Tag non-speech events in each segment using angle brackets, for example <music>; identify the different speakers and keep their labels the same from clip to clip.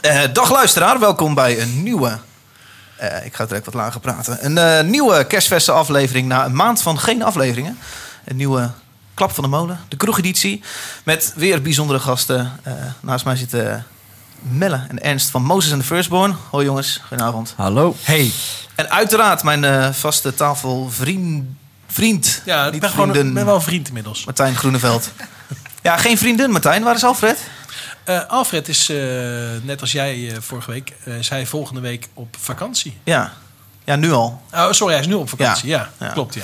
Speaker 1: Eh, dag luisteraar, welkom bij een nieuwe. eh, ik ga direct wat lager praten. Een eh, nieuwe kerstfesten aflevering na een maand van geen afleveringen. Een nieuwe klap van de molen, de kroegeditie. Met weer bijzondere gasten. Eh, naast mij zitten Melle en Ernst van Moses en de Firstborn. Hoi jongens, goedenavond.
Speaker 2: Hallo. Hey.
Speaker 1: En uiteraard mijn eh, vaste tafelvriend. Vriend.
Speaker 3: Ja, ik
Speaker 1: niet
Speaker 3: ben, gewoon,
Speaker 1: vrienden.
Speaker 3: ik ben wel een vriend inmiddels.
Speaker 1: Martijn Groeneveld. ja, geen vriendin Martijn, waar is Alfred?
Speaker 3: Eh, Alfred is, eh, net als jij eh, vorige week, eh, is hij volgende week op vakantie.
Speaker 1: Ja, ja nu al.
Speaker 3: Oh, sorry, hij is nu op vakantie. Ja,
Speaker 1: Ja.
Speaker 3: klopt. Ja.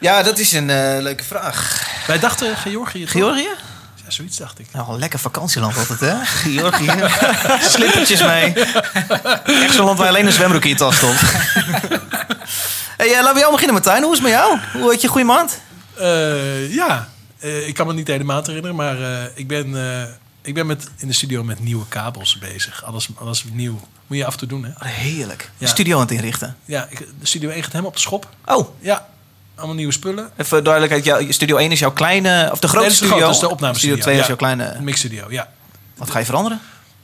Speaker 1: Ja, dat is een eh, leuke vraag.
Speaker 3: Wij dachten Georgië. toch?
Speaker 1: Georgië?
Speaker 3: Ja, zoiets dacht ik.
Speaker 1: Nou, een lekker vakantieland altijd, hè? <laughs> Georgië. Slippertjes mee. Echt zo'n land waar alleen een zwembroek in je tas <laughs> stond. hey, eh, laten we jou beginnen, Martijn. Hoe is het met jou? Hoe had je een goede maand?
Speaker 3: Eh, ja, Eh, ik kan me niet de hele maand herinneren, maar eh, ik ben, eh, ik ben met, in de studio met nieuwe kabels bezig. Alles, alles nieuw. Moet je af en toe doen, hè?
Speaker 1: Heerlijk.
Speaker 3: Ja.
Speaker 1: Studio aan het inrichten.
Speaker 3: Ja, ik, de studio 1 gaat helemaal op de schop.
Speaker 1: Oh,
Speaker 3: Ja, allemaal nieuwe spullen.
Speaker 1: even duidelijkheid. Jouw, studio 1 is jouw kleine... Of de grote
Speaker 3: Nee, dat is de
Speaker 1: studio.
Speaker 3: grote, dat is de opnamestudio.
Speaker 1: Studio 2 is eh.
Speaker 3: Ja.
Speaker 1: jouw kleine...
Speaker 3: Mixstudio, ja.
Speaker 1: Wat ga je veranderen?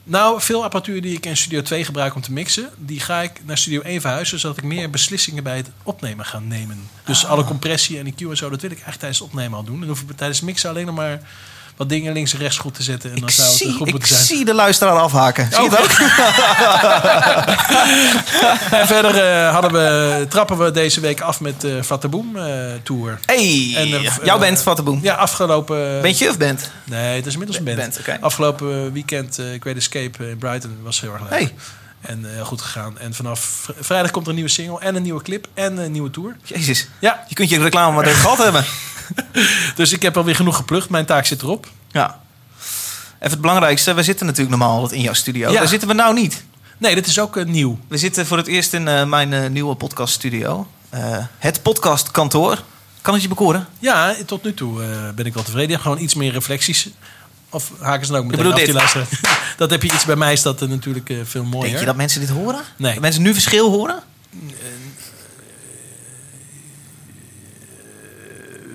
Speaker 3: Nou, veel apparatuur die ik in Studio 2 gebruik om te mixen, die ga ik naar Studio 1 verhuizen, zodat ik meer beslissingen bij het opnemen ga nemen. Dus
Speaker 1: Ah.
Speaker 3: alle compressie en EQ en zo, dat wil ik eigenlijk tijdens het opnemen al doen. Dan hoef ik tijdens het mixen alleen nog maar wat dingen links en rechts goed te zetten. En dan
Speaker 1: Ik,
Speaker 3: zou het
Speaker 1: zie,
Speaker 3: goed
Speaker 1: ik
Speaker 3: moeten zijn.
Speaker 1: zie de luisteraar afhaken. Zie je dat?
Speaker 3: En verder eh, hadden we, trappen we deze week af met de Fataboom eh Tour.
Speaker 1: Hey,
Speaker 3: En, eh,
Speaker 1: jouw
Speaker 3: eh,
Speaker 1: band, Vattenboom.
Speaker 3: Ja, afgelopen...
Speaker 1: Bent je of band?
Speaker 3: Nee, het is inmiddels een band.
Speaker 1: Band, oké.
Speaker 3: Afgelopen weekend eh Great Escape in Brighton was heel erg leuk.
Speaker 1: Hey.
Speaker 3: En eh, heel goed gegaan. En vanaf vri- vrijdag komt er een nieuwe single en een nieuwe clip en een nieuwe tour.
Speaker 1: Jezus.
Speaker 3: Ja,
Speaker 1: Je kunt je reclame maar even gehad hebben.
Speaker 3: dus ik heb alweer genoeg geplukt. Mijn taak zit erop.
Speaker 1: Ja. Even het belangrijkste. We zitten natuurlijk normaal altijd in jouw studio.
Speaker 3: Ja.
Speaker 1: Daar zitten we nou niet.
Speaker 3: Nee, dit is ook eh, nieuw.
Speaker 1: We zitten voor het eerst in eh, mijn eh, nieuwe podcaststudio. Eh, het podcastkantoor. Kan het je bekoren?
Speaker 3: Ja, tot nu toe eh, ben ik wel tevreden. Ik heb gewoon iets meer reflecties. Of haken ze dan ook meteen
Speaker 1: bedoelt
Speaker 3: af die
Speaker 1: dit?
Speaker 3: luisteraar. <laughs> Dat heb je iets bij mij is dat eh, natuurlijk eh, veel mooier.
Speaker 1: Denk je dat mensen dit horen?
Speaker 3: Nee.
Speaker 1: Dat mensen nu verschil horen?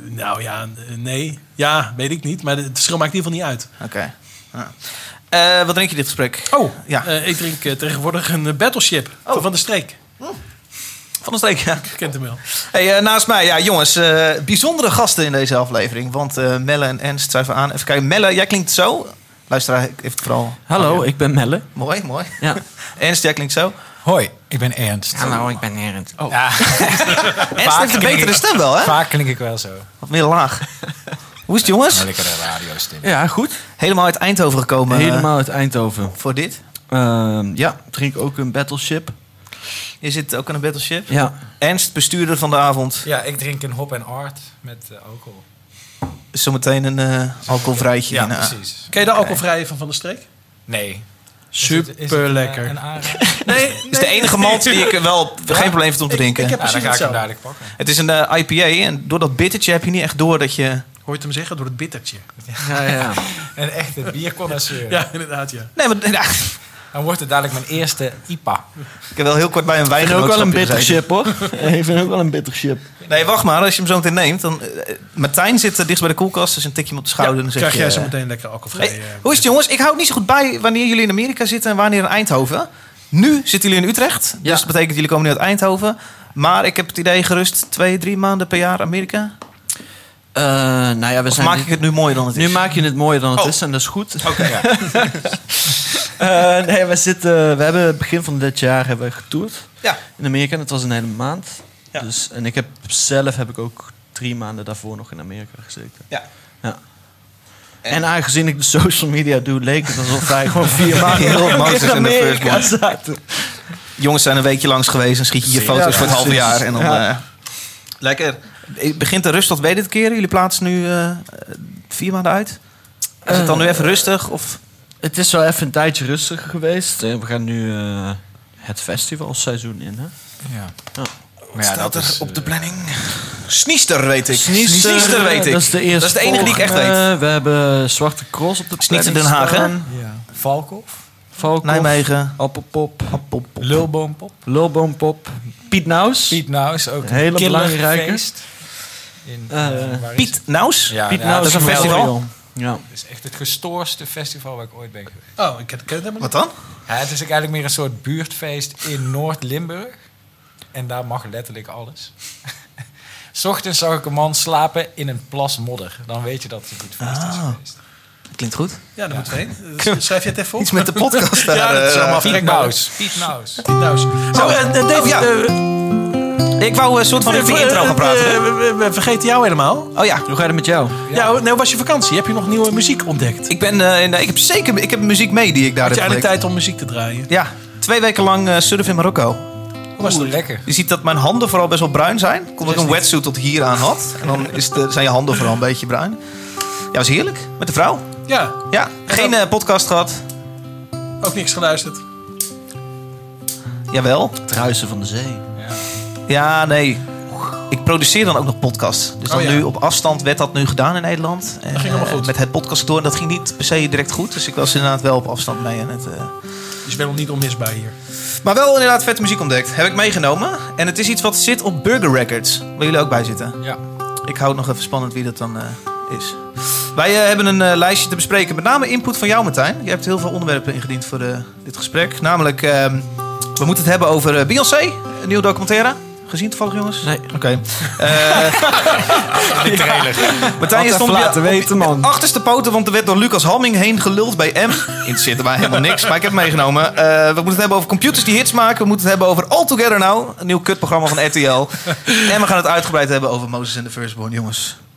Speaker 3: Nou ja, eh, nee. Ja, weet ik niet. Maar het verschil maakt in ieder geval niet uit.
Speaker 1: Oké. Ja. Eh, wat drink je dit gesprek?
Speaker 3: Oh,
Speaker 1: Ja. Oh.
Speaker 3: ja. ik drink eh, tegenwoordig een eh, Battleship van Van de Streek.
Speaker 1: Van de streek, ja.
Speaker 3: Je kent hem wel.
Speaker 1: Hey, eh, naast mij, ja jongens, eh, bijzondere gasten in deze aflevering. Want eh, Melle en Ernst schuiven aan. Even kijken, Melle, jij klinkt zo. Luisteraar heeft het vooral...
Speaker 2: Hallo,
Speaker 1: Oh, ja.
Speaker 2: ik ben Melle.
Speaker 1: Mooi, mooi.
Speaker 2: Ja.
Speaker 1: Ernst, jij klinkt zo.
Speaker 4: Hoi, ik ben Ernst.
Speaker 5: Hallo, ik ben Erend. Oh.
Speaker 4: Ja,
Speaker 1: Ernst heeft een
Speaker 4: klink
Speaker 1: betere
Speaker 4: ik-
Speaker 1: stem wel, hè?
Speaker 4: vaak klink ik wel zo.
Speaker 1: Wat meer laag. Hoe is het, jongens?
Speaker 4: Een lekkere radiostem.
Speaker 2: Ja, goed.
Speaker 1: Helemaal uit Eindhoven gekomen eh,
Speaker 2: Helemaal uit Eindhoven.
Speaker 1: voor dit.
Speaker 2: Ehm, ja, drink ook een battleship.
Speaker 1: Je zit ook aan een battleship.
Speaker 2: Ja.
Speaker 1: Ernst, bestuurder van de avond.
Speaker 4: Ja, ik drink een hop en art met eh, alcohol.
Speaker 1: Zometeen een eh alcoholvrijtje.
Speaker 4: Ja,
Speaker 1: in, eh,
Speaker 4: precies.
Speaker 3: Ken je de alcoholvrije van Van de Streek?
Speaker 4: Nee.
Speaker 3: Super lekker.
Speaker 4: Is het, eh, een aanrader?
Speaker 3: Nee,
Speaker 1: Het is de enige malt
Speaker 3: <laughs>
Speaker 1: die ik wel geen probleem vind om te drinken.
Speaker 3: ik heb-
Speaker 4: Ja, dan
Speaker 3: precies
Speaker 4: ga ik hem
Speaker 3: hetzelfde.
Speaker 4: dadelijk pakken.
Speaker 1: Het is een eh, IPA en door dat bittertje heb je niet echt door dat je...
Speaker 3: Hoort hem zeggen door het bittertje.
Speaker 2: Ja, ja.
Speaker 4: Een echte bierconnoisseur.
Speaker 3: Ja, inderdaad, ja.
Speaker 1: Nee, maar <laughs> ja,
Speaker 4: Dan wordt het dadelijk mijn eerste IPA.
Speaker 1: ik heb wel heel kort bij een
Speaker 2: Ik vind ook wel een
Speaker 1: wijngenootschapje gezeten.
Speaker 2: bittership, <laughs> hoor. Ik vind ook wel een bittership.
Speaker 1: Nee, wacht maar. Als je hem zo meteen neemt, dan... eh, Martijn zit er dicht bij de koelkast, dus een tikje hem op de schouder. en dan zeg
Speaker 3: krijg
Speaker 1: je,
Speaker 3: jij
Speaker 1: eh,
Speaker 3: zo meteen lekker alcoholvrij.
Speaker 1: Hey,
Speaker 3: eh,
Speaker 1: hoe is het jongens? Ik hou niet zo goed bij wanneer jullie in Amerika zitten en wanneer in Eindhoven. Nu zitten jullie in Utrecht,
Speaker 2: Ja.
Speaker 1: dus dat betekent jullie komen nu uit Eindhoven. Maar ik heb het idee gerust twee, drie maanden per jaar Amerika.
Speaker 2: Eh, nou ja, we
Speaker 1: Of
Speaker 2: zijn
Speaker 1: maak
Speaker 2: nu-
Speaker 1: ik het nu mooier dan het
Speaker 2: nu
Speaker 1: is?
Speaker 2: maak je het mooier dan het
Speaker 1: Oh.
Speaker 2: is en dat is goed.
Speaker 1: Oké.
Speaker 2: <laughs> Eh, nee, we, zitten, we hebben begin van dit jaar hebben we getoerd
Speaker 1: Ja.
Speaker 2: in Amerika. Dat was een hele maand.
Speaker 1: Ja.
Speaker 2: Dus, en ik heb zelf heb ik ook drie maanden daarvoor nog in Amerika gezeten.
Speaker 1: Ja.
Speaker 2: ja. En, aangezien ik de social media doe, leek het alsof
Speaker 1: <laughs>
Speaker 2: wij gewoon vier maanden
Speaker 1: Heel
Speaker 2: in
Speaker 1: Mozes en de
Speaker 2: Amerika
Speaker 1: Firstborn.
Speaker 2: zaten.
Speaker 1: Jongens zijn een weekje langs geweest en schiet je je foto's
Speaker 2: Ja,
Speaker 1: voor het halve
Speaker 2: precies.
Speaker 1: jaar. En dan,
Speaker 2: Ja.
Speaker 1: eh, lekker. Eh, Begint de rust tot bij dit keer? Jullie plaatsen nu eh, eh, vier maanden uit? Is het dan
Speaker 2: Eh,
Speaker 1: nu even rustig? Of?
Speaker 2: Het is wel even een tijdje rustiger geweest. Eh, We gaan nu eh, het festivalseizoen in. Hè?
Speaker 4: Ja.
Speaker 2: Ja.
Speaker 4: Maar ja, dat is, eh,
Speaker 1: planning? Sniester weet ik. weet ik.
Speaker 2: Dat is de, eerste
Speaker 1: Dat is de enige die ik echt
Speaker 2: volgende.
Speaker 1: weet.
Speaker 2: We hebben Zwarte Cross op de
Speaker 1: Sniester
Speaker 2: planning
Speaker 1: Den Haag, hè?
Speaker 2: staan.
Speaker 4: Ja. Valkhof,
Speaker 2: Valkhof,
Speaker 1: Nijmegen.
Speaker 2: Appelpop,
Speaker 4: Lulboompop,
Speaker 2: Lulboompop, Piet Naus.
Speaker 4: Piet Nauws, ook een
Speaker 2: Hele
Speaker 4: killer
Speaker 2: belangrijke.
Speaker 4: feest In,
Speaker 2: Eh,
Speaker 4: waar is
Speaker 1: Piet Naus?
Speaker 4: het? Ja,
Speaker 2: Piet
Speaker 4: ja,
Speaker 2: Naus
Speaker 1: dat is een
Speaker 2: Memorial. Ja.
Speaker 4: Het is echt het gestoorste festival waar ik ooit ben geweest.
Speaker 3: Oh, ik ken, ken het helemaal
Speaker 1: Wat
Speaker 3: niet.
Speaker 1: dan?
Speaker 4: Ja, het is ook eigenlijk meer een soort buurtfeest in Noord-Limburg. En daar mag letterlijk alles. <laughs> 's Ochtends zag ik een man slapen in een plas modder. Dan weet je dat het een goed feest is
Speaker 1: Ah.
Speaker 4: geweest.
Speaker 1: Klinkt goed.
Speaker 3: Ja, daar moeten we
Speaker 1: <laughs>
Speaker 3: heen. Eh, Schrijf je het even op?
Speaker 1: Iets met de
Speaker 3: <laughs>
Speaker 1: podcast daar.
Speaker 3: Ja, dat is
Speaker 1: eh,
Speaker 3: allemaal
Speaker 4: Piet
Speaker 3: verrekbaar.
Speaker 4: Maus. Piet Maus.
Speaker 3: Piet Maus. Zo, eh, eh, Dave,
Speaker 1: Oh, ja.
Speaker 3: eh,
Speaker 1: Ik wou een soort van even de
Speaker 3: eh,
Speaker 1: intro gaan
Speaker 3: eh,
Speaker 1: praten.
Speaker 3: eh, we- we vergeten jou helemaal.
Speaker 1: Oh ja,
Speaker 2: Hoe gaat het met jou?
Speaker 3: Ja, nou, was je vakantie? Heb je nog nieuwe muziek ontdekt?
Speaker 1: ik, ben, eh, in- ik heb zeker ik heb muziek mee die ik daar
Speaker 3: Had je
Speaker 1: heb ontdekt.
Speaker 3: eindelijk tijd om muziek te draaien?
Speaker 1: Ja, twee weken lang eh surf in Marokko.
Speaker 3: Hoe was
Speaker 4: Oeh,
Speaker 3: het?
Speaker 4: lekker.
Speaker 1: Je ziet dat mijn handen vooral best wel bruin zijn. Komt dat ik een wetsuit tot hier aan had. En dan is de, zijn je handen vooral een beetje bruin. Ja, was heerlijk. Met de vrouw.
Speaker 3: Ja,
Speaker 1: Ja, geen eh, podcast gehad.
Speaker 3: ook niks geluisterd.
Speaker 1: Jawel.
Speaker 2: Het ruisen van de zee.
Speaker 1: Ja, nee. Ik produceer dan ook nog podcasts. Dus dan
Speaker 3: Oh ja.
Speaker 1: nu op afstand werd dat nu gedaan in Nederland. En,
Speaker 3: ging allemaal
Speaker 1: eh,
Speaker 3: goed.
Speaker 1: Met het podcastkantoor. En dat ging niet per se direct goed. Dus ik was inderdaad wel op afstand mee. En het, eh,
Speaker 3: Dus je bent nog niet onmisbaar hier.
Speaker 1: Maar wel inderdaad vette muziek ontdekt. Heb ik meegenomen. En het is iets wat zit op Burger Records. Waar jullie ook bij zitten.
Speaker 4: Ja.
Speaker 1: Ik hou het nog even spannend wie dat dan eh, is. Wij eh, hebben een eh, lijstje te bespreken. Met name input van jou, Martijn. Je hebt heel veel onderwerpen ingediend voor eh, dit gesprek. Namelijk, ehm, we moeten het hebben over eh, Beyoncé. Een nieuwe documentaire. Gezien toevallig, jongens?
Speaker 2: Nee.
Speaker 1: Oké.
Speaker 2: <laughs>
Speaker 1: Eh,
Speaker 4: De trailer.
Speaker 1: Martijn je
Speaker 2: Had
Speaker 1: stond
Speaker 2: even
Speaker 1: je
Speaker 2: laten
Speaker 1: op je
Speaker 2: weten, man.
Speaker 1: achterste poten, want er werd door Lucas Hamming heen geluld bij M. Interesseert mij helemaal niks, maar ik heb het meegenomen. Eh, we moeten het hebben over computers die hits maken. We moeten het hebben over All Together Now, een nieuw kutprogramma van RTL. en we gaan het uitgebreid hebben over Moses and the Firstborn. Jongens,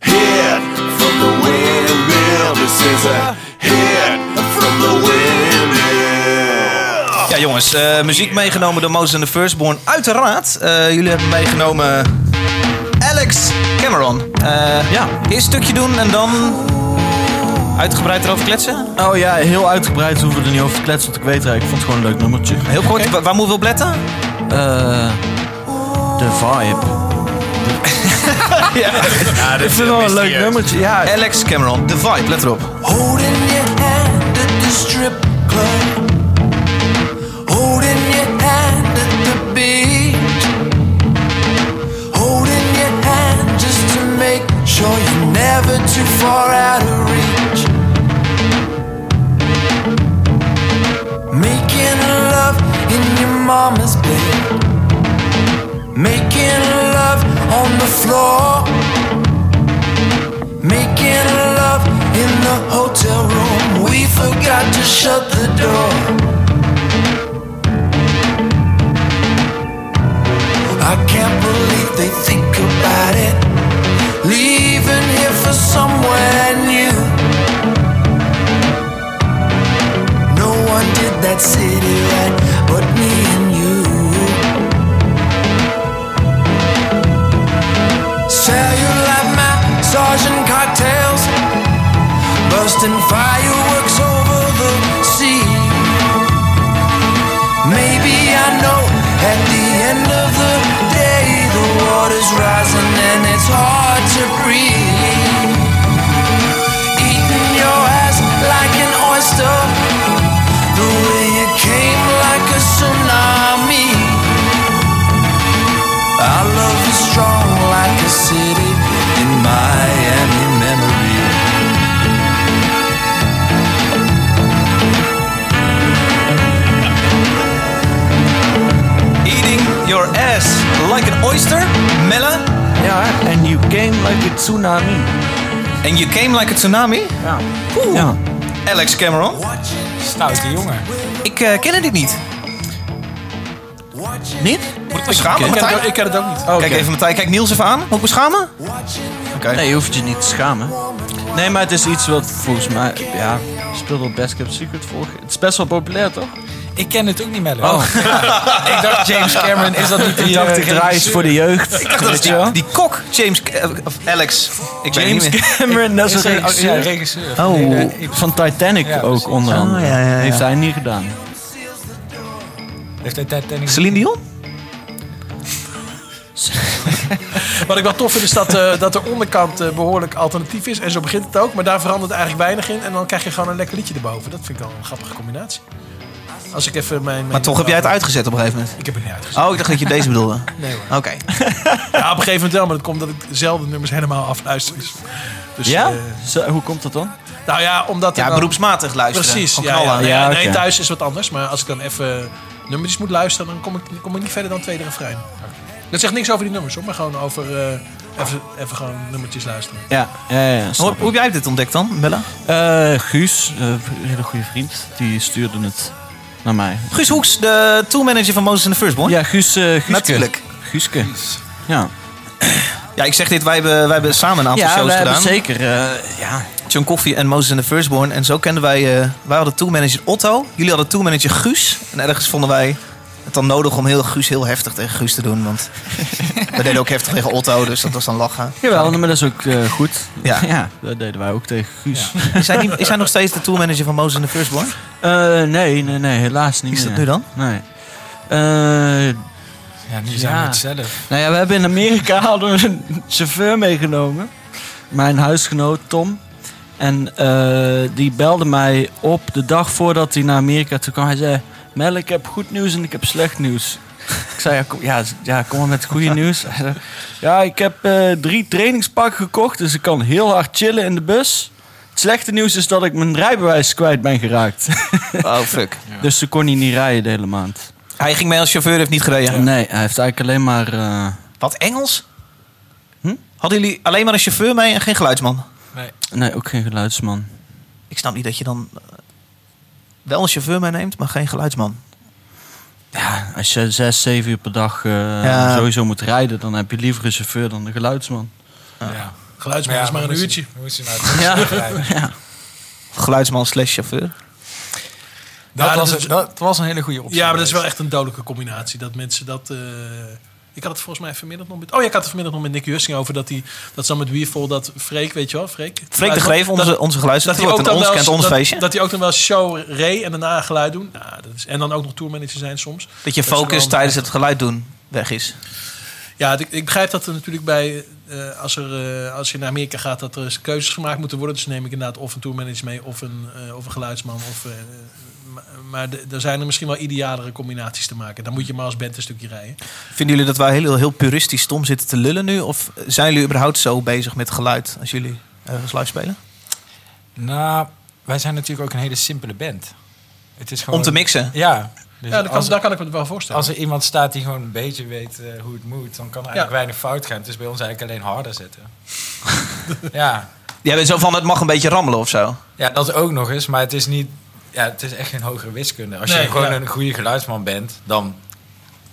Speaker 5: Hit from the Windmill. This is a hit from the Windmill.
Speaker 1: Ja, jongens, eh, muziek meegenomen door Moses and the Firstborn. Uiteraard, eh, jullie hebben meegenomen Alex Cameron. Eh,
Speaker 2: Ja.
Speaker 1: Eerst een stukje doen en dan uitgebreid erover kletsen.
Speaker 2: Oh ja, heel uitgebreid hoeven we er niet over te kletsen, want ik weet eigenlijk, ik vond het gewoon een leuk nummertje.
Speaker 1: Heel kort, wa- waar moeten we op letten?
Speaker 2: Eh, de vibe. <laughs> ja, ik vind het wel een leuk nummertje. Ja,
Speaker 1: Alex Cameron, The Vibe, let erop.
Speaker 6: Holding your hand at the strip club. Holding your hand at the beach. Holding your hand just to make sure you're never too far out of reach. Making love in your mama's bed. Making love on the floor. Making love in the hotel room. We forgot to shut the door. I can't believe they think about it. Leaving here for somewhere new. No one did that city right but me and you. Cellulite, my sergeant cocktails, bursting fireworks over the sea. Maybe I know at the end of the day the water's rising and it's hard to breathe. Eating your ass like an oyster, the way it came like a tsunami. Our love is strong like a city in Miami memory.
Speaker 1: Eating your ass like an oyster, Melle.
Speaker 2: ja, and you came like a tsunami.
Speaker 1: And you came like a tsunami.
Speaker 2: Ja. ja.
Speaker 1: Alex Cameron.
Speaker 4: Stoute jongen.
Speaker 1: Ik eh ken dit niet. Niet? Moet ik me schamen,
Speaker 3: Ik ken, het, ook-
Speaker 1: Martijn?
Speaker 3: ik ken het ook niet.
Speaker 1: Kijk even, Martijn. Kijk Niels even aan. Moet ik me schamen? Oké.
Speaker 2: Nee, je hoeft je niet te schamen. Nee, maar het is iets wat volgens mij, ja, speelde op Best Kept Secret vorig Het is best wel populair, toch?
Speaker 4: Ik ken het ook niet, Mello. <laughs> ik dacht, James Cameron, is dat niet die,
Speaker 2: Die dacht ik
Speaker 4: eh,
Speaker 2: draai is voor de jeugd.
Speaker 1: Ik dacht dat is die, die kok, James... Ca- Of Alex. Ik weet
Speaker 2: James
Speaker 1: niet meer.
Speaker 2: Cameron, dat is
Speaker 4: Is
Speaker 2: een
Speaker 4: regisseur, ja, regisseur.
Speaker 2: Oh,
Speaker 4: Nee, nee, ik-
Speaker 2: van Titanic
Speaker 4: Ja,
Speaker 2: ook
Speaker 4: precies.
Speaker 2: onder
Speaker 1: Oh,
Speaker 2: andere.
Speaker 1: ja, ja, ja.
Speaker 2: Heeft hij niet gedaan. Dus,
Speaker 4: Heeft hij Titanic...
Speaker 1: Celine Dion?
Speaker 3: Wat ik wel tof vind is dat, eh, dat de onderkant eh, behoorlijk alternatief is. En zo begint het ook. Maar daar verandert eigenlijk weinig in. En dan krijg je gewoon een lekker liedje erboven. Dat vind ik wel een grappige combinatie. Als ik even mijn...
Speaker 1: Maar toch heb jij het uitgezet op een gegeven moment.
Speaker 3: Ik heb het niet uitgezet.
Speaker 1: Oh, ik dacht dat je deze <laughs> bedoelde.
Speaker 3: Nee hoor.
Speaker 1: Oké.
Speaker 3: Ja, op een gegeven moment wel. Maar dat komt dat ik zelden nummers helemaal afluister. Dus, dus,
Speaker 2: Ja?
Speaker 3: eh,
Speaker 2: Zo, hoe komt dat dan?
Speaker 3: nou ja, omdat... er
Speaker 1: Ja,
Speaker 3: dan-
Speaker 1: beroepsmatig luisteren.
Speaker 3: Precies.
Speaker 1: Gewoon
Speaker 3: Ja,
Speaker 1: knallen.
Speaker 3: ja, nee,
Speaker 2: Ja,
Speaker 3: nee,
Speaker 2: oké.
Speaker 3: thuis is wat anders. Maar als ik dan even nummertjes moet luisteren, dan kom ik, dan kom ik niet verder dan het tweede refrein. Dat zegt niks over die nummers hoor, maar gewoon over eh, even, even gewoon nummertjes luisteren.
Speaker 2: Ja, ja, ja,
Speaker 1: Hoe,
Speaker 2: snap
Speaker 1: hoe heb jij dit ontdekt dan, Bella?
Speaker 2: ik. Eh, Guus, eh, een hele goede vriend, die stuurde het naar mij.
Speaker 1: Guus Hoeks, de toolmanager van Moses and the Firstborn.
Speaker 2: Ja, Guus, eh Guuske.
Speaker 1: Natuurlijk.
Speaker 2: Guuske. Ja,
Speaker 1: Ja, ik zeg dit, wij hebben, wij hebben samen een aantal
Speaker 2: ja
Speaker 1: shows
Speaker 2: we hebben
Speaker 1: gedaan.
Speaker 2: zeker. eh, ja.
Speaker 1: John Coffee en Moses and the Firstborn. En zo kenden wij, eh, wij hadden toolmanager Otto. Jullie hadden toolmanager Guus. En ergens vonden wij het dan nodig om heel Guus heel heftig tegen Guus te doen. Want we deden ook heftig tegen Otto, dus dat was dan lachen.
Speaker 2: Jawel, maar dat is ook eh, goed. <laughs>
Speaker 1: Ja.
Speaker 2: dat deden wij ook tegen Guus.
Speaker 1: Is hij, niet- is hij nog steeds de toolmanager van Moses and the Firstborn?
Speaker 2: Eh, nee, nee, nee, helaas niet
Speaker 1: Wie is dat
Speaker 2: meer.
Speaker 1: nu dan?
Speaker 2: Nee. Eh,
Speaker 4: Ja, nu zijn we
Speaker 2: Ja.
Speaker 4: het zelf.
Speaker 2: nou ja, we hebben in Amerika <laughs> hadden we een chauffeur meegenomen. Mijn huisgenoot Tom. En eh, die belde mij op de dag voordat hij naar Amerika toe kwam. Hij zei, Mel, ik heb goed nieuws en ik heb slecht nieuws. <laughs> Ik zei, ja, kom, ja, z- ja, kom maar met het goede nieuws. Hij zei, ja, ik heb eh, drie trainingspakken gekocht, dus ik kan heel hard chillen in de bus. Het slechte nieuws is dat ik mijn rijbewijs kwijt ben geraakt.
Speaker 1: Oh, fuck.
Speaker 2: <laughs> Dus ze kon hij niet rijden de hele maand.
Speaker 1: Hij ging mee als chauffeur, heeft niet gereden.
Speaker 2: Nee, hij heeft eigenlijk alleen maar... eh,
Speaker 1: Wat, Engels?
Speaker 2: Hm?
Speaker 1: Hadden jullie alleen maar een chauffeur mee en geen geluidsman?
Speaker 2: nee, ook geen geluidsman.
Speaker 1: Ik snap niet dat je dan eh, wel een chauffeur meeneemt, maar geen geluidsman.
Speaker 2: Ja, als je zes, zeven uur per dag eh,
Speaker 1: Ja.
Speaker 2: sowieso moet rijden... dan heb je liever een chauffeur dan een geluidsman.
Speaker 4: Ja.
Speaker 3: Geluidsman is maar een
Speaker 4: hoe
Speaker 3: uurtje.
Speaker 4: Hoe is hij nou thuis rijden?
Speaker 1: Geluidsman slash chauffeur.
Speaker 4: Dat,
Speaker 3: Ja, dat
Speaker 4: was,
Speaker 3: is-
Speaker 4: een- dat was een hele goede optie.
Speaker 3: Ja, maar dat is wel
Speaker 4: geweest.
Speaker 3: echt een dodelijke combinatie. Dat mensen dat. eh, ik had het volgens mij vanmiddag nog met. Oh ja, ik had het vanmiddag nog met Nick Jussing over dat hij. Dat zo met Weervol dat Freek, weet je wel, Freek.
Speaker 1: Freek de
Speaker 3: Dat-
Speaker 1: Greef,
Speaker 3: dat-
Speaker 1: onze, onze
Speaker 3: dat
Speaker 1: geluidsman.
Speaker 3: hij ook
Speaker 1: Dat
Speaker 3: dan
Speaker 1: ons
Speaker 3: wel
Speaker 1: kent
Speaker 3: eens-
Speaker 1: ons
Speaker 3: dat-
Speaker 1: feestje. Dat,
Speaker 3: Dat hij ook dan wel show re en daarna geluid doen. Nou, dat is, en dan ook nog tourmanager zijn soms.
Speaker 1: je
Speaker 3: dat is
Speaker 1: focus
Speaker 3: gewoon-
Speaker 1: tijdens het geluid doen weg is.
Speaker 3: Ja, ik, ik begrijp dat er natuurlijk bij, eh, als, er, eh, als je naar Amerika gaat, dat er eens keuzes gemaakt moeten worden. Dus neem ik inderdaad of een tourmanager mee, of een, eh, of een geluidsman. Of, eh, maar- maar de- er zijn er misschien wel idealere combinaties te maken. Dan moet je maar als band een stukje rijden.
Speaker 4: Dus
Speaker 1: Vinden jullie dat wij heel, heel puristisch stom zitten te lullen nu? Of zijn jullie überhaupt zo bezig met geluid als jullie ergens live spelen?
Speaker 4: Nou, wij zijn natuurlijk ook een hele simpele band. Het is gewoon...
Speaker 1: Om te
Speaker 3: Oh.
Speaker 1: mixen.
Speaker 4: Ja. Dus
Speaker 3: ja, daar kan,
Speaker 4: als,
Speaker 3: daar kan ik me wel voorstellen.
Speaker 4: als er iemand staat die gewoon een beetje weet eh, hoe het moet... dan kan er eigenlijk
Speaker 3: Ja.
Speaker 4: weinig fout gaan. Het is bij ons eigenlijk alleen harder zetten. <laughs> ja.
Speaker 1: Jij bent zo van, het mag een beetje rammelen of zo.
Speaker 4: ja, dat ook nog eens. Maar het is niet... Ja, het is echt geen hogere wiskunde. Als
Speaker 3: Nee,
Speaker 4: je gewoon
Speaker 3: ja.
Speaker 4: een goede geluidsman bent... dan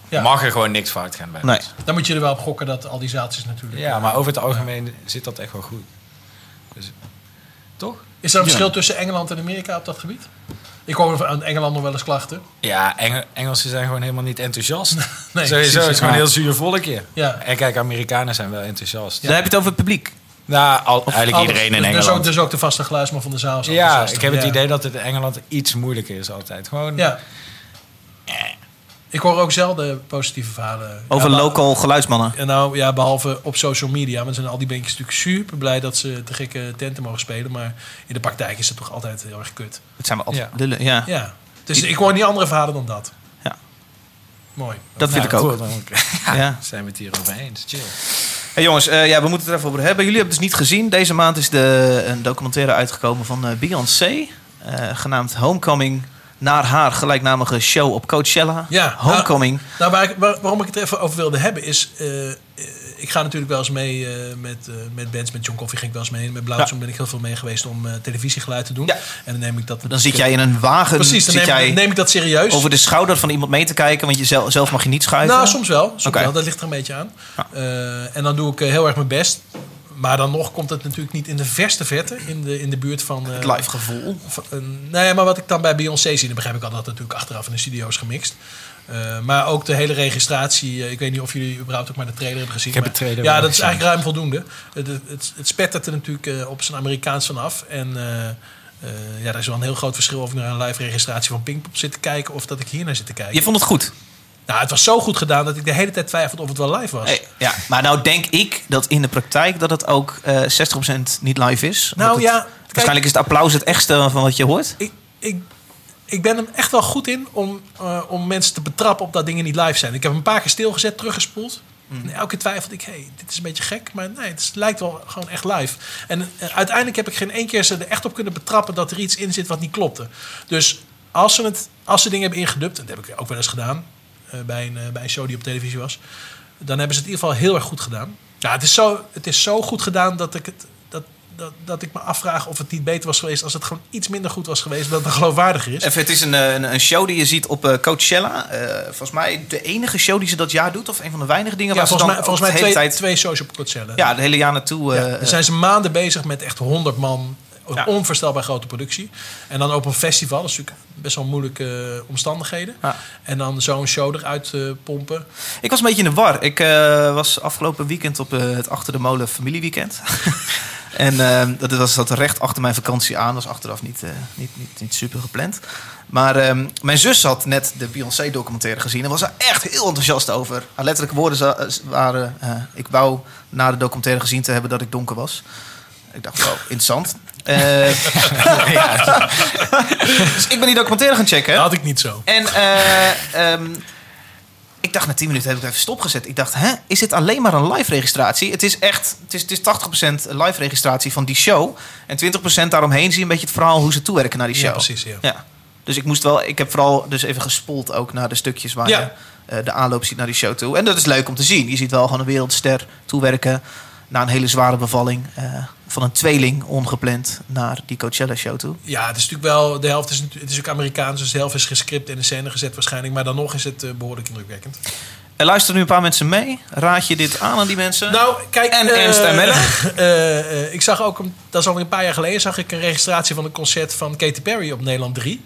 Speaker 3: Ja.
Speaker 4: mag er gewoon niks fout gaan bij
Speaker 1: Nee.
Speaker 4: ons.
Speaker 3: dan moet je er wel op gokken dat al die zaaltjes natuurlijk...
Speaker 4: Ja, maar over het algemeen zit dat echt wel goed. Dus,
Speaker 3: Is er een verschil tussen Engeland en Amerika op dat gebied? Ik hoor aan Engeland nog wel eens klachten.
Speaker 4: Ja, Engel- Engelsen zijn gewoon helemaal niet enthousiast.
Speaker 3: <laughs> Nee,
Speaker 4: Sowieso,
Speaker 3: precies,
Speaker 4: het is
Speaker 3: ja.
Speaker 4: gewoon een heel zuur volkje.
Speaker 3: Ja.
Speaker 4: En kijk, Amerikanen zijn wel enthousiast.
Speaker 1: Dan heb je het over het publiek.
Speaker 4: Nou, al, eigenlijk
Speaker 3: Alles.
Speaker 4: iedereen in
Speaker 3: Dus- Dus ook,
Speaker 4: Engeland.
Speaker 3: dus ook de vaste geluidsman van de zaal. is
Speaker 4: Ja,
Speaker 3: enthousiast.
Speaker 4: ik heb het
Speaker 3: Ja.
Speaker 4: idee dat het in Engeland iets moeilijker is altijd. Gewoon,
Speaker 3: Ja. Eh, Ik hoor ook zelden positieve verhalen.
Speaker 1: Over
Speaker 3: Ja,
Speaker 1: local geluidsmannen.
Speaker 3: beh- En nou ja, behalve op social media. Want dan zijn al die bandjes natuurlijk super blij dat ze te gekke tenten mogen spelen. Maar in de praktijk is het toch altijd heel erg kut.
Speaker 1: Dat zijn we altijd
Speaker 4: Ja.
Speaker 1: lullen. Ja.
Speaker 3: Ja. Dus ik hoor niet andere verhalen dan dat.
Speaker 1: Ja.
Speaker 3: Mooi.
Speaker 1: Dat vind ik
Speaker 4: Nou,
Speaker 1: ook.
Speaker 4: cool, dan
Speaker 1: Ja.
Speaker 4: <laughs> zijn we het hier over eens. Chill.
Speaker 1: Hey jongens, eh, ja, we moeten het er even over hebben. Jullie hebben het dus niet gezien. Deze maand is de, een documentaire uitgekomen van eh, Beyoncé. eh, genaamd Homecoming. Naar haar gelijknamige show op Coachella.
Speaker 3: Ja,
Speaker 1: Homecoming.
Speaker 3: Nou, waar ik- waar- waarom ik het even over wilde hebben is... eh, eh, ik ga natuurlijk wel eens mee eh, met, eh, met bands. Met John Coffee ging ik wel eens mee. Met Blauwzoom ben ik heel veel mee geweest om eh, televisiegeluid te doen.
Speaker 1: Ja.
Speaker 3: En dan neem ik dat...
Speaker 1: dan zit jij in een wagen.
Speaker 3: Precies, dan
Speaker 1: zit
Speaker 3: neem,
Speaker 1: jij
Speaker 3: neem ik dat serieus.
Speaker 1: over de schouder van iemand mee te kijken. Want je zelf, zelf mag je niet schuiven.
Speaker 3: Nou, soms wel. Soms
Speaker 1: Oké.
Speaker 3: wel. Dat ligt er een beetje aan.
Speaker 1: Ja.
Speaker 3: Eh, en dan doe ik eh, heel erg mijn best. Maar dan nog komt het natuurlijk niet in de verste verte, in de, in de buurt van... eh,
Speaker 1: Het live gevoel.
Speaker 3: van- een- nou ja, maar wat ik dan bij Beyoncé zie, dan begrijp ik al dat het natuurlijk achteraf in de studio is gemixt. Eh, maar ook de hele registratie. eh, ik weet niet of jullie überhaupt ook maar de trailer hebben gezien.
Speaker 4: Ik heb
Speaker 3: maar-
Speaker 4: de trailer
Speaker 3: Ja,
Speaker 4: wel
Speaker 3: dat is
Speaker 4: gezien.
Speaker 3: eigenlijk ruim voldoende. Het, het, het, het spettert er natuurlijk eh, op zijn Amerikaans vanaf. En eh, eh, ja, daar is wel een heel groot verschil of ik naar een live registratie van Pinkpop zit te kijken of dat ik hier naar zit te kijken.
Speaker 1: Je vond het goed.
Speaker 3: Nou, het was zo goed gedaan dat ik de hele tijd twijfelde of het wel live was.
Speaker 1: Hey, ja. Maar nou denk ik dat in de praktijk dat het ook eh 60% niet live is. Omdat
Speaker 3: Nou
Speaker 1: het-
Speaker 3: ja, kijk-
Speaker 1: Waarschijnlijk is het applaus het echtste van wat je hoort.
Speaker 3: ik, ik, ik ben hem echt wel goed in om, eh, om mensen te betrappen op dat dingen niet live zijn. Ik heb hem een paar keer stilgezet, teruggespoeld. En elke keer twijfelde ik, hey, dit is een beetje gek. Maar nee, het is- lijkt wel gewoon echt live. En eh, uiteindelijk heb ik geen één keer ze er echt op kunnen betrappen... dat er iets in zit wat niet klopte. Dus als ze, het, als ze dingen hebben ingedubt... en dat heb ik ook wel eens gedaan eh, bij, een, eh, bij een show die op televisie was... dan hebben ze het in ieder geval heel erg goed gedaan. Ja, het is zo, het is zo goed gedaan dat ik het... Dat, dat, dat ik me afvraag of het niet beter was geweest als het gewoon iets minder goed was geweest, dat het dan geloofwaardiger is.
Speaker 1: Even, het is een, eh, een, een show die je ziet op eh, Coachella. Eh, volgens mij de enige show die ze dat jaar doet. Of een van de weinige dingen
Speaker 3: Ja,
Speaker 1: waar ze
Speaker 3: volgens
Speaker 1: dan
Speaker 3: mij, volgens mij
Speaker 1: ook de
Speaker 3: twee,
Speaker 1: hele tijd...
Speaker 3: twee shows op Coachella.
Speaker 1: Ja, de hele jaar naartoe. eh,
Speaker 3: Ja, dan zijn ze maanden bezig met echt 100 man. Een
Speaker 1: Ja.
Speaker 3: onvoorstelbaar grote productie. En dan op een festival. Dat is natuurlijk best wel moeilijke eh, omstandigheden.
Speaker 1: Ja.
Speaker 3: En dan zo'n show eruit eh, pompen.
Speaker 1: Ik was een beetje in de war. Ik eh, was afgelopen weekend op eh, het Achter de Molen familieweekend. <laughs> en eh, dat was dat recht achter mijn vakantie aan. Dat was achteraf niet, eh, niet, niet, niet super gepland. Maar ehm, mijn zus had net de Beyoncé-documentaire gezien. En was er echt heel enthousiast over. Haar letterlijke woorden za- waren... eh, ik wou na de documentaire gezien te hebben dat ik donker was. Ik dacht, wow, interessant. Eh, <laughs> dus ik ben die documentaire gaan checken.
Speaker 3: Dat had ik niet zo.
Speaker 1: En eh, ehm, ik dacht na 10 minuten heb ik het even stopgezet. Ik dacht, hè, is dit alleen maar een live registratie? Het is echt, het is, het is 80% live registratie van die show. En 20% daaromheen zie je een beetje het verhaal hoe ze toewerken naar die show.
Speaker 3: Ja, precies. Ja.
Speaker 1: Ja. Dus ik moest wel, ik heb vooral dus even gespoeld ook naar de stukjes waar
Speaker 3: Ja.
Speaker 1: je eh, de aanloop ziet naar die show toe. En dat is leuk om te zien. Je ziet wel gewoon een wereldster toewerken na een hele zware bevalling eh, van een tweeling ongepland naar die Coachella show toe.
Speaker 3: Ja, het is natuurlijk wel. De helft is, natu- het is ook Amerikaans. Dus de helft is gescript en in scène gezet waarschijnlijk. Maar dan nog is het eh, behoorlijk indrukwekkend.
Speaker 1: Er luisteren nu een paar mensen mee. Raad je dit aan aan die mensen?
Speaker 3: Nou, kijk.
Speaker 1: En
Speaker 3: eh,
Speaker 1: Ernst en Melle.
Speaker 3: <laughs> eh, eh, ik zag ook, een- dat is al een paar jaar geleden, zag ik een registratie van een concert van Katy Perry op Nederland 3.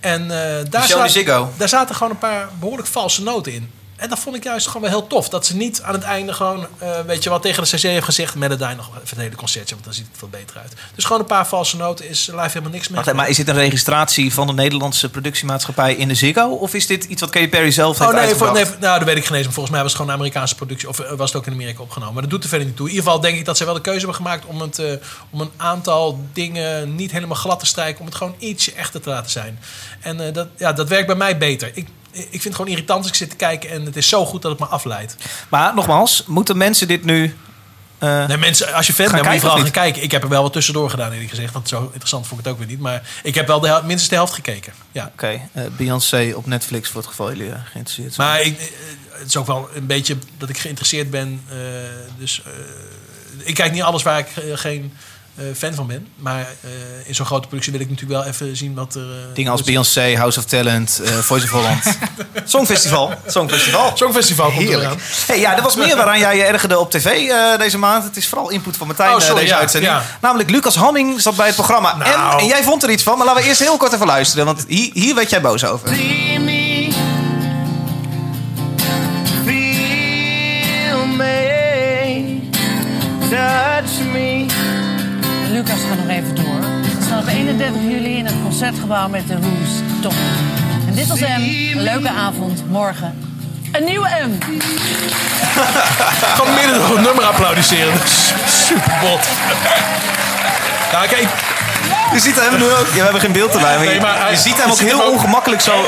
Speaker 3: En eh, daar,
Speaker 1: Michel de
Speaker 3: zaten-
Speaker 1: Ziggo.
Speaker 3: daar zaten gewoon een paar behoorlijk valse noten in. En dat vond ik juist gewoon wel heel tof. Dat ze niet aan het einde gewoon, eh, weet je wat, tegen de CC heeft gezegd... Melodyne nog even het hele concertje, want dan ziet het wat beter uit. Dus gewoon een paar valse noten is live helemaal niks meer.
Speaker 1: Wacht even, maar is dit een registratie van de Nederlandse productiemaatschappij in de Ziggo? Of is dit iets wat Katy Perry zelf heeft
Speaker 3: Oh nee, voor,
Speaker 1: uitgebracht?
Speaker 3: nee, nou, dat weet ik geen eens. maar Volgens mij was het gewoon een Amerikaanse productie. Of eh, was het ook in Amerika opgenomen. Maar dat doet er verder niet toe. In ieder geval denk ik dat zij wel de keuze hebben gemaakt om, het, eh, om een aantal dingen niet helemaal glad te strijken. Om het gewoon ietsje echter te laten zijn. En eh, dat, ja, dat werkt bij mij beter. Ik, ik vind het gewoon irritant als ik zit te kijken en het is zo goed dat het me afleidt.
Speaker 1: Maar nogmaals, moeten mensen dit nu... eh,
Speaker 3: Nee, mensen, als je fan
Speaker 1: Gaan
Speaker 3: bent,
Speaker 1: kijken
Speaker 3: moet je vooral
Speaker 1: of
Speaker 3: gaan
Speaker 1: niet?
Speaker 3: kijken. Ik heb er wel wat tussendoor gedaan, eerlijk gezegd. Want zo interessant vond ik het ook weer niet. Maar ik heb wel de hel- minstens de helft gekeken. Ja.
Speaker 1: Oké, eh, Beyoncé op Netflix voor het geval jullie eh, geïnteresseerd zijn.
Speaker 3: Maar ik, eh, het is ook wel een beetje dat ik geïnteresseerd ben. eh, dus eh, ik kijk niet alles waar ik eh, geen eh, fan van ben. Maar eh, in zo'n grote productie wil ik natuurlijk wel even zien wat er. eh,
Speaker 1: Dingen als
Speaker 3: wat er-
Speaker 1: Beyoncé, House of Talent, eh, Voice of
Speaker 3: <laughs>
Speaker 1: Holland. Songfestival. Songfestival.
Speaker 3: Songfestival komt er
Speaker 1: Heerlijk.
Speaker 3: aan.
Speaker 1: Hey, ja, er was meer waaraan jij je ergerde op tv eh, deze maand. Het is vooral input van Martijn
Speaker 3: Oh,
Speaker 1: eh,
Speaker 3: sorry,
Speaker 1: deze
Speaker 3: ja,
Speaker 1: uitzending.
Speaker 3: ja.
Speaker 1: Namelijk Lucas Hamming zat bij het programma.
Speaker 3: Nou.
Speaker 1: En, en jij vond er iets van, maar laten we eerst heel kort even luisteren. Want hier, hier werd jij boos over.
Speaker 7: See me, feel me, touch me.
Speaker 8: Lucas gaat nog even door. We staan op 31 juli in het concertgebouw met de Who's. Top. En dit was M. Een leuke avond. Morgen. Een nieuwe M.
Speaker 3: Ik kan midden nog een nummer applaudisseren.
Speaker 1: <laughs>
Speaker 3: Super bot. Nou, kijk,
Speaker 1: Je ziet hem nu ook. Ja, we hebben geen beeld erbij. Maar je,
Speaker 3: Nee, maar hij-
Speaker 1: je ziet hem
Speaker 3: je
Speaker 1: ook
Speaker 3: ziet
Speaker 1: heel
Speaker 3: hem ook-
Speaker 1: ongemakkelijk zo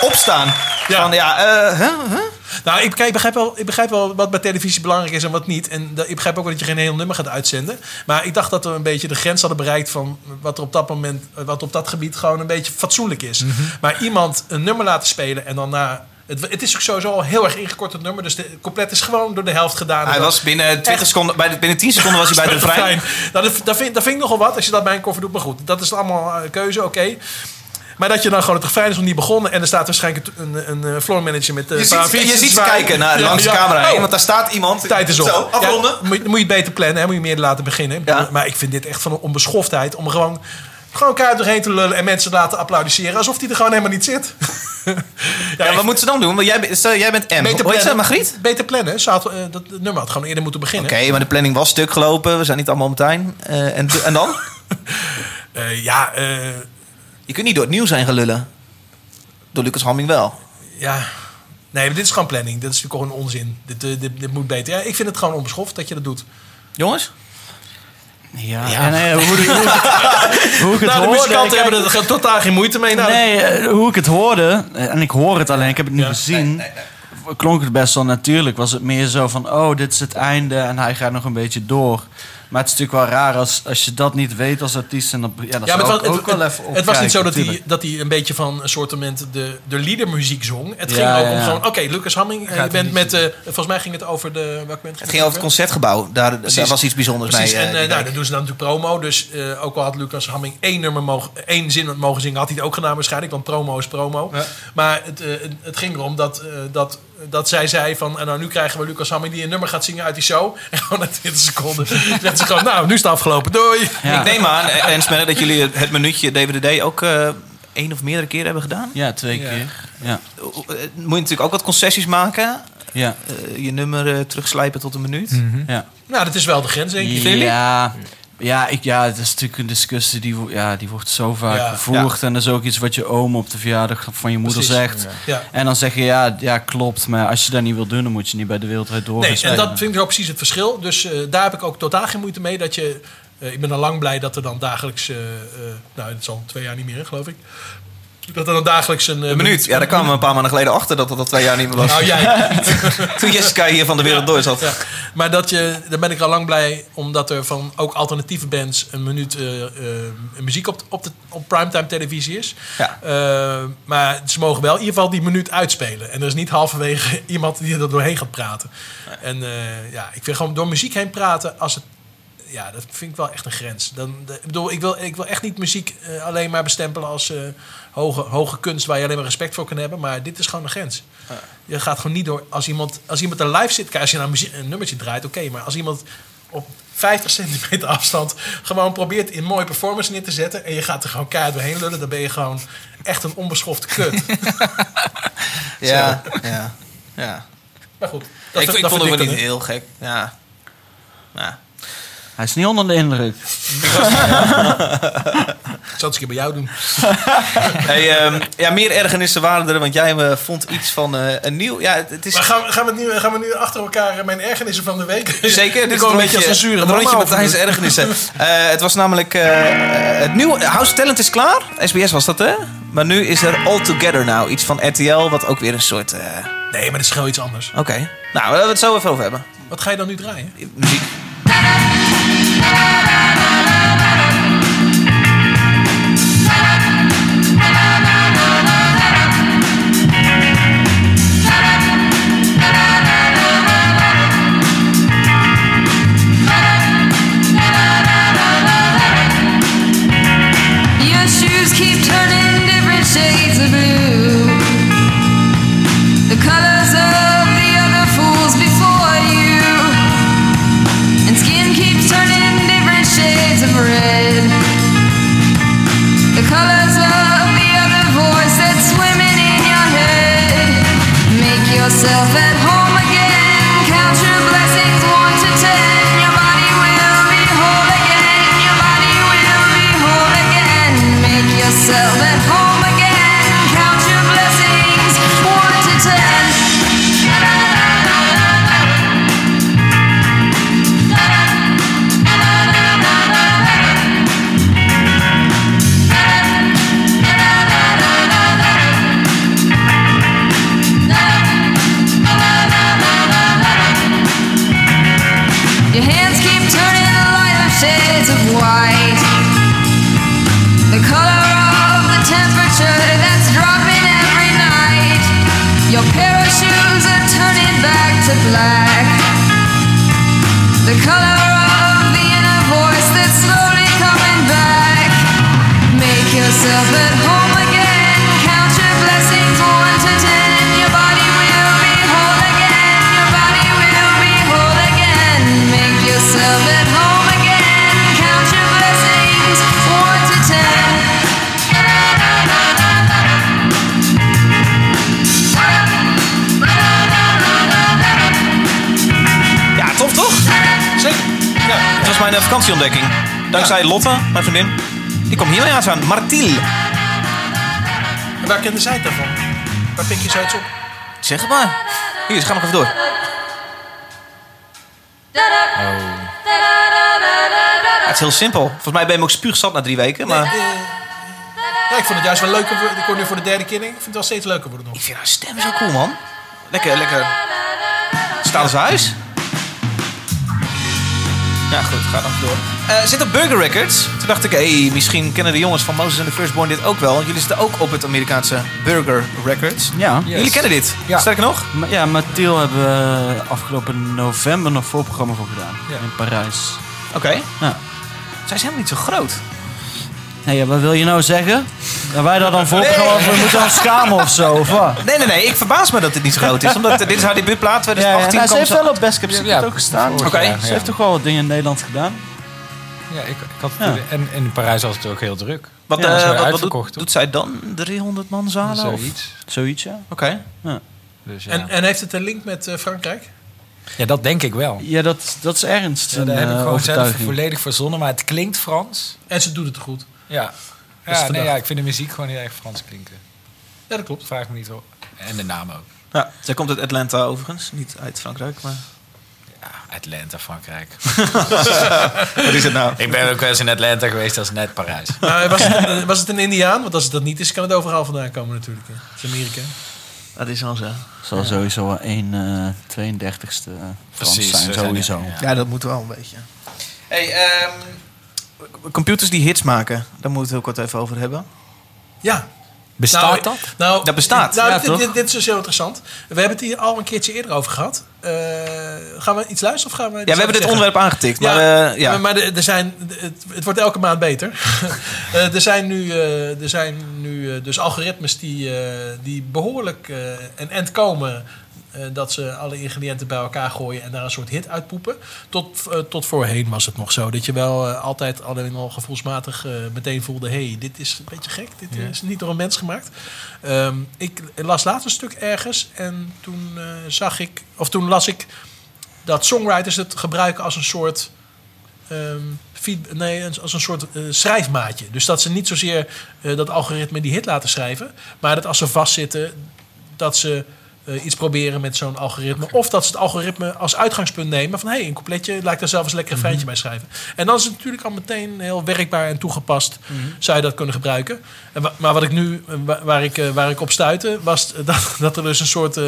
Speaker 1: opstaan.
Speaker 3: Ja.
Speaker 1: Van ja, eh, hè? Huh?
Speaker 3: Nou, ik, kijk, ik begrijp wel, ik begrijp wel wat bij televisie belangrijk is en wat niet. En dat- ik begrijp ook wel dat je geen heel nummer gaat uitzenden. Maar ik dacht dat we een beetje de grens hadden bereikt van wat er op dat moment, wat op dat gebied gewoon een beetje fatsoenlijk is.
Speaker 1: Mhm.
Speaker 3: Maar iemand een nummer laten spelen en dan na. Het, het is ook sowieso al heel erg ingekort het nummer. Dus de compleet is gewoon door de helft gedaan.
Speaker 1: Hij
Speaker 3: En
Speaker 1: was binnen, 20 seconden, bij de, binnen 10 seconden was
Speaker 3: <laughs>
Speaker 1: hij bij de vrij.
Speaker 3: Fijn. Nou, dat, dat, vind, dat vind ik nogal wat als je dat bij een koffer doet. Maar goed, dat is allemaal eh, keuze, oké. Maar dat je dan gewoon het refrein is nog niet begonnen. En er staat waarschijnlijk een, een, een floor manager met eh,
Speaker 1: Je
Speaker 3: een paar
Speaker 1: ziet, je
Speaker 3: fietsers
Speaker 1: ziet ze
Speaker 3: zwaaien.
Speaker 1: kijken naar,
Speaker 3: <laughs> Ja,
Speaker 1: langs de
Speaker 3: ja.
Speaker 1: camera heen,
Speaker 3: Oh,
Speaker 1: want daar staat iemand.
Speaker 3: tijd is op.
Speaker 1: Zo, afronden.
Speaker 3: Ja, moet, je- moet je beter plannen, hè? moet je meer laten beginnen. Ik
Speaker 1: Ja.
Speaker 3: bedoel, Maar ik vind dit echt van een onbeschoftheid om gewoon, gewoon elkaar doorheen te lullen en mensen laten applaudisseren alsof die er gewoon helemaal niet zit. <laughs> ja,
Speaker 1: Ja,
Speaker 3: ik-
Speaker 1: wat moeten ze dan doen? Want jij, bent- stel, jij bent M.
Speaker 3: beter
Speaker 1: Hoe heet ze,
Speaker 3: plannen.
Speaker 1: Margriet?
Speaker 3: Beter plannen. Ze had, eh, dat het nummer had gewoon eerder moeten beginnen.
Speaker 1: Oké, maar de planning was stuk gelopen. We zijn niet allemaal meteen. Eh en, en dan?
Speaker 3: Eh, ja, eh,
Speaker 1: <laughs> Je kunt niet door het nieuws heen gaan lullen. Door Lucas Hamming wel.
Speaker 3: ja. Nee, maar dit is gewoon planning. Dit is natuurlijk gewoon onzin. Dit, eh, dit, dit moet beter. Ja, ik vind het gewoon onbeschoft dat je dat doet.
Speaker 1: Jongens?
Speaker 2: Ja, en eh, hoe, hoe, <laughs> hoe ik het
Speaker 3: Nou, de
Speaker 2: hoorde...
Speaker 3: muzikanten
Speaker 2: kijk,
Speaker 3: hebben er gewoon totaal geen moeite mee. Nou,
Speaker 2: Nee, eh, hoe ik het hoorde, eh, en ik hoor het alleen, ik heb het niet
Speaker 3: Ja.
Speaker 2: gezien... klonk het best wel natuurlijk. Was het meer zo van, oh, dit is het einde en hij gaat nog een beetje door. Maar het is natuurlijk wel raar als, als je dat niet weet als artiest. En dan, ja, dan
Speaker 3: Ja, maar
Speaker 2: zou
Speaker 3: het,
Speaker 2: ik
Speaker 3: was,
Speaker 2: ook
Speaker 3: het,
Speaker 2: wel
Speaker 3: het-
Speaker 2: even
Speaker 3: het was niet zo dat
Speaker 2: opkijken,
Speaker 3: hij, dat hij een beetje van een soort moment de, de liedermuziek zong. Het
Speaker 2: Ja,
Speaker 3: ging ook
Speaker 2: ja,
Speaker 3: om
Speaker 2: ja.
Speaker 3: gewoon, oké, Lucas Hamming, eh, je
Speaker 4: Gaat
Speaker 3: bent
Speaker 4: een
Speaker 3: met, eh, volgens mij ging het over de, welke band
Speaker 1: Het ging over het concertgebouw. Daar, daar was iets bijzonders
Speaker 3: Precies,
Speaker 1: mee. eh,
Speaker 3: en eh,
Speaker 1: die
Speaker 3: nou,
Speaker 1: week.
Speaker 3: dan doen ze dan natuurlijk promo. Dus eh, ook al had Lucas Hamming één, nummer mogen, één zin mogen zingen, had hij het ook gedaan waarschijnlijk. Want promo is promo. Maar het, eh, het- het ging erom dat, eh, dat, dat zij zei van... en nou, nu krijgen we Lucas Hamming die een nummer gaat zingen uit die show. <laughs> En gewoon na 20 seconden zegt ze gewoon... Nou, nu is het afgelopen, doei.
Speaker 2: Ja.
Speaker 1: Ik neem aan, eh, Ernst Merk, dat jullie het minuutje DWDD ook eh, één of meerdere keren hebben gedaan.
Speaker 2: Ja, twee keer. Ja.
Speaker 1: Eh, Moet je natuurlijk ook wat concessies maken.
Speaker 2: Ja.
Speaker 1: Eh, je nummer eh, terugslijpen tot een minuut.
Speaker 2: Ja.
Speaker 3: Nou, dat is wel de grens, denk ik.
Speaker 2: Ja, ja, ik, ja, het is natuurlijk een discussie die, wo- ja, die wordt zo vaak
Speaker 3: Ja.
Speaker 2: gevoerd. En dat is ook iets wat je oom op de verjaardag van je moeder
Speaker 3: Precies,
Speaker 2: zegt.
Speaker 3: ja.
Speaker 2: En dan zeg je, ja, ja, klopt. Maar als je dat niet wil doen, dan moet je niet bij de wereldwijd door.
Speaker 3: Nee,
Speaker 2: gaan
Speaker 3: en
Speaker 2: spelen.
Speaker 3: dat vind ik ook precies het verschil. Dus eh, daar heb ik ook totaal geen moeite mee. Dat je, eh, ik ben al lang blij dat er dan dagelijks, eh, eh, nou het is al twee jaar niet meer, hè, geloof ik. Dat er dan dagelijks een, eh,
Speaker 1: Een minuut. Ja, daar kwamen we een paar maanden geleden achter dat dat al twee jaar niet meer was.
Speaker 3: Nou jij.
Speaker 1: <laughs> Toen Jessica hier van de wereld door zat.
Speaker 3: Ja. Maar dat je, daar ben ik al lang blij omdat er van ook alternatieve bands een minuut eh, eh, muziek op, op, de, op primetime televisie is.
Speaker 1: Ja.
Speaker 3: Eh, maar ze mogen wel in ieder geval die minuut uitspelen. En er is niet halverwege <laughs> iemand die er doorheen gaat praten. En eh, ja, ik vind gewoon door muziek heen praten als het. Ja, dat vind ik wel echt een grens. Dan, de- ik bedoel, ik wil, ik wil echt niet muziek eh, alleen maar bestempelen als eh, hoge, hoge kunst waar je alleen maar respect voor kan hebben. Maar dit is gewoon een grens. Je gaat gewoon niet door. Als iemand, als iemand er live zit, kijk, als je nou muzie- een nummertje draait, oké. maar als iemand op 50 centimeter afstand gewoon probeert in mooie performance neer te zetten. en je gaat er gewoon keihard doorheen lullen. dan ben je gewoon echt een onbeschofte
Speaker 1: <laughs>
Speaker 3: kut.
Speaker 1: Ja, ja, ja.
Speaker 3: maar goed, dat,
Speaker 1: ik,
Speaker 3: dat
Speaker 1: ik vond het
Speaker 3: verdikt
Speaker 1: wel
Speaker 3: het,
Speaker 1: niet
Speaker 3: hè?
Speaker 1: heel gek. Ja. Ja.
Speaker 2: Hij is niet onder de indruk.
Speaker 3: Ik zal het eens een keer bij jou doen.
Speaker 1: Hey, ehm, ja, meer ergernissen waren er, want jij eh, vond iets van eh, een nieuw... Ja, het, het is
Speaker 3: Maar gaan, we- gaan, we het nu, gaan we nu achter elkaar eh, mijn ergernissen van de week?
Speaker 1: Dus
Speaker 3: <laughs>
Speaker 1: zeker...
Speaker 3: Dit
Speaker 1: is
Speaker 3: komt een beetje als een zure
Speaker 1: het
Speaker 3: mama
Speaker 1: rondje
Speaker 3: over
Speaker 1: Martijn's
Speaker 3: de- <laughs>
Speaker 1: ergernissen. Eh, het was namelijk... eh, het nieuwe House Talent is klaar. SBS was dat, hè? Maar nu is er All Together Now. Iets van RTL, wat ook weer een soort... eh,
Speaker 3: Nee, maar dat is gewoon iets anders.
Speaker 1: Oké. Nou, we we het zo even over hebben.
Speaker 3: Wat ga je dan nu draaien?
Speaker 1: Muziek.
Speaker 9: Your shoes keep turning different shades of blue. The colors of the other fools before you. And skin keeps turning different shades of red. The colors of the other voice that's swimming in your head. Make yourself at home again. Count your blessings one to ten. Your body will be whole again. Your body will be whole again. Make yourself at home again. Count your blessings one to ten. Your hands keep turning lighter shades of white. The color of the temperature that's dropping every night. Your pair of shoes are turning back to black. The color of the inner voice that's slowly coming back. Make yourself at home again.
Speaker 1: mijn eh, vakantieontdekking. Dankzij Lotte, mijn vriendin. Die kwam hiermee aan. Martiel.
Speaker 3: En waar kende zij het daarvan? Waar pik je zoiets op?
Speaker 1: Zeg het maar. Hier, ze gaan nog even door. Ja, het is heel simpel. Volgens mij ben je hem ook spuugzat na drie weken. Maar
Speaker 3: Eh. Ja, ik vond het juist wel leuker. worden. Ik hoor nu voor de derde keer. denk Ik ik vind het wel steeds leuker worden nog.
Speaker 1: ik vind haar stem zo cool, man. Lekker, lekker. Staan ze huis? Ja, goed, ga dan door. Eh, zit op Burger Records. Toen dacht ik, hey, misschien kennen de jongens van Moses and the Firstborn dit ook wel. Want jullie zitten ook op het Amerikaanse Burger Records.
Speaker 2: Ja.
Speaker 4: Yes.
Speaker 1: Jullie kennen dit.
Speaker 4: Ja.
Speaker 1: Sterker nog,
Speaker 2: Ma- Ja, Mathiel hebben we afgelopen november nog voorprogramma voor gedaan.
Speaker 4: Ja.
Speaker 2: In Parijs.
Speaker 1: oké.
Speaker 2: Ja.
Speaker 1: Zij zijn helemaal niet zo groot.
Speaker 2: Nee, ja, wat wil je nou zeggen? Dat wij daar dan voorprogramma voor moeten gaan schamen of zo, of wat?
Speaker 1: Nee, nee, nee. Ik verbaas me dat dit niet zo groot is. Omdat eh, dit is haar debuutplaat. 2018
Speaker 2: Nou, ze
Speaker 1: komt
Speaker 2: heeft
Speaker 1: ze...
Speaker 2: wel op Best Cap
Speaker 4: Ja,
Speaker 2: Secret
Speaker 4: ja,
Speaker 2: ook gestaan.
Speaker 4: vorig
Speaker 1: Oké,
Speaker 4: jaar,
Speaker 2: Ze
Speaker 4: ja.
Speaker 2: heeft toch wel wat dingen in Nederland gedaan.
Speaker 4: Ja, ik, ik had het
Speaker 2: Ja.
Speaker 4: idee- En in Parijs was het ook heel druk.
Speaker 1: Wat,
Speaker 4: Ja,
Speaker 1: eh,
Speaker 4: ze zijn
Speaker 1: wat, wat
Speaker 4: uitverkocht,
Speaker 1: doet,
Speaker 4: toch?
Speaker 1: doet zij dan? 300 man zalen? of- Oké.
Speaker 4: Zoiets.
Speaker 2: Zoiets, ja.
Speaker 4: Dus ja.
Speaker 3: En, en heeft het een link met eh, Frankrijk?
Speaker 4: ja, dat denk ik wel.
Speaker 2: Ja, dat, dat is ernst.
Speaker 4: Ja,
Speaker 2: een,
Speaker 4: daar heb ik
Speaker 2: eh,
Speaker 4: gewoon zelf
Speaker 2: overtuiging.
Speaker 4: volledig verzonnen, maar het klinkt Frans.
Speaker 3: En ze doet het goed.
Speaker 4: Ja.
Speaker 3: is
Speaker 4: Ja, nee,
Speaker 3: verdacht.
Speaker 4: ja, ik vind de muziek gewoon heel erg Frans klinken.
Speaker 3: Ja, dat klopt.
Speaker 4: Vraag me niet op. En de naam ook.
Speaker 1: Ja, zij komt uit Atlanta overigens. Niet uit Frankrijk, maar...
Speaker 4: Ja, Atlanta, Frankrijk.
Speaker 1: <laughs>
Speaker 4: <laughs>
Speaker 1: Wat is het nou?
Speaker 4: ik ben ook wel eens in Atlanta geweest, dat is net Parijs.
Speaker 3: Maar was,
Speaker 1: <laughs>
Speaker 3: het een, was het een Indiaan? Want als het dat niet is, kan het overal vandaan komen natuurlijk. hè. Het is Amerika.
Speaker 1: Dat is al zo.
Speaker 2: zal sowieso wel 1 32ste eh, Frans
Speaker 4: Precies,
Speaker 2: zijn,
Speaker 4: we zijn-
Speaker 2: sowieso.
Speaker 4: ja.
Speaker 1: Ja, dat moet wel een beetje. Hey, ehm, computers die hits maken, daar moeten we het ook wat even over hebben.
Speaker 3: Ja.
Speaker 4: Bestaat
Speaker 3: nou,
Speaker 4: dat?
Speaker 3: Nou,
Speaker 1: Dat bestaat.
Speaker 3: Nou,
Speaker 2: Ja,
Speaker 3: dit,
Speaker 2: toch?
Speaker 3: dit, dit is dus heel interessant. We hebben het hier al een keertje eerder over gehad. Eh, gaan we iets luisteren of gaan we...
Speaker 1: Ja, we hebben dit onderwerp aangetikt, maar...
Speaker 3: ja,
Speaker 1: eh, ja.
Speaker 3: maar- maar er er zijn, het, het wordt elke maand beter. <laughs> Eh, er zijn nu, eh, er zijn nu eh, dus algoritmes die, eh, die behoorlijk eh, een end komen... eh, dat ze alle ingrediënten bij elkaar gooien en daar een soort hit uitpoepen. Tot, eh, tot voorheen was het nog zo. Dat je wel eh, altijd alleen al gevoelsmatig eh, meteen voelde... hé, hey, dit is een beetje gek. Dit is niet door een mens gemaakt. Ehm, ik las laatst een stuk ergens en toen eh, zag ik... of toen las ik dat songwriters het gebruiken als een soort, ehm, feed- nee, als een soort eh, schrijfmaatje. Dus dat ze niet zozeer eh, dat algoritme die hit laten schrijven, maar dat als ze vastzitten, dat ze eh, iets proberen met zo'n algoritme. Of dat ze het algoritme als uitgangspunt nemen van hé, hey, een coupletje, laat ik daar zelf eens lekker een feitje bij schrijven. En dan is het natuurlijk al meteen heel werkbaar en toegepast, zou je dat kunnen gebruiken. En wa- maar wat ik nu, eh, wa- waar ik, eh, waar ik op stuitte, was dat, <laughs> dat er dus een soort eh,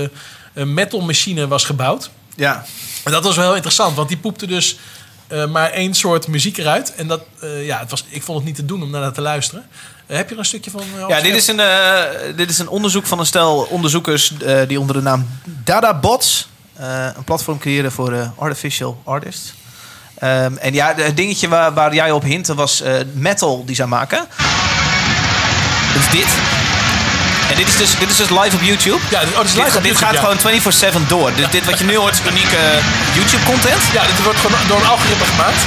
Speaker 3: een metal machine was gebouwd.
Speaker 1: ja.
Speaker 3: En dat was wel heel interessant, want die poepte dus eh, maar één soort muziek eruit. En dat, eh, ja, het was, ik vond het niet te doen om naar te luisteren. Eh, heb je er een stukje van? eh,
Speaker 1: Ja, dit
Speaker 3: opgeschreven?
Speaker 1: is, een, eh, dit is een onderzoek van een stel onderzoekers eh, die onder de naam DadaBots eh, een platform creëren voor eh, artificial artists. Ehm, en ja, de- het dingetje waar, waar jij op hintte was eh, metal die zij maken. Dat is dit. En dit is dus, dit is dus live op YouTube.
Speaker 3: Ja, dit- oh, dit is live
Speaker 1: dit,
Speaker 3: op
Speaker 1: dit
Speaker 3: YouTube, ja.
Speaker 1: gaat gewoon 24-7 door. Dus Dit, dit wat je nu hoort is unieke eh, YouTube content.
Speaker 3: Ja, dit wordt gewoon door een algoritme gemaakt.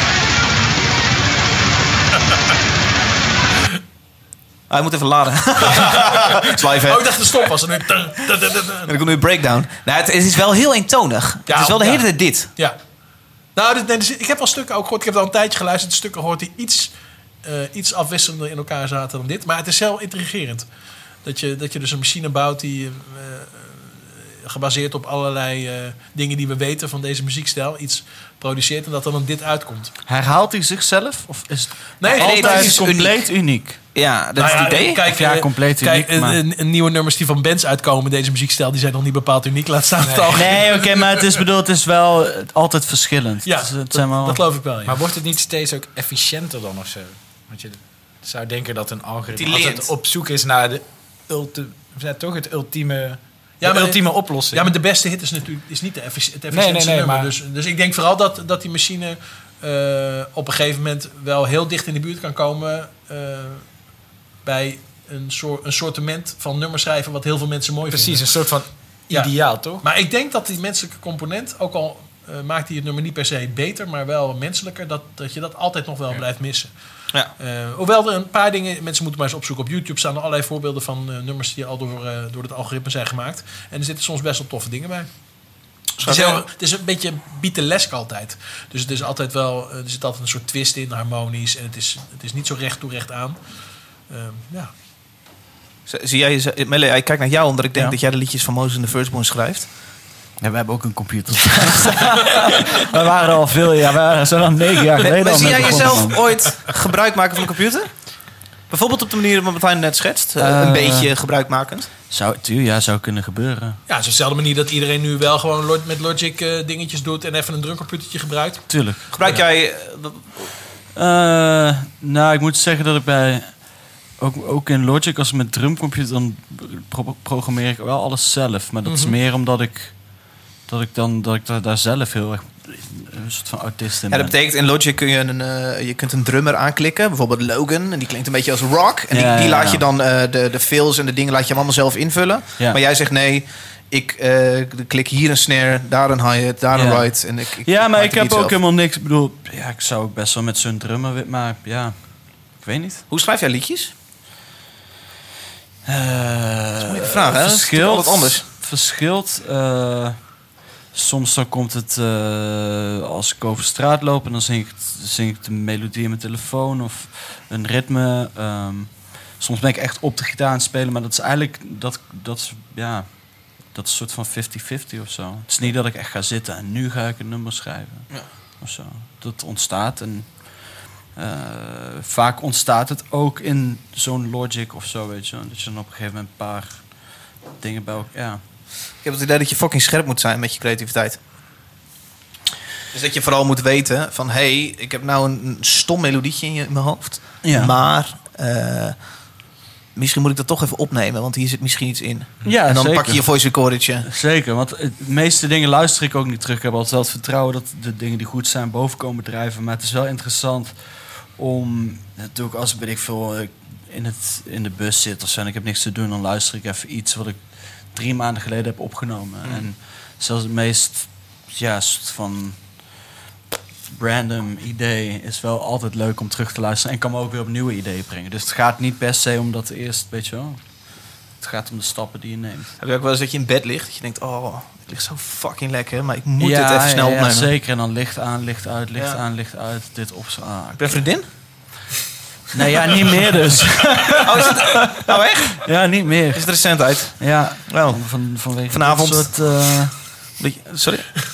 Speaker 1: Ah, hij moet even
Speaker 3: <laughs>
Speaker 1: laden. <laughs> Het is live, hè?
Speaker 3: Oh, ik dacht de stop was. En nu- dun, dun, dun, dun, dun.
Speaker 1: En dan komt nu een breakdown. Nou, het, het is wel heel eentonig. het
Speaker 3: Ja,
Speaker 1: is wel de hele
Speaker 3: ja.
Speaker 1: tijd dit.
Speaker 3: Ja. Nou, dit, nee, dit is- ik heb wel stukken ook gehoord. Ik heb al een tijdje geluisterd. Stukken gehoord die iets, eh, iets afwisselender in elkaar zaten dan dit. Maar het is heel intrigerend. Dat je, dat je dus een machine bouwt die eh, eh, gebaseerd op allerlei eh, dingen die we weten van deze muziekstijl iets produceert en dat dan dit uitkomt.
Speaker 2: Herhaalt hij zichzelf? Of is het
Speaker 3: Nee, nee,
Speaker 2: altijd
Speaker 1: dat is
Speaker 2: compleet uniek?
Speaker 1: Ja, dat
Speaker 3: Nou
Speaker 1: is
Speaker 3: ja,
Speaker 1: het idee.
Speaker 3: Kijk,
Speaker 2: Of ja,
Speaker 3: eh,
Speaker 2: compleet
Speaker 3: kijk,
Speaker 2: uniek, maar-
Speaker 3: eh, eh, nieuwe nummers die van bands uitkomen, deze muziekstijl, die zijn nog niet bepaald uniek. Laat staan het al.
Speaker 2: Nee, oké, maar het is bedoeld, het is wel eh, altijd verschillend. Dus
Speaker 3: Ja,
Speaker 2: het, is- het
Speaker 3: dat,
Speaker 2: zijn wel...
Speaker 3: dat geloof ik wel. ja.
Speaker 4: Maar wordt het niet steeds ook efficiënter dan of zo? Want je zou denken dat een algoritme
Speaker 1: Die leert.
Speaker 4: altijd op zoek is naar de ulti ja, toch het ultieme,
Speaker 3: Ja,
Speaker 4: de
Speaker 3: maar-
Speaker 4: ultieme oplossing.
Speaker 3: Ja, maar de beste hit is natuurlijk is niet de effici het
Speaker 4: nee,
Speaker 3: efficiëntste
Speaker 4: nee,
Speaker 3: nummer.
Speaker 4: maar-
Speaker 3: Dus, dus ik denk vooral dat, dat die machine eh, op een gegeven moment wel heel dicht in de buurt kan komen eh, bij een, soort een sortiment van nummers schrijven wat heel veel mensen mooi
Speaker 4: Precies,
Speaker 3: vinden.
Speaker 4: een soort van
Speaker 3: Ja.
Speaker 4: ideaal, toch?
Speaker 3: Maar ik denk dat die menselijke component, ook al eh, maakt hij het nummer niet per se beter, maar wel menselijker, dat, dat je dat altijd nog wel blijft missen.
Speaker 1: Ja.
Speaker 3: Eh, hoewel er een paar dingen, mensen moeten maar eens opzoeken. Op YouTube staan er allerlei voorbeelden van eh, nummers die al door, eh, door het algoritme zijn gemaakt. En er zitten soms best wel toffe dingen bij. Het is,
Speaker 1: Zou
Speaker 3: heel- het is een beetje Beatlesk altijd. Dus het is altijd wel, eh, er zit altijd een soort twist in, harmonisch. En het is, het is niet zo recht toe recht aan. Ehm, ja.
Speaker 1: Z- Zie jij, jeze- Melle, ik kijk naar jou omdat ik denk
Speaker 3: Ja.
Speaker 1: dat jij de liedjes van Moses en de Firstborn schrijft.
Speaker 2: Ja, we hebben ook een computer. <laughs> we waren er al veel jaar, we waren zo dan negen jaar geleden.
Speaker 1: maar
Speaker 2: al
Speaker 1: zie
Speaker 2: met
Speaker 1: jij
Speaker 2: begonnen,
Speaker 1: jezelf
Speaker 2: man.
Speaker 1: ooit gebruik maken van de computer? Bijvoorbeeld op de manier waarop Martijn net schetst. eh,
Speaker 2: Eh,
Speaker 1: een beetje gebruikmakend.
Speaker 2: Zou, tuur, ja, zou kunnen gebeuren.
Speaker 3: ja, het is op dezelfde manier dat iedereen nu wel gewoon lo- met Logic eh, dingetjes doet. En even een drumcomputertje gebruikt.
Speaker 2: Tuurlijk.
Speaker 1: Gebruik jij... eh, b-
Speaker 2: Eh, nou, ik moet zeggen dat ik bij... Ook, ook in Logic, als met drumcomputer, dan pro- programmeer ik wel alles zelf. Maar dat
Speaker 1: Mhm.
Speaker 2: is meer omdat ik... Dat ik, dan, dat ik daar, daar zelf heel erg een soort van autist in
Speaker 1: Ja, dat
Speaker 2: ben.
Speaker 1: betekent in Logic kun je een, eh, je kunt een drummer aanklikken. Bijvoorbeeld Logan. En die klinkt een beetje als rock. En die,
Speaker 2: Ja, ja,
Speaker 1: die laat
Speaker 2: ja.
Speaker 1: je dan eh, de, de fills en de dingen laat je hem allemaal zelf invullen.
Speaker 2: Ja.
Speaker 1: Maar jij zegt nee, ik eh, klik hier een snare, daar een hi-hat, daar een
Speaker 2: Ja.
Speaker 1: ride. En ik, ik,
Speaker 2: Ja, maar
Speaker 1: maak
Speaker 2: ik
Speaker 1: het
Speaker 2: heb
Speaker 1: niet
Speaker 2: ook
Speaker 1: zelf.
Speaker 2: helemaal niks. Ik bedoel, ja, ik zou ook best wel met zo'n drummer... wi- Maar ja, ik weet niet.
Speaker 1: Hoe schrijf jij liedjes?
Speaker 2: Eh,
Speaker 1: moeilijke vraag, hè? Dat is
Speaker 2: verschilt,
Speaker 1: natuurlijk altijd anders.
Speaker 2: Verschilt. eh, soms dan komt het eh, als ik over straat loop en dan zing ik, zing ik de melodie in mijn telefoon of een ritme. ehm. soms ben ik echt op de gitaar aan het spelen, maar dat is eigenlijk dat, dat is, ja, dat is een soort van 50-50 of zo. Het is niet dat ik echt ga zitten en nu ga ik een nummer schrijven. Of zo. Dat ontstaat en eh, vaak ontstaat het ook in zo'n logic of zo, weet je. wel. Dat je dan op een gegeven moment een paar dingen bij elkaar... Ja.
Speaker 1: Ik heb het idee dat je fucking scherp moet zijn met je creativiteit. Dus dat je vooral moet weten van... hé, hey, ik heb nou een een stom melodietje in, je, in mijn hoofd.
Speaker 2: Ja.
Speaker 1: Maar eh, misschien moet ik dat toch even opnemen. Want hier zit misschien iets in.
Speaker 2: Ja,
Speaker 1: en dan
Speaker 2: zeker.
Speaker 1: pak je je voice
Speaker 2: <laughs>
Speaker 1: recordertje.
Speaker 2: Zeker, want het- de meeste dingen luister ik ook niet terug. Ik heb altijd wel het vertrouwen dat de dingen die goed zijn boven komen drijven. Maar het is wel interessant om, natuurlijk als ben ik veel eh, in, het, in de bus zit of zo en ik heb niks te doen, dan luister ik even iets wat ik drie maanden geleden heb opgenomen. En zelfs het meest, ja, soort van random idee is wel altijd leuk om terug te luisteren en kan me ook weer op nieuwe ideeën brengen. Dus het gaat niet per se om dat eerst, weet je wel. Het gaat om de stappen die je neemt.
Speaker 1: Heb je ook wel eens dat je in bed ligt? Dat je denkt, oh, ik lig zo fucking lekker. Maar ik moet
Speaker 2: ja,
Speaker 1: dit even snel
Speaker 2: ja, ja,
Speaker 1: opnemen.
Speaker 2: zeker. En dan licht aan, licht uit, licht
Speaker 1: Ja.
Speaker 2: aan, licht uit. Dit op z'n aan.
Speaker 1: Heb je een vriendin?
Speaker 2: Nee, ja, niet meer dus. <laughs>
Speaker 1: Oh, is het- nou echt?
Speaker 2: Ja, niet meer.
Speaker 1: Is het recent uit?
Speaker 2: Ja,
Speaker 1: Wel.
Speaker 2: van, vanwege
Speaker 1: Vanavond.
Speaker 2: dat soort... eh,
Speaker 1: Dat je- Sorry? <laughs>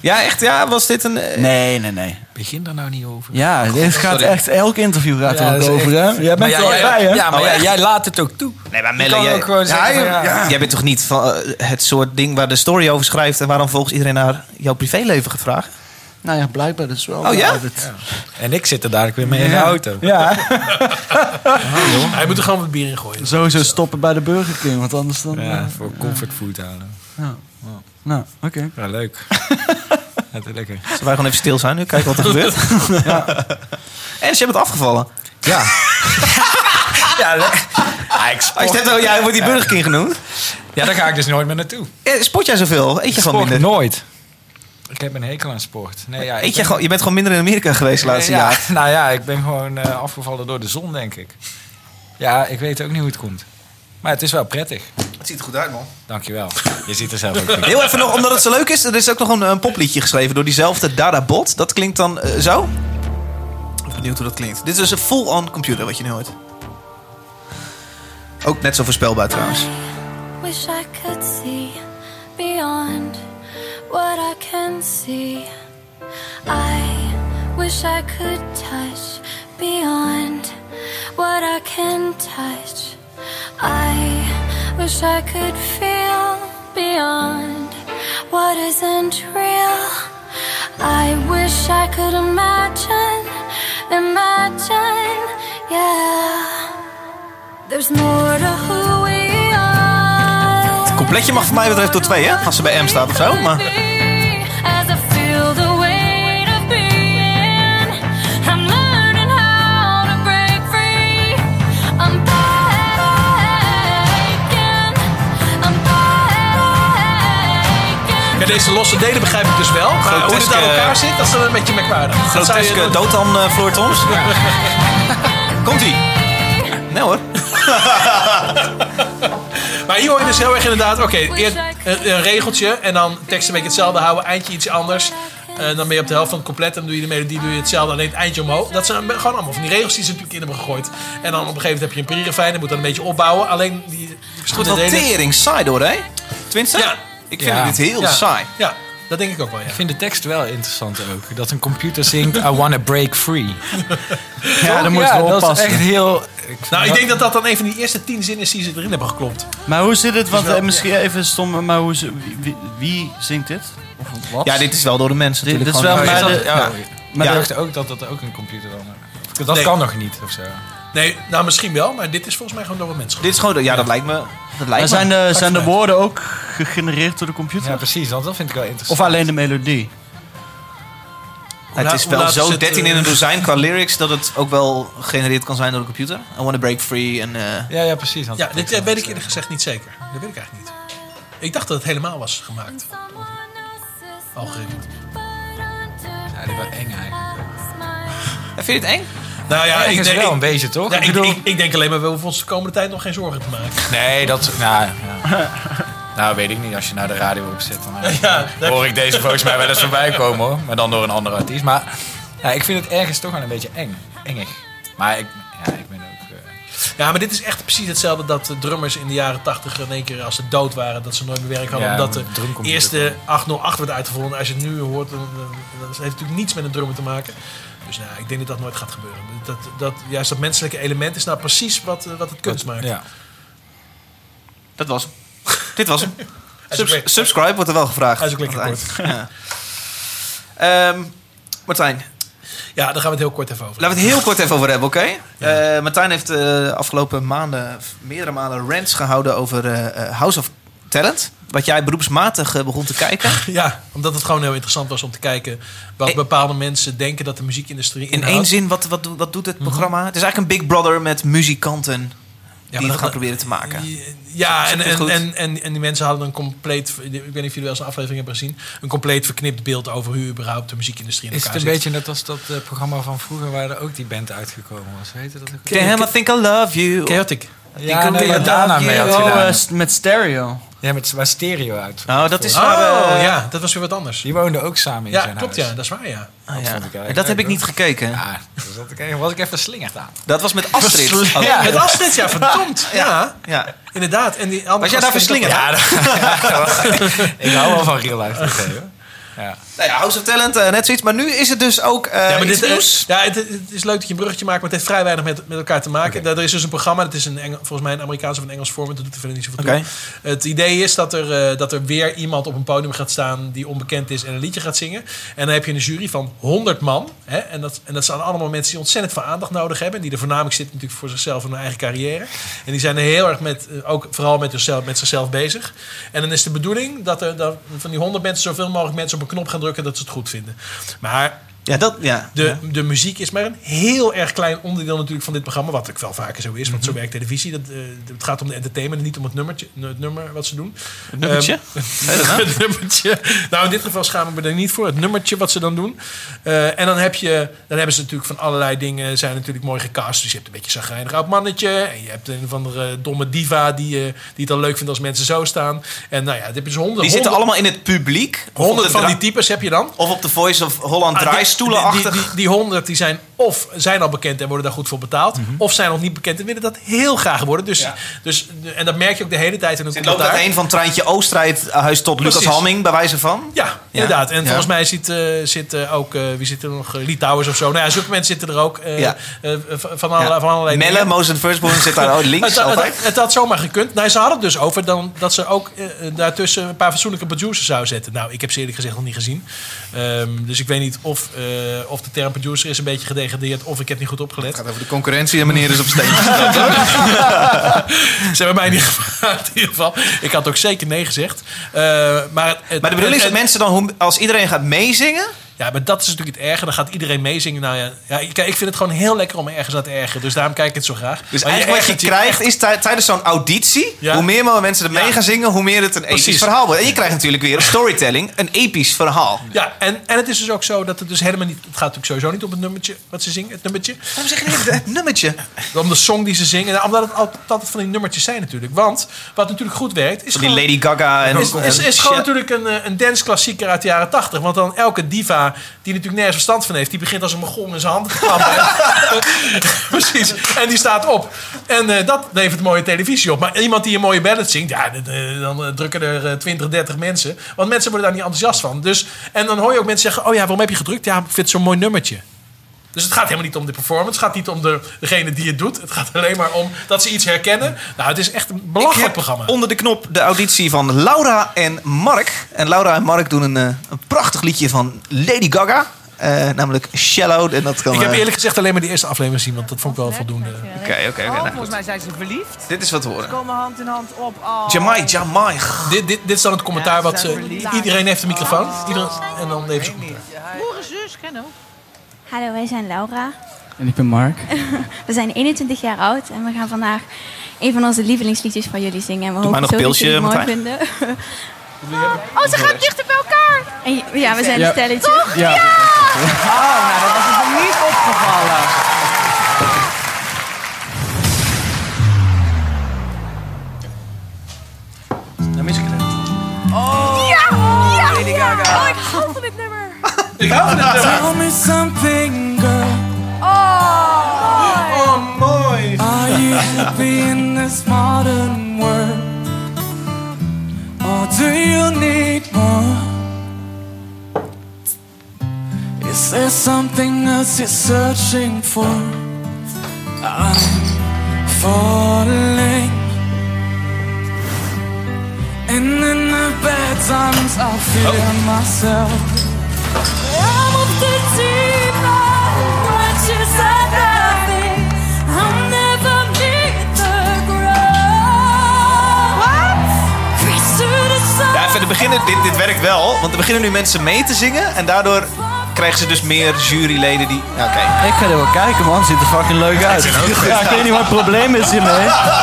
Speaker 1: ja, echt? Ja, was dit een... eh,
Speaker 2: Nee, nee, nee.
Speaker 4: Begin daar nou niet over.
Speaker 2: Ja, dit gaat
Speaker 1: sorry.
Speaker 2: echt... Elk interview gaat
Speaker 4: Ja,
Speaker 2: er
Speaker 4: dat
Speaker 2: ook
Speaker 4: is
Speaker 2: over, hè? Jij bent er wel bij, hè?
Speaker 4: Ja, maar
Speaker 1: Oh,
Speaker 4: jij,
Speaker 1: echt?
Speaker 4: jij laat het ook toe.
Speaker 1: Nee, maar
Speaker 4: Je
Speaker 1: Melle,
Speaker 4: kan
Speaker 1: jij,
Speaker 4: ook gewoon zeggen
Speaker 1: Ja,
Speaker 4: van,
Speaker 1: joh,
Speaker 4: ja.
Speaker 1: jij bent toch niet van eh, het soort ding waar de story over schrijft... en waarom volgens iedereen naar jouw privéleven gaat vragen?
Speaker 2: Nou ja, blijkbaar dus wel.
Speaker 1: Oh, ja?
Speaker 2: altijd.
Speaker 4: En ik zit er dadelijk weer mee in de auto.
Speaker 2: Ja,
Speaker 3: Hij moet er gewoon wat bier in gooien.
Speaker 2: sowieso stoppen bij de Burger King, want anders dan... eh,
Speaker 4: Ja, voor comfortfood halen.
Speaker 2: nou, oké.
Speaker 4: Ja, leuk. <laughs> Ja, te lekker.
Speaker 1: Zullen wij gewoon even stil zijn nu, kijken
Speaker 4: <laughs>
Speaker 1: wat er gebeurt? <laughs> En ze hebben het afgevallen.
Speaker 4: Ja. <laughs> ja, le- Ah,
Speaker 1: Als
Speaker 4: ik
Speaker 1: je
Speaker 4: sport.
Speaker 1: het hebt, oh, jij wordt die Burger King genoemd.
Speaker 4: ja, daar ga ik dus nooit meer naartoe.
Speaker 1: Eh, Sport jij zoveel? Eet je gewoon
Speaker 4: Sport
Speaker 1: minder?
Speaker 4: nooit. Ik heb een hekel aan sport. Nee, ja, ik
Speaker 1: Eet je,
Speaker 4: ben-
Speaker 1: gewoon, je bent gewoon minder in Amerika geweest de laatste
Speaker 4: Ja,
Speaker 1: jaar.
Speaker 4: <laughs> Nou ja, ik ben gewoon eh, afgevallen door de zon, denk ik. Ja, ik weet ook niet hoe het komt. Maar het is wel prettig.
Speaker 1: Het ziet er goed uit, man.
Speaker 4: Dankjewel. Je ziet er zelf
Speaker 3: <laughs>
Speaker 4: ook goed.
Speaker 1: Heel even nog, omdat het zo leuk is. Er is ook nog een, een popliedje geschreven door diezelfde Dada Bot. Dat klinkt dan eh, zo. Ik ben benieuwd hoe dat klinkt. Dit is dus een full-on computer wat je nu hoort. Ook net zo voorspelbaar trouwens.
Speaker 10: Wish I could see beyond what I can see. I wish I could touch beyond what I can touch. I wish I could feel beyond what isn't real. I wish I could imagine, imagine, yeah. There's more to who we are.
Speaker 1: Het Coupletje mag voor mij betreft door twee, hè? Als ze bij M staat of zo. Maar
Speaker 10: As I feel the weight of being, I'm learning how to break free. I'm breaking. I'm breaking.
Speaker 3: Ja, deze losse delen begrijp ik dus wel. Maar hoe het
Speaker 1: Groteske-
Speaker 3: aan
Speaker 4: eh,
Speaker 3: elkaar zit, dat is dan een beetje merkwaardig. Dat zou je
Speaker 1: groteske
Speaker 3: dan-
Speaker 1: dood dan eh, Floor Toms. <laughs> Komt-ie. Nee hoor.
Speaker 3: Maar hier hoor je dus heel erg inderdaad, oké, eerst een, een regeltje en dan tekst een beetje hetzelfde houden, eindje iets anders. Eh, dan ben je op de helft van het compleet en doe je de melodie, doe je hetzelfde, alleen het eindje omhoog. Dat zijn gewoon allemaal van die regels die ze natuurlijk in hebben gegooid. En dan op een gegeven moment heb je een prierefijn, dan moet dat een beetje opbouwen. Alleen die, die
Speaker 1: Goed,
Speaker 3: verschillende
Speaker 1: wat
Speaker 3: delen-
Speaker 1: tering saai door, hè? Twintig?
Speaker 3: Ja.
Speaker 1: Ik vind
Speaker 4: Ja.
Speaker 1: dit heel
Speaker 3: Ja.
Speaker 1: saai.
Speaker 3: Ja, dat denk ik ook wel, ja.
Speaker 4: Ik vind de tekst wel interessant ook. Dat een computer zingt I wanna break free.
Speaker 2: Ja, dan moeten we
Speaker 4: Dat is
Speaker 2: oppassen.
Speaker 4: echt heel...
Speaker 3: Nou, ik denk dat dat dan een van die eerste tien zinnen is die ze erin hebben geklopt.
Speaker 2: Maar hoe zit het? Want
Speaker 3: wel-
Speaker 2: eh, misschien even stom, maar hoe, ze- wie, wie- wie zingt dit? Of wat?
Speaker 1: Ja, dit is wel door de mensen
Speaker 2: Dit-
Speaker 1: natuurlijk.
Speaker 2: dit is wel
Speaker 1: gewoon-
Speaker 2: maar
Speaker 4: Maar
Speaker 2: de-
Speaker 4: de, ja, maar
Speaker 1: Ja.
Speaker 4: ik dacht ook dat dat ook een computer dan... Dat
Speaker 3: Nee.
Speaker 4: kan nog niet, of zo.
Speaker 3: Nee, nou misschien wel, maar dit is volgens mij gewoon door wat mensen.
Speaker 1: Dit is gewoon... de- Ja, dat lijkt me... Dat
Speaker 2: Maar
Speaker 1: lijkt
Speaker 2: zijn
Speaker 1: me.
Speaker 2: de, zijn de woorden ook gegenereerd door de computer?
Speaker 4: Ja, precies. want Dat vind ik wel interessant.
Speaker 2: Of alleen de melodie?
Speaker 1: Het
Speaker 3: laat-
Speaker 1: is
Speaker 3: hoe
Speaker 1: wel
Speaker 3: laat is
Speaker 1: zo
Speaker 3: het,
Speaker 1: 13 in
Speaker 3: eh?
Speaker 1: een dozijn qua lyrics dat het ook wel gegenereerd kan zijn door de computer. I wanna break free en... eh,
Speaker 4: Ja, ja, precies. want
Speaker 3: Ja,
Speaker 4: dat
Speaker 3: dit
Speaker 4: is
Speaker 3: eh, weet ik
Speaker 4: wel-
Speaker 3: eerlijk gezegd niet zeker. Dat weet ik eigenlijk niet. Ik dacht dat het helemaal was gemaakt. Algoritme.
Speaker 4: Ja, die wel eng eigenlijk.
Speaker 1: Vind je dit eng?
Speaker 3: Nou ja, ik
Speaker 4: Ergens
Speaker 3: denk,
Speaker 4: wel
Speaker 3: ik-
Speaker 4: een beetje, toch?
Speaker 3: ja,
Speaker 4: Ik
Speaker 3: ik,
Speaker 4: bedoel-
Speaker 3: ik- ik denk alleen maar, we hoeven ons de komende tijd nog geen zorgen te maken.
Speaker 4: Nee, <laughs> dat... Nou, ja. nou, weet ik niet. Als je naar de radio op zit, dan eh,
Speaker 3: Ja,
Speaker 4: hoor ik deze volgens mij wel eens voorbij komen, hoor. Maar dan door een andere artiest. Maar ja, ik vind het ergens toch wel een beetje eng. Engig. Maar ik, ja, ik ben ook... eh,
Speaker 3: ja, maar dit is echt precies hetzelfde dat de drummers in de jaren 80 in één keer als ze dood waren, dat ze nooit meer werk hadden.
Speaker 4: Ja,
Speaker 3: omdat
Speaker 4: een
Speaker 3: de
Speaker 4: drumcomputer.
Speaker 3: eerste 808 werd uitgevonden. Als je het nu hoort, dan, dan- dat heeft natuurlijk niets met een drummer te maken. Dus nou, ik denk dat dat nooit gaat gebeuren. Dat, dat, juist dat menselijke element is nou precies wat, eh, wat het kunst maakt.
Speaker 4: ja.
Speaker 1: Dat was hem. Dit was hem.
Speaker 3: is
Speaker 1: Subs-
Speaker 3: ook lekker-
Speaker 1: subscribe wordt er wel gevraagd.
Speaker 3: Hij is ook lekker
Speaker 1: Aan het eind. Ja. Ehm, Martijn,
Speaker 3: Ja, daar gaan we het heel kort even over.
Speaker 1: laten we het heel kort even over hebben, oké? Eh, Martijn heeft eh, de afgelopen maanden meerdere malen rants gehouden over eh, eh, House of Talent. Wat jij beroepsmatig eh, begon te kijken.
Speaker 3: Ja, omdat het gewoon heel interessant was om te kijken wat
Speaker 1: Eh.
Speaker 3: bepaalde mensen denken dat de muziekindustrie
Speaker 1: In
Speaker 3: inhoudt.
Speaker 1: één zin, wat, wat, doet- wat doet het programma? Het is eigenlijk een Big Brother met muzikanten die
Speaker 3: Ja, maar
Speaker 1: het gaan
Speaker 3: dat-
Speaker 1: proberen te maken.
Speaker 3: Ja,
Speaker 1: Zeg
Speaker 3: en,
Speaker 1: ik het
Speaker 3: en,
Speaker 1: goed?
Speaker 3: en, en, en die mensen hadden een compleet, ik weet niet of jullie wel eens een aflevering hebben gezien, een compleet verknipt beeld over hoe überhaupt de muziekindustrie in
Speaker 4: Is
Speaker 3: elkaar
Speaker 4: het een
Speaker 3: zit.
Speaker 4: beetje net als dat eh, programma van vroeger waar er ook die band uitgekomen was? Weet je dat ook?
Speaker 1: Damn, I think I love you.
Speaker 3: chaotic.
Speaker 4: Ja,
Speaker 1: nee, maar
Speaker 4: daarna mee had
Speaker 2: Oh,
Speaker 4: gedaan.
Speaker 2: eh, st- met stereo.
Speaker 4: Ja, met waar stereo uit.
Speaker 1: Nou, dat is
Speaker 3: Oh,
Speaker 1: waar, eh,
Speaker 3: ja, dat was weer wat anders.
Speaker 4: Die woonde ook samen in
Speaker 3: Ja,
Speaker 4: zijn
Speaker 3: klopt ja,
Speaker 4: huis.
Speaker 3: dat is waar ja.
Speaker 1: ah, ja.
Speaker 4: Dat vond ik eigenlijk
Speaker 1: Dat heb ik
Speaker 4: leuk,
Speaker 1: niet gekeken.
Speaker 4: Ja, dus dat ik, was ik even slingerd aan.
Speaker 1: Dat was met Astrid. Oh,
Speaker 3: Ja, met Astrid, ja, verdomd. Ja,
Speaker 1: <laughs> ja.
Speaker 3: inderdaad. En die andere
Speaker 1: Was jij
Speaker 3: gast
Speaker 1: daar
Speaker 3: vind ik ook-
Speaker 1: verslingerd? Ja,
Speaker 4: <laughs> Ik hou wel van real life tv, hoor. Ja.
Speaker 1: nou ja, House of Talent, eh, net zoiets. Maar nu is het dus ook eh
Speaker 3: Ja, maar
Speaker 1: iets
Speaker 3: dit,
Speaker 1: nieuws.
Speaker 3: ja, het, het is leuk dat je een bruggetje maakt, maar het heeft vrij weinig met, met elkaar te maken.
Speaker 4: Oké.
Speaker 3: Daar, er is dus een programma, dat is een Engel- volgens mij een Amerikaans of een Engels format, dat doet er verder niet zoveel
Speaker 1: Oké.
Speaker 3: toe. Het idee is dat er, eh, dat er weer iemand op een podium gaat staan die onbekend is en een liedje gaat zingen. En dan heb je een jury van 100 man. Hè, en, dat, en dat zijn allemaal mensen die ontzettend veel aandacht nodig hebben. En die er voornamelijk zitten natuurlijk voor zichzelf en hun eigen carrière. En die zijn er heel erg met, eh, ook vooral met zichzelf, met zichzelf bezig. En dan is de bedoeling dat er dat van die 100 mensen zoveel mogelijk mensen op een knop gaan drukken dat ze het goed vinden. Maar
Speaker 1: Ja, dat, ja.
Speaker 3: de, de muziek is maar een heel erg klein onderdeel natuurlijk van dit programma. Wat ook wel vaker zo is, want
Speaker 1: Mhm.
Speaker 3: zo werkt televisie. Dat, eh, het gaat om de entertainment en niet om het, nummertje, het nummer wat ze doen. Ehm,
Speaker 1: Het
Speaker 3: eh,
Speaker 1: nummertje? Zei je dat nou?
Speaker 3: <laughs> het nummertje. Nou, in dit geval schamen we er niet voor. Het nummertje wat ze dan doen. Eh, en dan, heb je, dan hebben ze natuurlijk van allerlei dingen. Zijn natuurlijk mooi gecast. Dus je hebt een beetje een oud mannetje. En je hebt een of andere domme diva die, eh, die het dan leuk vindt als mensen zo staan. En nou ja, dit heb je dus honderd,
Speaker 1: Die zitten
Speaker 3: honderd,
Speaker 1: allemaal in het publiek. Of op
Speaker 3: honderd
Speaker 1: de
Speaker 3: van
Speaker 1: dra-
Speaker 3: die types heb je dan.
Speaker 1: Of op de Voice of Holland
Speaker 3: Ah, die-
Speaker 1: draaistoelenachtig.
Speaker 3: Die, die, die 100 die zijn of zijn al bekend en worden daar goed voor betaald.
Speaker 1: Mhm.
Speaker 3: Of zijn nog niet bekend en willen dat heel graag worden. Dus, dus, en dat merk je ook de hele tijd. En
Speaker 1: Het
Speaker 3: dan komt
Speaker 1: loopt
Speaker 3: dat daar.
Speaker 1: uiteen van Treintje Oostrijd huis tot Lucas
Speaker 3: Precies.
Speaker 1: Hamming, bij wijze van.
Speaker 3: Ja, inderdaad. En
Speaker 1: Ja.
Speaker 3: volgens mij zit, eh, zit eh, ook, eh, wie zit er nog? Eh, Litouwers of zo. Nou ja, zulke mensen zitten er ook. eh,
Speaker 1: Ja.
Speaker 3: eh, van, van, alle, van allerlei
Speaker 1: Melle,
Speaker 3: dingen.
Speaker 1: Moos en Firstborn zit
Speaker 3: <laughs>
Speaker 1: daar oh, links
Speaker 3: het, het,
Speaker 1: altijd.
Speaker 3: het had zomaar gekund. Nou, ze hadden het dus over dan, dat ze ook eh, daartussen een paar fatsoenlijke producers zou zetten. Nou, ik heb ze eerlijk gezegd nog niet gezien. Ehm, dus ik weet niet of, eh, of de term producer is een beetje gedegradeerd of ik heb niet goed opgelet.
Speaker 1: gaat over de concurrentie en meneer is op steen.
Speaker 3: Ze hebben mij niet <laughs> gevraagd in ieder geval. Ik had ook zeker nee gezegd. Eh, maar,
Speaker 1: <laughs>
Speaker 3: het-
Speaker 1: maar de bedoeling is dat
Speaker 3: het-
Speaker 1: mensen dan, hoe- als iedereen gaat meezingen...
Speaker 3: Ja, maar dat is natuurlijk het erge. Dan gaat iedereen meezingen. Nou ja, ja ik, kijk, ik vind het gewoon heel lekker om me ergens aan te ergeren. Dus daarom kijk ik het zo graag.
Speaker 1: Dus
Speaker 3: Maar
Speaker 1: eigenlijk wat
Speaker 3: ergert
Speaker 1: je krijgt
Speaker 3: echt.
Speaker 1: is tij- tijdens zo'n auditie...
Speaker 3: Ja.
Speaker 1: hoe meer mensen er mee
Speaker 3: Ja.
Speaker 1: gaan zingen... hoe meer het een episch
Speaker 3: Precies.
Speaker 1: verhaal wordt. En je krijgt natuurlijk weer op storytelling een episch verhaal. Waarom
Speaker 3: Ja, en, en het is dus ook zo dat het dus helemaal niet... Het gaat natuurlijk sowieso niet op het nummertje wat ze zingen, het nummertje.
Speaker 1: zeg je niet het nummertje?
Speaker 3: Om de song die ze zingen. Nou, omdat het altijd, altijd van die nummertjes zijn natuurlijk. Want wat natuurlijk goed werkt... Is
Speaker 1: Van die
Speaker 3: gewoon-
Speaker 1: Lady Gaga en...
Speaker 3: is, is, is gewoon natuurlijk een, eh, een dansklassieker uit de jaren 80. Want dan elke diva die natuurlijk nergens verstand van heeft... die begint als een gom in zijn handen te klappen. <laughs> Precies. En die staat op. En eh, dat levert mooie televisie op. Maar iemand die een mooie ballad zingt... ja, d- eh, dan eh, drukken er eh, 20, 30 mensen. Want mensen worden daar niet enthousiast van. Dus, en dan hoor je ook mensen zeggen... oh ja, waarom heb je gedrukt? Ja, ik vind het zo'n mooi nummertje. Dus het gaat helemaal niet om de performance. Het gaat niet om de, degene die het doet. Het gaat alleen maar om dat ze iets herkennen. Nou, het is echt een
Speaker 1: Ik
Speaker 3: belachelijk
Speaker 1: heb
Speaker 3: programma.
Speaker 1: onder de knop de auditie van Laura en Mark. En Laura en Mark doen een, eh, een prachtig liedje van Lady Gaga. eh, namelijk Shallow. En dat kan...
Speaker 3: Ik heb
Speaker 1: eh,
Speaker 3: eerlijk gezegd alleen maar die eerste aflevering gezien, want dat vond ik wel voldoende.
Speaker 1: Oké, oké, oké.
Speaker 8: Oh,
Speaker 1: nou, goed.
Speaker 11: Oh, mij zijn ze verliefd.
Speaker 1: Dit is wat we horen.
Speaker 11: Komen hand in hand op. Oh.
Speaker 1: Jamai, Jamai.
Speaker 3: Dit, dit, dit is dan het
Speaker 11: Ja,
Speaker 3: commentaar
Speaker 11: ze
Speaker 3: wat...
Speaker 11: zijn
Speaker 3: eh,
Speaker 11: verliefd.
Speaker 3: iedereen heeft een microfoon. Iedereen, en dan even ze commentaar.
Speaker 11: Broer en zus, ken hem.
Speaker 12: Hallo, wij zijn Laura.
Speaker 13: En ik ben Mark.
Speaker 12: <laughs> We zijn 21 jaar oud en we gaan vandaag een van onze lievelingsliedjes van jullie zingen. En we hopen
Speaker 1: nog
Speaker 12: zo
Speaker 1: pilsje,
Speaker 12: dat jullie het mooi
Speaker 1: Martijn.
Speaker 12: vinden. <laughs> Oh, ze gaan dichter bij elkaar! En, j- ja, we zijn
Speaker 13: Ja.
Speaker 12: een stelletje.
Speaker 13: Ja!
Speaker 11: Oh, nou, dat was ons nog niet opgevallen.
Speaker 2: Dan mis ik het even.
Speaker 12: Ja! Ja! Oh, ik hou van dit nummer.
Speaker 3: Ik hou van dit nummer.
Speaker 7: Tell me something, girl.
Speaker 12: Oh, mooi.
Speaker 3: Oh, mooi.
Speaker 7: Are you happy in this modern world? Or do you need more? Is there something else you're searching for? I'm falling. And in the bad times, I feel myself.
Speaker 10: I'm of the deep end, branches are nothing. I'll never meet the ground. Reach to the sun.
Speaker 1: Ja, even de beginnen, dit, dit werkt wel, want er beginnen nu mensen mee te zingen. En daardoor krijgen ze dus meer juryleden die... Ja, Oké.
Speaker 2: Ik ga er wel kijken, man. Ziet er fucking leuk uit. Ja, ik weet niet wat het probleem is hiermee.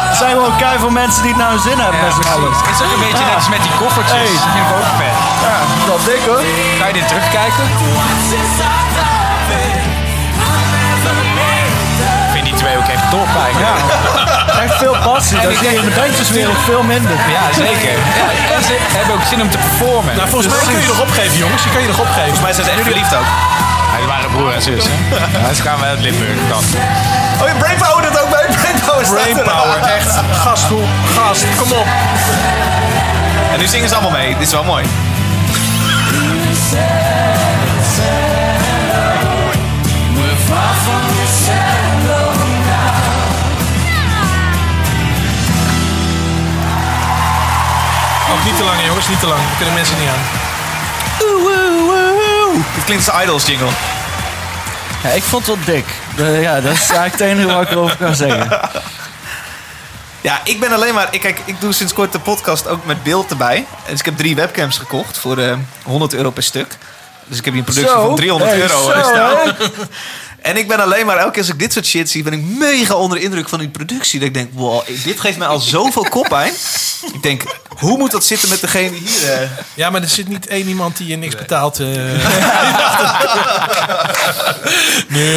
Speaker 2: Het zijn gewoon keihard mensen die het nou zin hebben met z'n allen.
Speaker 4: Het is ook een beetje net als met die koffertjes.
Speaker 2: Hey.
Speaker 4: Dat vind ik ook vet.
Speaker 2: Ja, dat dik hoor.
Speaker 4: Ga je dit terugkijken? Ik vind die twee ook echt top eigenlijk.
Speaker 2: Echt veel passie. Dat is in de bandjeswereld veel minder.
Speaker 4: Ja, zeker. Ja, en ze hebben ook zin om te performen.
Speaker 3: Nou, volgens
Speaker 4: Dus
Speaker 3: mij kun je nog opgeven, jongens. Je kan je nog opgeven.
Speaker 1: Volgens mij zijn ze echt verliefd ook.
Speaker 4: Ja, die waren broer en zus. Hè? Ja, dus gaan we uit Limburg dan.
Speaker 1: Oh, ja, Brainpower doet ook mee. <laughs> Brainpower staat er.
Speaker 3: Brainpower, echt. Gastroe, gast, kom op.
Speaker 1: En nu zingen ze allemaal mee. Dit is wel mooi.
Speaker 3: Ook niet te lang, jongens, niet te lang. We kunnen mensen niet aan.
Speaker 1: Dit klinkt als de Idols jingle.
Speaker 2: Ja, ik vond het wel dik. Eh, ja, dat is eigenlijk het enige wat ik erover kan zeggen.
Speaker 1: Ja, ik ben alleen maar... Ik, kijk, ik doe sinds kort de podcast ook met beeld erbij. Dus ik heb drie webcams gekocht voor eh 100 euro per stuk. Dus ik heb hier een productie
Speaker 2: Zo.
Speaker 1: van 300
Speaker 2: Hey,
Speaker 1: euro
Speaker 2: zo,
Speaker 1: eh, staan. <laughs> En ik ben alleen maar, elke keer als ik dit soort shit zie, ben ik mega onder de indruk van die productie. Dat ik denk, wow, dit geeft mij al zoveel koppijn. Ik denk, hoe moet dat zitten met degene hier? eh?
Speaker 3: Ja, maar er zit niet één iemand die je niks betaalt. eh.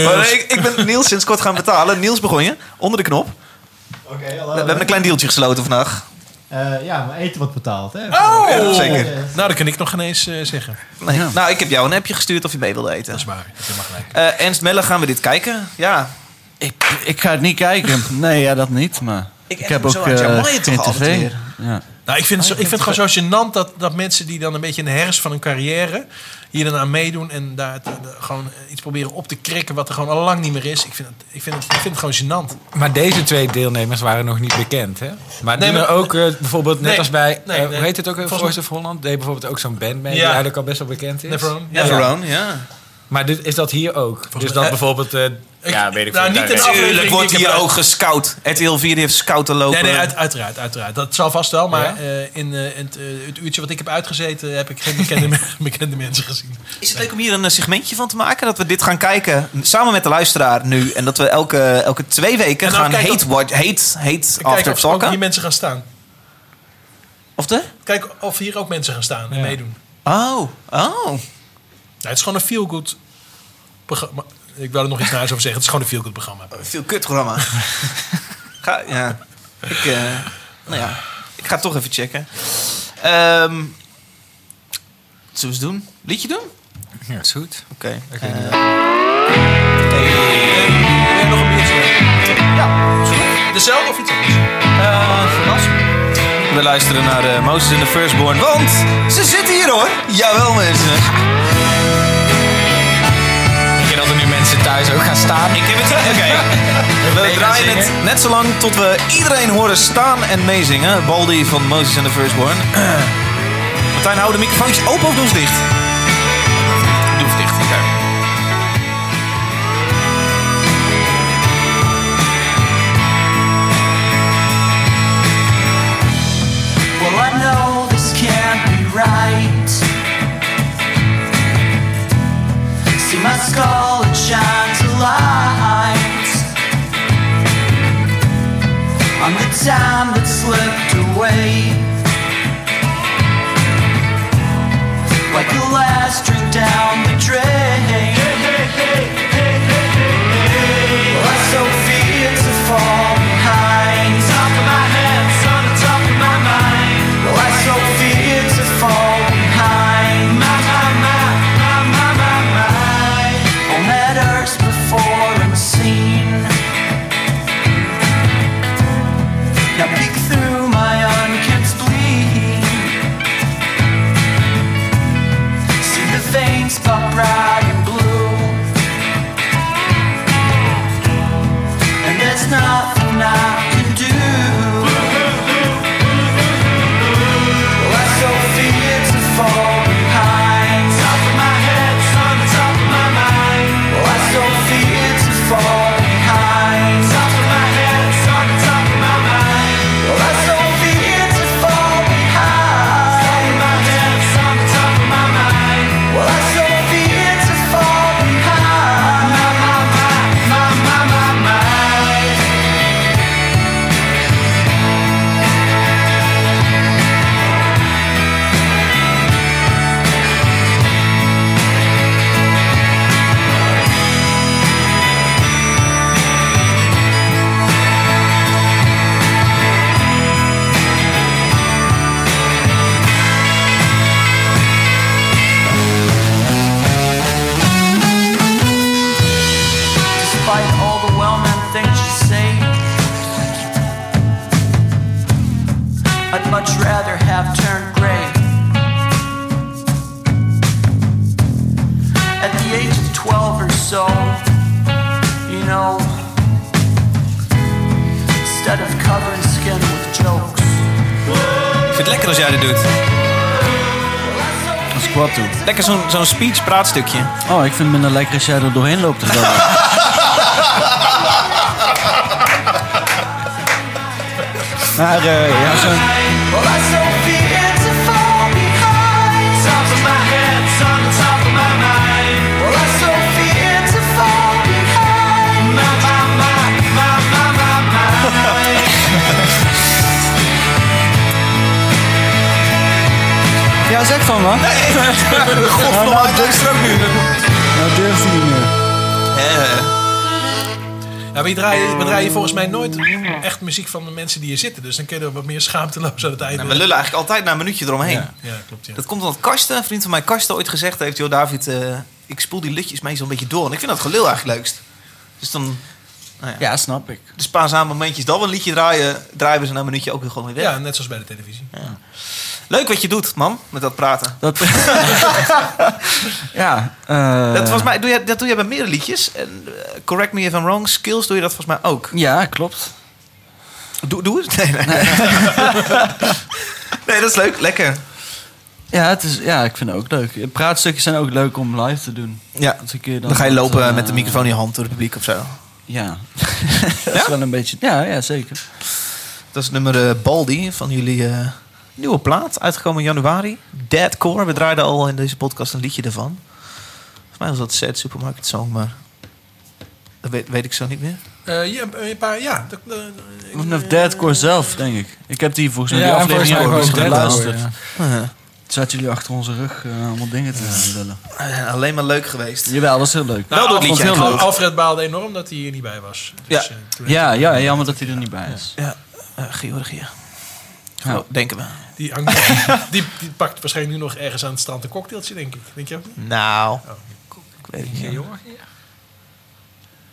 Speaker 1: Maar nee, ik, ik ben Niels sinds kort gaan betalen. Niels begon je, onder de knop. We, we hebben een klein deeltje gesloten vandaag.
Speaker 14: Eh, ja, maar eten wat betaald, hè?
Speaker 2: Oh!
Speaker 1: Ja, zeker.
Speaker 3: Nou, dat kan ik nog geen eens eh, zeggen.
Speaker 1: Nee. Nou, ik heb jou een appje gestuurd of je mee wilde eten.
Speaker 3: Dat is waar. Dat heb je maar gelijk.
Speaker 1: Eh, Ernst Melle, gaan we dit kijken? Ja.
Speaker 2: Ik, ik ga het niet kijken. Nee, ja, dat niet. Maar ik,
Speaker 1: Ik echt
Speaker 2: heb
Speaker 1: zo
Speaker 2: ook
Speaker 1: uit jouw
Speaker 2: eh,
Speaker 1: maaien toch
Speaker 2: geen
Speaker 1: altijd
Speaker 2: tv.
Speaker 1: weer.
Speaker 2: Ja.
Speaker 3: Nou, ik vind het, zo, ik vind het gewoon zo gênant dat, dat mensen die dan een beetje in de herfst van hun carrière hier dan aan meedoen en daar het- de- gewoon eh, iets proberen op te krikken wat er gewoon al lang niet meer is. Ik vind het, ik vind het, ik vind het gewoon gênant.
Speaker 4: Maar deze twee deelnemers waren nog niet bekend, hè? Maar
Speaker 3: Nee,
Speaker 4: nee,
Speaker 3: maar-
Speaker 4: ook eh, bijvoorbeeld, net
Speaker 3: Nee,
Speaker 4: als bij,
Speaker 3: nee,
Speaker 4: eh,
Speaker 3: nee.
Speaker 4: hoe heet het ook, weer?
Speaker 3: Volgens
Speaker 4: Voice of Holland? Deed bijvoorbeeld ook zo'n band mee,
Speaker 3: Ja.
Speaker 4: die eigenlijk al best wel bekend is.
Speaker 3: Never own. Ja.
Speaker 1: Everone, ja.
Speaker 4: Maar dit, is dat hier ook? dus dat
Speaker 1: eh,
Speaker 4: bijvoorbeeld... eh, ja, weet ik
Speaker 3: nou, niet
Speaker 4: daar
Speaker 3: in
Speaker 4: weet ik
Speaker 3: aflevering
Speaker 1: Tuurlijk wordt
Speaker 3: die ik
Speaker 1: hier
Speaker 3: heb-
Speaker 1: ook gescout. RTL 4 heeft scouten lopen.
Speaker 3: Nee, nee uit- uiteraard, uiteraard. Dat zal vast wel, maar
Speaker 1: Ja?
Speaker 3: eh, in eh, in het, eh, het uurtje wat ik heb uitgezeten heb ik geen <laughs> bekende, me- bekende mensen gezien.
Speaker 1: Is het leuk om hier een eh, segmentje van te maken? Dat we dit gaan kijken samen met de luisteraar nu. En dat we elke, elke twee weken
Speaker 3: En dan
Speaker 1: gaan
Speaker 3: kijk
Speaker 1: hate,
Speaker 3: of-
Speaker 1: watch, hate, hate
Speaker 3: Kijk
Speaker 1: after
Speaker 3: of er ook
Speaker 1: talken.
Speaker 3: hier mensen gaan staan.
Speaker 1: Of de?
Speaker 3: Kijk of hier ook mensen gaan staan en
Speaker 1: Ja.
Speaker 3: meedoen.
Speaker 1: Oh, oh.
Speaker 3: Nou, het is gewoon een feel-good programma. Ik wil er nog iets naars over zeggen. Het is gewoon een feel-good programma.
Speaker 1: Veel kut <laughs> programma. ga, ja. Ik, eh, nou ja, ik ga het toch even checken. Ehm, wat zullen we eens doen? Liedje doen?
Speaker 4: Ja, is goed.
Speaker 1: Oké. eh,
Speaker 3: nog een biertje? Ja. Dezelfde of iets anders?
Speaker 1: We luisteren naar eh, Moses in the Firstborn, want ze zitten hier hoor. Jawel mensen.
Speaker 4: Denk je dat er nu mensen thuis ook gaan staan? Ik
Speaker 1: heb het...
Speaker 4: <laughs>
Speaker 1: Oké. We draaien het net zo lang tot we iedereen horen staan en meezingen. Baldi van Moses and the Firstborn. <clears throat> Martijn, hou de microfoontjes open of doe ze dicht? Doe ze dicht, oké.
Speaker 7: Well, I know this can't be right. See my skull, it shines a light on the time that slipped away. Like the last drink down the drain. Well, I so fear to fall behind. Top of my head, it's on the top of my mind. Well, I so fear to fall behind. My, my, my, my, my, my, my. On that earth before unseen. Now peek through my unkempt spleen. See the veins pop bright and blue. And there's nothing I can do. Well, I so fear to fall behind. Top of my head, it's on the top of my mind. Well, I so fear to fall behind. Top of my head, it's on the top of my mind. Well, I so fear to fall behind. Top of my head, it's on the top of my mind. Well, I so fear to fall behind. My, my, my, my, my, my, my. despite all the well-meant things you say. I'd much rather have turned gray. At the age of 12 or so, you know, instead of covering skin with jokes.
Speaker 1: Ik vind het lekker als jij dit doet.
Speaker 2: Als ik wat doe.
Speaker 1: Lekker zo'n zo'n speech praatstukje.
Speaker 2: Oh, ik vind het minder lekker als jij er doorheen loopt te gaan. maar eh, ja, zo'n...
Speaker 7: Well, I so fear to fall behind. Top of my head, it's on the top of my mind. Well, I so fear to fall behind. My, my, my, my, my, my, my.
Speaker 2: Ja, zeg van wat. <laughs>
Speaker 1: Nee, godverdomme, dat is er ook nu.
Speaker 2: Nou, durf je niet meer.
Speaker 1: Eh,
Speaker 3: Ja, we, draaien, we draaien volgens mij nooit echt muziek van de mensen die hier zitten. Dus dan kun je er wat meer schaamteloos aan het einde.
Speaker 1: Nou, we lullen eigenlijk altijd na een minuutje eromheen.
Speaker 3: Ja, ja, klopt. Ja.
Speaker 1: Dat komt omdat Karsten, een vriend van mij, Karsten ooit gezegd heeft... joh David, eh, ik spoel die liedjes meestal een beetje door. En ik vind dat gelul eigenlijk leukst. Dus dan... Nou ja.
Speaker 2: snap ik.
Speaker 1: De spaarzame momentjes dat we een liedje draaien... draaien we ze na een minuutje ook weer gewoon weer weg.
Speaker 3: ja, net zoals bij de televisie.
Speaker 1: Leuk wat je doet, man, met dat praten.
Speaker 2: Dat, <laughs> ja, eh,
Speaker 1: dat, volgens mij, doe je, dat doe je bij meerdere liedjes. En, eh, correct me if I'm wrong, skills doe je dat volgens mij ook.
Speaker 2: Ja, klopt.
Speaker 1: <laughs>
Speaker 2: <laughs>
Speaker 1: Doe, doe eens. Nee, nee. nee, dat is leuk. Lekker.
Speaker 2: Ja, het is, ja, ik vind het ook leuk. Praatstukjes zijn ook leuk om live te doen.
Speaker 1: Ja.
Speaker 2: Dat een keer
Speaker 1: Dan ga je
Speaker 2: dat,
Speaker 1: lopen
Speaker 2: eh,
Speaker 1: met de microfoon in je hand door het publiek of zo.
Speaker 2: Ja. <laughs> dat is wel een beetje... Ja, ja zeker.
Speaker 1: Dat is nummer eh, Baldi van jullie eh, nieuwe plaat. Uitgekomen in januari. Deadcore. We draaiden al in deze podcast een liedje daarvan. Volgens mij was dat Sad Supermarket Song, maar... Dat weet, weet ik zo niet meer.
Speaker 3: Eh, ja, een paar, ja. dat- eh,
Speaker 2: Vanaf Deadcore zelf, denk ik. Ik heb die volgens mij
Speaker 3: Ja,
Speaker 2: die
Speaker 3: en
Speaker 2: aflevering ook
Speaker 3: volgens
Speaker 2: eens
Speaker 3: mij gewoon
Speaker 2: geluisterd.
Speaker 1: Deadcore, ja.
Speaker 2: Ja. Toen zaten jullie achter onze rug eh, allemaal dingen te lullen.
Speaker 1: Eh, alleen maar leuk geweest.
Speaker 2: Jawel, was heel leuk.
Speaker 3: Nou,
Speaker 2: Vond
Speaker 3: Alfred,
Speaker 2: het heel leuk.
Speaker 3: Alfred baalde enorm dat hij hier niet bij was. Dus, eh, toen-
Speaker 2: Ja, ja, jammer dat hij er niet bij is.
Speaker 1: Ja, eh, Georgië.
Speaker 2: Ja.
Speaker 1: Oh, denken we.
Speaker 3: Die, hangt- die, die pakt waarschijnlijk nu nog ergens aan het strand een cocktailtje, denk ik. Denk je ook niet?
Speaker 1: Nou, ik weet het niet.
Speaker 3: Georgië?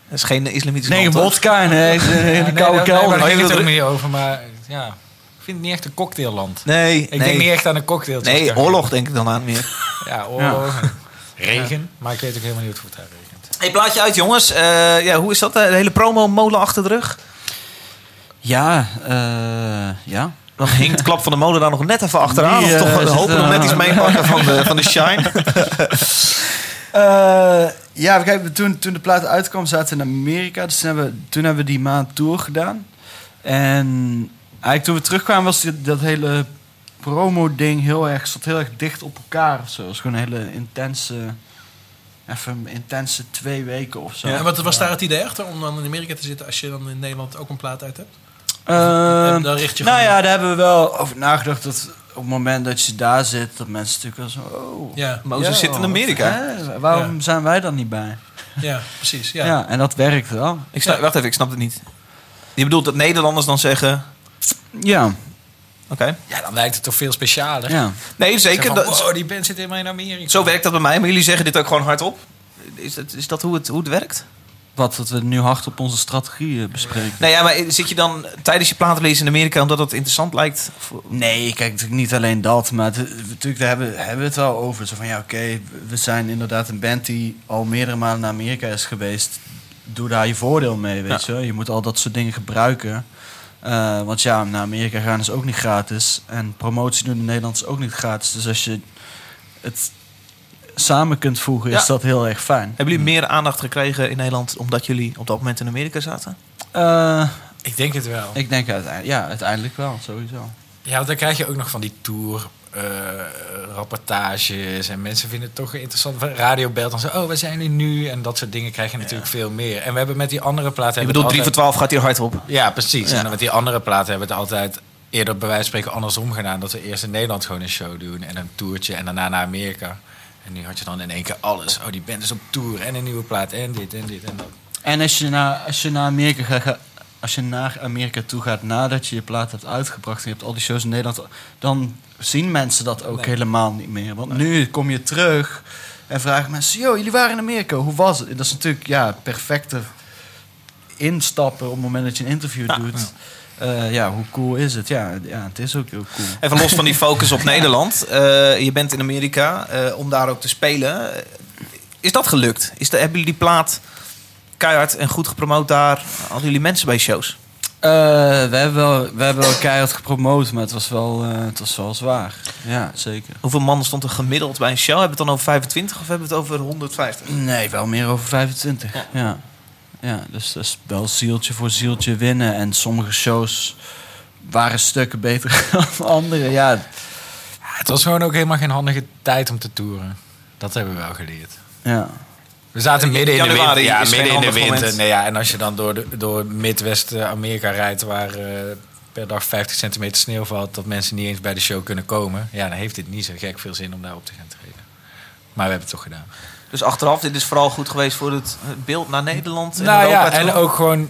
Speaker 1: Dat is geen islamitische
Speaker 2: Nee,
Speaker 1: land, toch?
Speaker 2: vodka en eh, de- de
Speaker 4: nee,
Speaker 2: koude
Speaker 4: daar-
Speaker 2: kelder.
Speaker 4: Daar ging het ook
Speaker 2: Oh,
Speaker 4: meer over, maar ja. Ik vind het niet echt een cocktailland.
Speaker 1: Nee,
Speaker 4: Ik denk niet echt aan een cocktail.
Speaker 1: Nee, oorlog denk ik dan aan meer.
Speaker 4: Ja,
Speaker 1: Ja.
Speaker 4: oorlog. <laughs> Regen. Maar ik weet ook helemaal niet hoe het daar regent.
Speaker 1: Hey, plaatje uit, jongens. Eh, ja, hoe is dat? De hele promo-molen achter de rug?
Speaker 2: Ja, eh, ja.
Speaker 1: Dan hinkt Klap van de Molen daar nog net even achteraan.
Speaker 2: Die,
Speaker 1: of
Speaker 2: eh,
Speaker 1: toch
Speaker 2: zit,
Speaker 1: hopen nog
Speaker 2: eh,
Speaker 1: net iets meepakken van de,
Speaker 4: <laughs>
Speaker 1: van de shine.
Speaker 2: Eh, ja, kijk, we- toen, toen de plaat uitkwam zaten we in Amerika. Dus toen hebben, we- toen hebben we die maand tour gedaan. En eigenlijk toen we terugkwamen was dit- dat hele promo-ding heel erg, zat heel erg dicht op elkaar. Of zo. Het was gewoon een hele intense, even een intense twee weken of zo.
Speaker 3: Ja, en wat was daar het idee achter om dan in Amerika te zitten als je dan in Nederland ook een plaat uit hebt?
Speaker 2: Ehm,
Speaker 3: En dan richt je
Speaker 2: nou
Speaker 3: gewoon-
Speaker 2: ja, daar hebben we wel over nagedacht dat op het moment dat je daar zit, dat mensen natuurlijk wel zo. Oh,
Speaker 3: Ja.
Speaker 1: Mozes zit in
Speaker 2: wat-
Speaker 1: Amerika.
Speaker 2: hè, waarom zijn wij dan niet bij?
Speaker 3: Ja, precies.
Speaker 2: Ja.
Speaker 3: Ja.
Speaker 2: en dat werkt wel.
Speaker 1: Ik snap, Wacht even, ik snap het niet. Je bedoelt dat Nederlanders dan zeggen...
Speaker 2: Ja,
Speaker 1: Oké.
Speaker 4: Ja, dan lijkt het toch veel specialer.
Speaker 2: ja.
Speaker 1: Nee, zeker.
Speaker 4: Zo van,
Speaker 1: dat,
Speaker 4: wow, die band zit helemaal in Amerika.
Speaker 1: Zo werkt dat bij mij, maar jullie zeggen dit ook gewoon hardop. Is dat, is dat hoe, het, hoe het werkt?
Speaker 2: Wat, dat we nu hard op onze strategie eh, bespreken.
Speaker 1: Nou ja, maar zit je dan tijdens je platenlezen in Amerika omdat dat interessant lijkt? Voor-
Speaker 2: Nee, kijk, natuurlijk niet alleen dat. Maar het- natuurlijk, daar hebben, hebben we het wel over. Zo van, ja, oké, we zijn inderdaad een band die al meerdere malen naar Amerika is geweest. Doe daar je voordeel mee, weet je. Je moet al dat soort dingen gebruiken. Eh, want ja, naar Amerika gaan is ook niet gratis. En promotie doen in Nederland is ook niet gratis. Dus als je het samen kunt voegen,
Speaker 1: Ja.
Speaker 2: is dat heel erg fijn.
Speaker 1: Hebben jullie
Speaker 4: Hm.
Speaker 1: meer aandacht gekregen in Nederland omdat jullie op dat moment in Amerika zaten?
Speaker 2: Eh,
Speaker 4: Ik denk het wel.
Speaker 2: ik denk uiteindelijk, ja, uiteindelijk wel, sowieso.
Speaker 4: Ja, want dan krijg je ook nog van die tour. eh, rapportages en mensen vinden het toch interessant. Radio belt dan zo, oh, waar zijn jullie nu? En dat soort dingen krijg je natuurlijk veel meer. En we hebben met die andere platen...
Speaker 1: Ik
Speaker 4: hebben
Speaker 1: bedoel,
Speaker 4: we
Speaker 1: 3 voor
Speaker 4: altijd-
Speaker 1: 12 gaat hier hardop.
Speaker 4: Ja, precies.
Speaker 1: Ja.
Speaker 4: En dan met die andere platen hebben we het altijd eerder bij wijze van spreken andersom gedaan. Dat we eerst in Nederland gewoon een show doen en een toertje en daarna naar Amerika. En nu had je dan in één keer alles. Oh, die band is op tour en een nieuwe plaat en dit en dit en dat.
Speaker 2: En als je naar, als je naar Amerika gaat. ga- Als je naar Amerika toe gaat nadat je je plaat hebt uitgebracht en je hebt al die shows in Nederland, dan zien mensen dat ook helemaal niet meer. Want nu kom je terug en vragen mensen: Yo, jullie waren in Amerika, hoe was het? En dat is natuurlijk ja, perfecte instappen op het moment dat je een interview doet. Eh, ja, hoe cool is het? Ja, ja, het is ook heel cool.
Speaker 1: Even los van die focus op Nederland. Eh, je bent in Amerika eh, om daar ook te spelen. Eh, Is dat gelukt? Is de, hebben jullie die plaat keihard en goed gepromoot daar? Hadden jullie mensen bij shows?
Speaker 2: Eh, we, hebben wel, we hebben wel keihard gepromoot, maar het was wel, eh, het was wel zwaar. Ja, zeker.
Speaker 1: Hoeveel mannen stond er gemiddeld bij een show? Hebben we het dan over 25 of hebben we het over 150?
Speaker 2: Nee, wel meer over 25. Ja. ja. dus dat is wel zieltje voor zieltje winnen. En sommige shows waren stukken beter <laughs> dan andere. Ja,
Speaker 4: Het was gewoon ook helemaal geen handige tijd om te toeren. Dat hebben we wel geleerd.
Speaker 2: ja.
Speaker 4: We zaten
Speaker 1: Eh,
Speaker 4: midden in de
Speaker 1: januari
Speaker 4: winter. Ja,
Speaker 1: is
Speaker 4: midden
Speaker 1: geen
Speaker 4: in de
Speaker 1: handig
Speaker 4: winter.
Speaker 1: moment.
Speaker 4: Nee, ja, en als je dan door, de- door Midwest-Amerika rijdt, waar eh, per dag 50 centimeter sneeuw valt, dat mensen niet eens bij de show kunnen komen. Ja, dan heeft het niet zo gek veel zin om daar op te gaan treden. Maar we hebben het toch gedaan.
Speaker 1: Dus achteraf, dit is vooral goed geweest voor het het beeld naar Nederland. en
Speaker 4: nou
Speaker 1: Europa
Speaker 4: ja, en
Speaker 1: toe.
Speaker 4: ook gewoon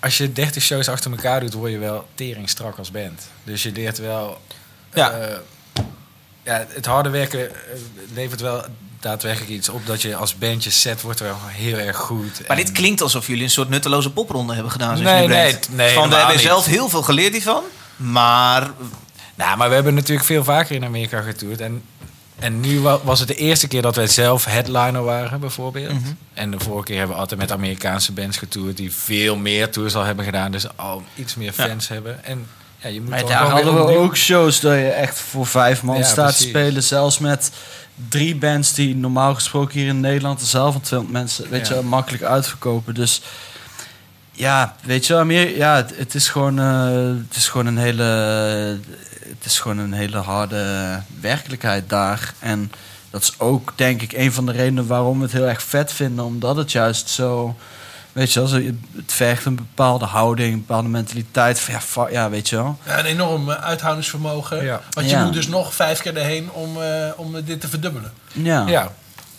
Speaker 4: als je 30 shows achter elkaar doet, word je wel tering strak als band. Dus je leert wel.
Speaker 1: Ja.
Speaker 4: eh, ja het harde werken eh, levert wel daadwerkelijk iets op dat je als band je set wordt wel heel erg goed.
Speaker 1: Maar
Speaker 4: En-
Speaker 1: dit klinkt alsof jullie een soort nutteloze popronde hebben gedaan. Zoals
Speaker 4: Nee,
Speaker 1: jullie
Speaker 4: nee,
Speaker 1: brengt.
Speaker 4: t- nee,
Speaker 1: Van, we
Speaker 4: helemaal
Speaker 1: hebben
Speaker 4: niet.
Speaker 1: zelf heel veel geleerd hiervan. Maar
Speaker 4: Nou, maar we hebben natuurlijk veel vaker in Amerika getoerd. En, en nu wa- was het de eerste keer dat wij zelf headliner waren, bijvoorbeeld.
Speaker 1: Mhm.
Speaker 4: En de vorige keer hebben we altijd met Amerikaanse bands getoerd... die veel meer tours al hebben gedaan, dus al iets meer fans hebben. En Ja, je moet
Speaker 2: Maar
Speaker 4: dan
Speaker 2: daar
Speaker 4: gewoon
Speaker 2: hadden
Speaker 4: weer
Speaker 2: we
Speaker 4: opnieuw-
Speaker 2: ook shows dat je echt voor vijf man
Speaker 4: Ja,
Speaker 2: staat te
Speaker 4: precies.
Speaker 2: spelen. Zelfs met drie bands die normaal gesproken hier in Nederland zelf van 200 mensen weet
Speaker 4: Ja.
Speaker 2: je, wel, makkelijk uitverkopen. Dus ja, weet je wel, meer, ja, het, het is gewoon, eh, het is gewoon een hele, het is gewoon een hele harde werkelijkheid daar. En dat is ook denk ik een van de redenen waarom we het heel erg vet vinden, omdat het juist zo Weet je wel, zo- het vergt een bepaalde houding, een bepaalde mentaliteit. Van, ja, fa- ja, weet je wel.
Speaker 3: Ja, een enorm eh, uithoudingsvermogen. Want je
Speaker 2: Ja.
Speaker 3: moet dus nog vijf keer erheen om, eh, om eh, dit te verdubbelen.
Speaker 2: Ja.
Speaker 1: Ah.
Speaker 3: Ja.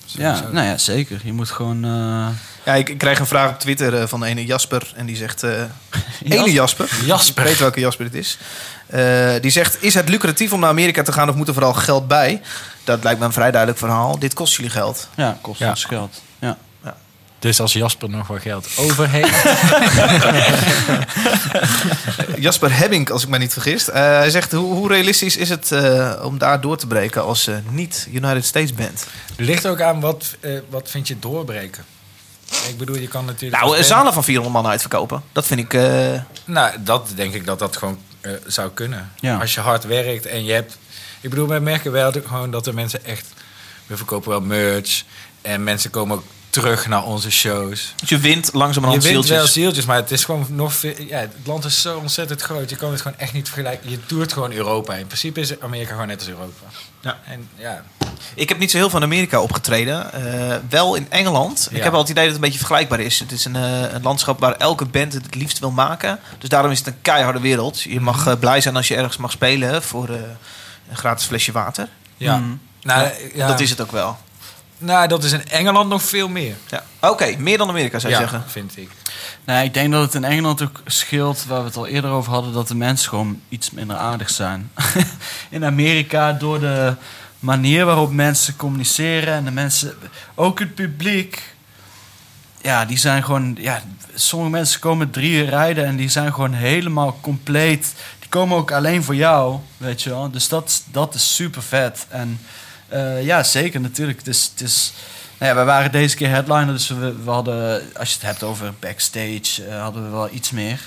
Speaker 2: Ja, nou ja, zeker. Je moet gewoon... eh,
Speaker 1: Ja, ik, ik krijg een vraag op Twitter eh, van de ene Jasper. En die zegt... <laughs> eh ene Jasper.
Speaker 4: Jasper.
Speaker 1: Ik weet welke Jasper het is. Eh, die zegt, is het lucratief om naar Amerika te gaan of moet er vooral geld bij? Dat lijkt me een vrij duidelijk verhaal. Dit kost jullie <laughs> geld.
Speaker 2: Ja, kost
Speaker 4: Ja.
Speaker 2: ons geld. Ja.
Speaker 4: Dus als Jasper nog wat geld over heeft...
Speaker 1: Jasper Hebbink, als ik mij niet vergis. Eh, hij zegt, hoe, hoe realistisch is het eh, om daar door te breken als eh, niet-United States band?
Speaker 4: ligt ook aan wat, eh, wat vind je doorbreken. Ik bedoel, je kan natuurlijk...
Speaker 1: Nou, eh,
Speaker 4: als
Speaker 1: zalen van 400 man uitverkopen. Dat vind ik... eh,
Speaker 4: Nou, dat denk ik dat dat gewoon eh, zou kunnen.
Speaker 1: Ja.
Speaker 4: Als je hard werkt en je hebt... Ik bedoel, wij merken wel dat- gewoon dat de mensen echt... We verkopen wel merch en mensen komen ook terug naar onze shows.
Speaker 1: je wint langzamerhand
Speaker 4: je wint wel
Speaker 1: zieltjes.
Speaker 4: zieltjes, maar het is gewoon nog veel... Ja, het land is zo ontzettend groot. Je kan het gewoon echt niet vergelijken. Je toert gewoon Europa. In principe is Amerika gewoon net als Europa.
Speaker 1: Ja.
Speaker 4: En ja,
Speaker 1: Ik heb niet zo heel veel in Amerika opgetreden. eh, wel in Engeland. Ik
Speaker 4: Ja.
Speaker 1: heb al het idee dat het een beetje vergelijkbaar is. Het is een, eh, een landschap waar elke band het het liefst wil maken. Dus daarom is het een keiharde wereld. Je
Speaker 4: Mhm.
Speaker 1: mag eh, blij zijn als je ergens mag spelen voor eh, een gratis flesje water.
Speaker 4: Ja. Mhm.
Speaker 3: Hmm.
Speaker 4: Nou, ja.
Speaker 1: Dat is het ook wel.
Speaker 4: nou, dat is in Engeland nog veel meer.
Speaker 1: Ja. Oké, meer dan Amerika zou je
Speaker 4: Ja,
Speaker 1: zeggen.
Speaker 4: vind ik.
Speaker 2: Nee, Nou, ik denk dat het in Engeland ook scheelt, waar we het al eerder over hadden, dat de mensen gewoon iets minder aardig zijn. <laughs> in Amerika, door de manier waarop mensen communiceren en de mensen, ook het publiek, ja, die zijn gewoon, ja, sommige mensen komen drie uur rijden en die zijn gewoon helemaal compleet. Die komen ook alleen voor jou, weet je wel. Dus dat, dat is super vet. En eh, ja, zeker natuurlijk. Het is, het is, nou ja, we waren deze keer headliner, dus we, we hadden, als je het hebt over backstage, eh, hadden we wel iets meer.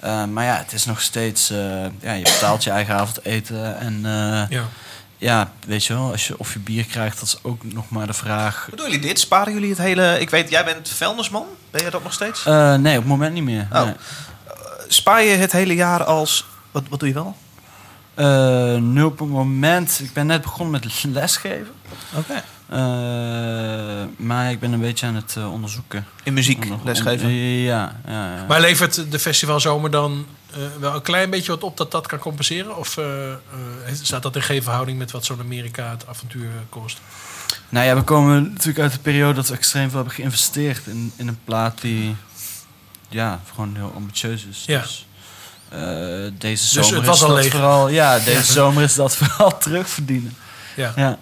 Speaker 2: Eh, maar ja, het is nog steeds, eh, ja, je betaalt je eigen avondeten en eh,
Speaker 3: Ja.
Speaker 2: ja, weet je wel, als je, of je bier krijgt, dat is ook nog maar de vraag.
Speaker 1: Hoe doen jullie dit? Sparen jullie het hele... Ik weet, jij bent vuilnisman. Ben je dat nog steeds?
Speaker 2: Eh, nee, op het moment niet meer.
Speaker 1: Oh.
Speaker 2: nee.
Speaker 4: Eh.
Speaker 1: Spaar je het hele jaar als... Wat, wat doe je wel?
Speaker 2: Eh, nu op het moment, ik ben net begonnen met lesgeven.
Speaker 1: Oké.
Speaker 2: Eh, maar ik ben een beetje aan het eh, onderzoeken.
Speaker 1: In muziek
Speaker 4: Oh,
Speaker 2: Onder-
Speaker 1: lesgeven?
Speaker 2: on- ja, ja, ja.
Speaker 3: Maar levert de festivalzomer dan eh, wel een klein beetje wat op dat dat kan compenseren? Of eh, eh, staat dat in geen verhouding met wat zo'n Amerika het avontuur eh, kost?
Speaker 2: Nou ja, we komen natuurlijk uit de periode dat we extreem veel hebben geïnvesteerd in, in een plaat die ja, gewoon heel ambitieus is.
Speaker 3: Ja.
Speaker 2: Dus, eh, deze
Speaker 3: Dus
Speaker 2: zomer
Speaker 3: het was
Speaker 2: is
Speaker 3: al
Speaker 2: dat
Speaker 3: leeg.
Speaker 2: vooral. Ja, deze
Speaker 3: Ja.
Speaker 2: zomer is dat <laughs> vooral terugverdienen.
Speaker 3: Ja.
Speaker 2: Ja.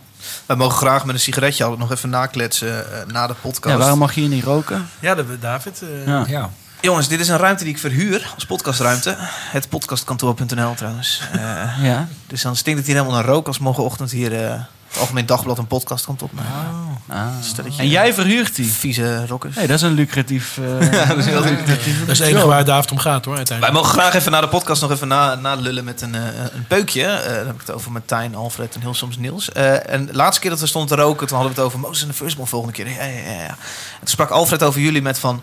Speaker 1: Wij mogen graag met een sigaretje altijd nog even nakletsen eh, na de podcast.
Speaker 2: Ja, waarom mag je hier niet roken?
Speaker 3: Ja, dat- David. eh,
Speaker 2: Ja.
Speaker 1: Jongens, dit is een ruimte die ik verhuur als podcastruimte. Het podcastkantoor.nl
Speaker 2: <laughs>
Speaker 1: trouwens. Eh,
Speaker 2: Ja.
Speaker 1: Dus dan stinkt het hier helemaal naar rook als morgenochtend hier eh, het Algemeen Dagblad een podcast komt op.
Speaker 2: Oh. Ah. En jij verhuurt die?
Speaker 1: Vieze rockers.
Speaker 2: Nee, dat is een lucratief... eh, <laughs>
Speaker 1: Ja, dat is heel lucratief.
Speaker 3: Dat is het enige waar David om gaat hoor
Speaker 1: Wij
Speaker 3: uiteindelijk.
Speaker 1: mogen graag even na de podcast nog even na- nadullen met een, eh, een peukje. Eh, dan heb ik het over Martijn, Alfred en heel soms Niels. Eh, en de laatste keer dat we stonden te roken, toen hadden we het over Moses en de Firstborn volgende keer. Ja, ja, ja, ja. En toen sprak Alfred over jullie met van...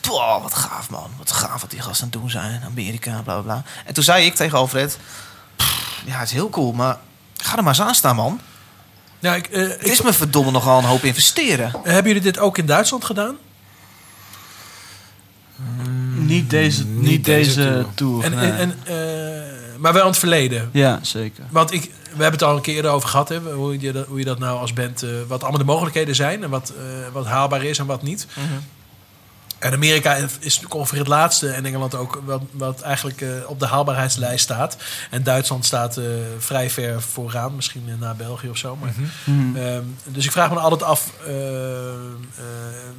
Speaker 1: "Pwah, wat gaaf man, wat gaaf wat die gasten aan het doen zijn. Amerika, bla bla bla. En toen zei ik tegen Alfred... "Pff, Ja, het is heel cool, maar ga er maar eens aan staan man.
Speaker 3: Ja, ik, eh,
Speaker 1: Het is me verdomme nogal een hoop investeren.
Speaker 3: Hebben jullie dit ook in Duitsland gedaan?
Speaker 2: Niet deze, Mhm. niet deze, tour.
Speaker 3: En,
Speaker 2: nee.
Speaker 3: en, en, eh, maar wel in het verleden.
Speaker 2: ja, zeker.
Speaker 3: Want ik, we hebben het al een keer eerder over gehad. Hè, hoe, je dat, hoe je dat nou als band... eh, wat allemaal de mogelijkheden zijn. En wat, eh, wat haalbaar is en wat niet. En Amerika is natuurlijk ongeveer het laatste. En Engeland ook wat, wat eigenlijk eh, op de haalbaarheidslijst staat. En Duitsland staat eh, vrij ver vooraan. Misschien eh, na België of zo. Maar,
Speaker 2: Mhm.
Speaker 3: ehm, dus ik vraag me altijd af... eh, eh,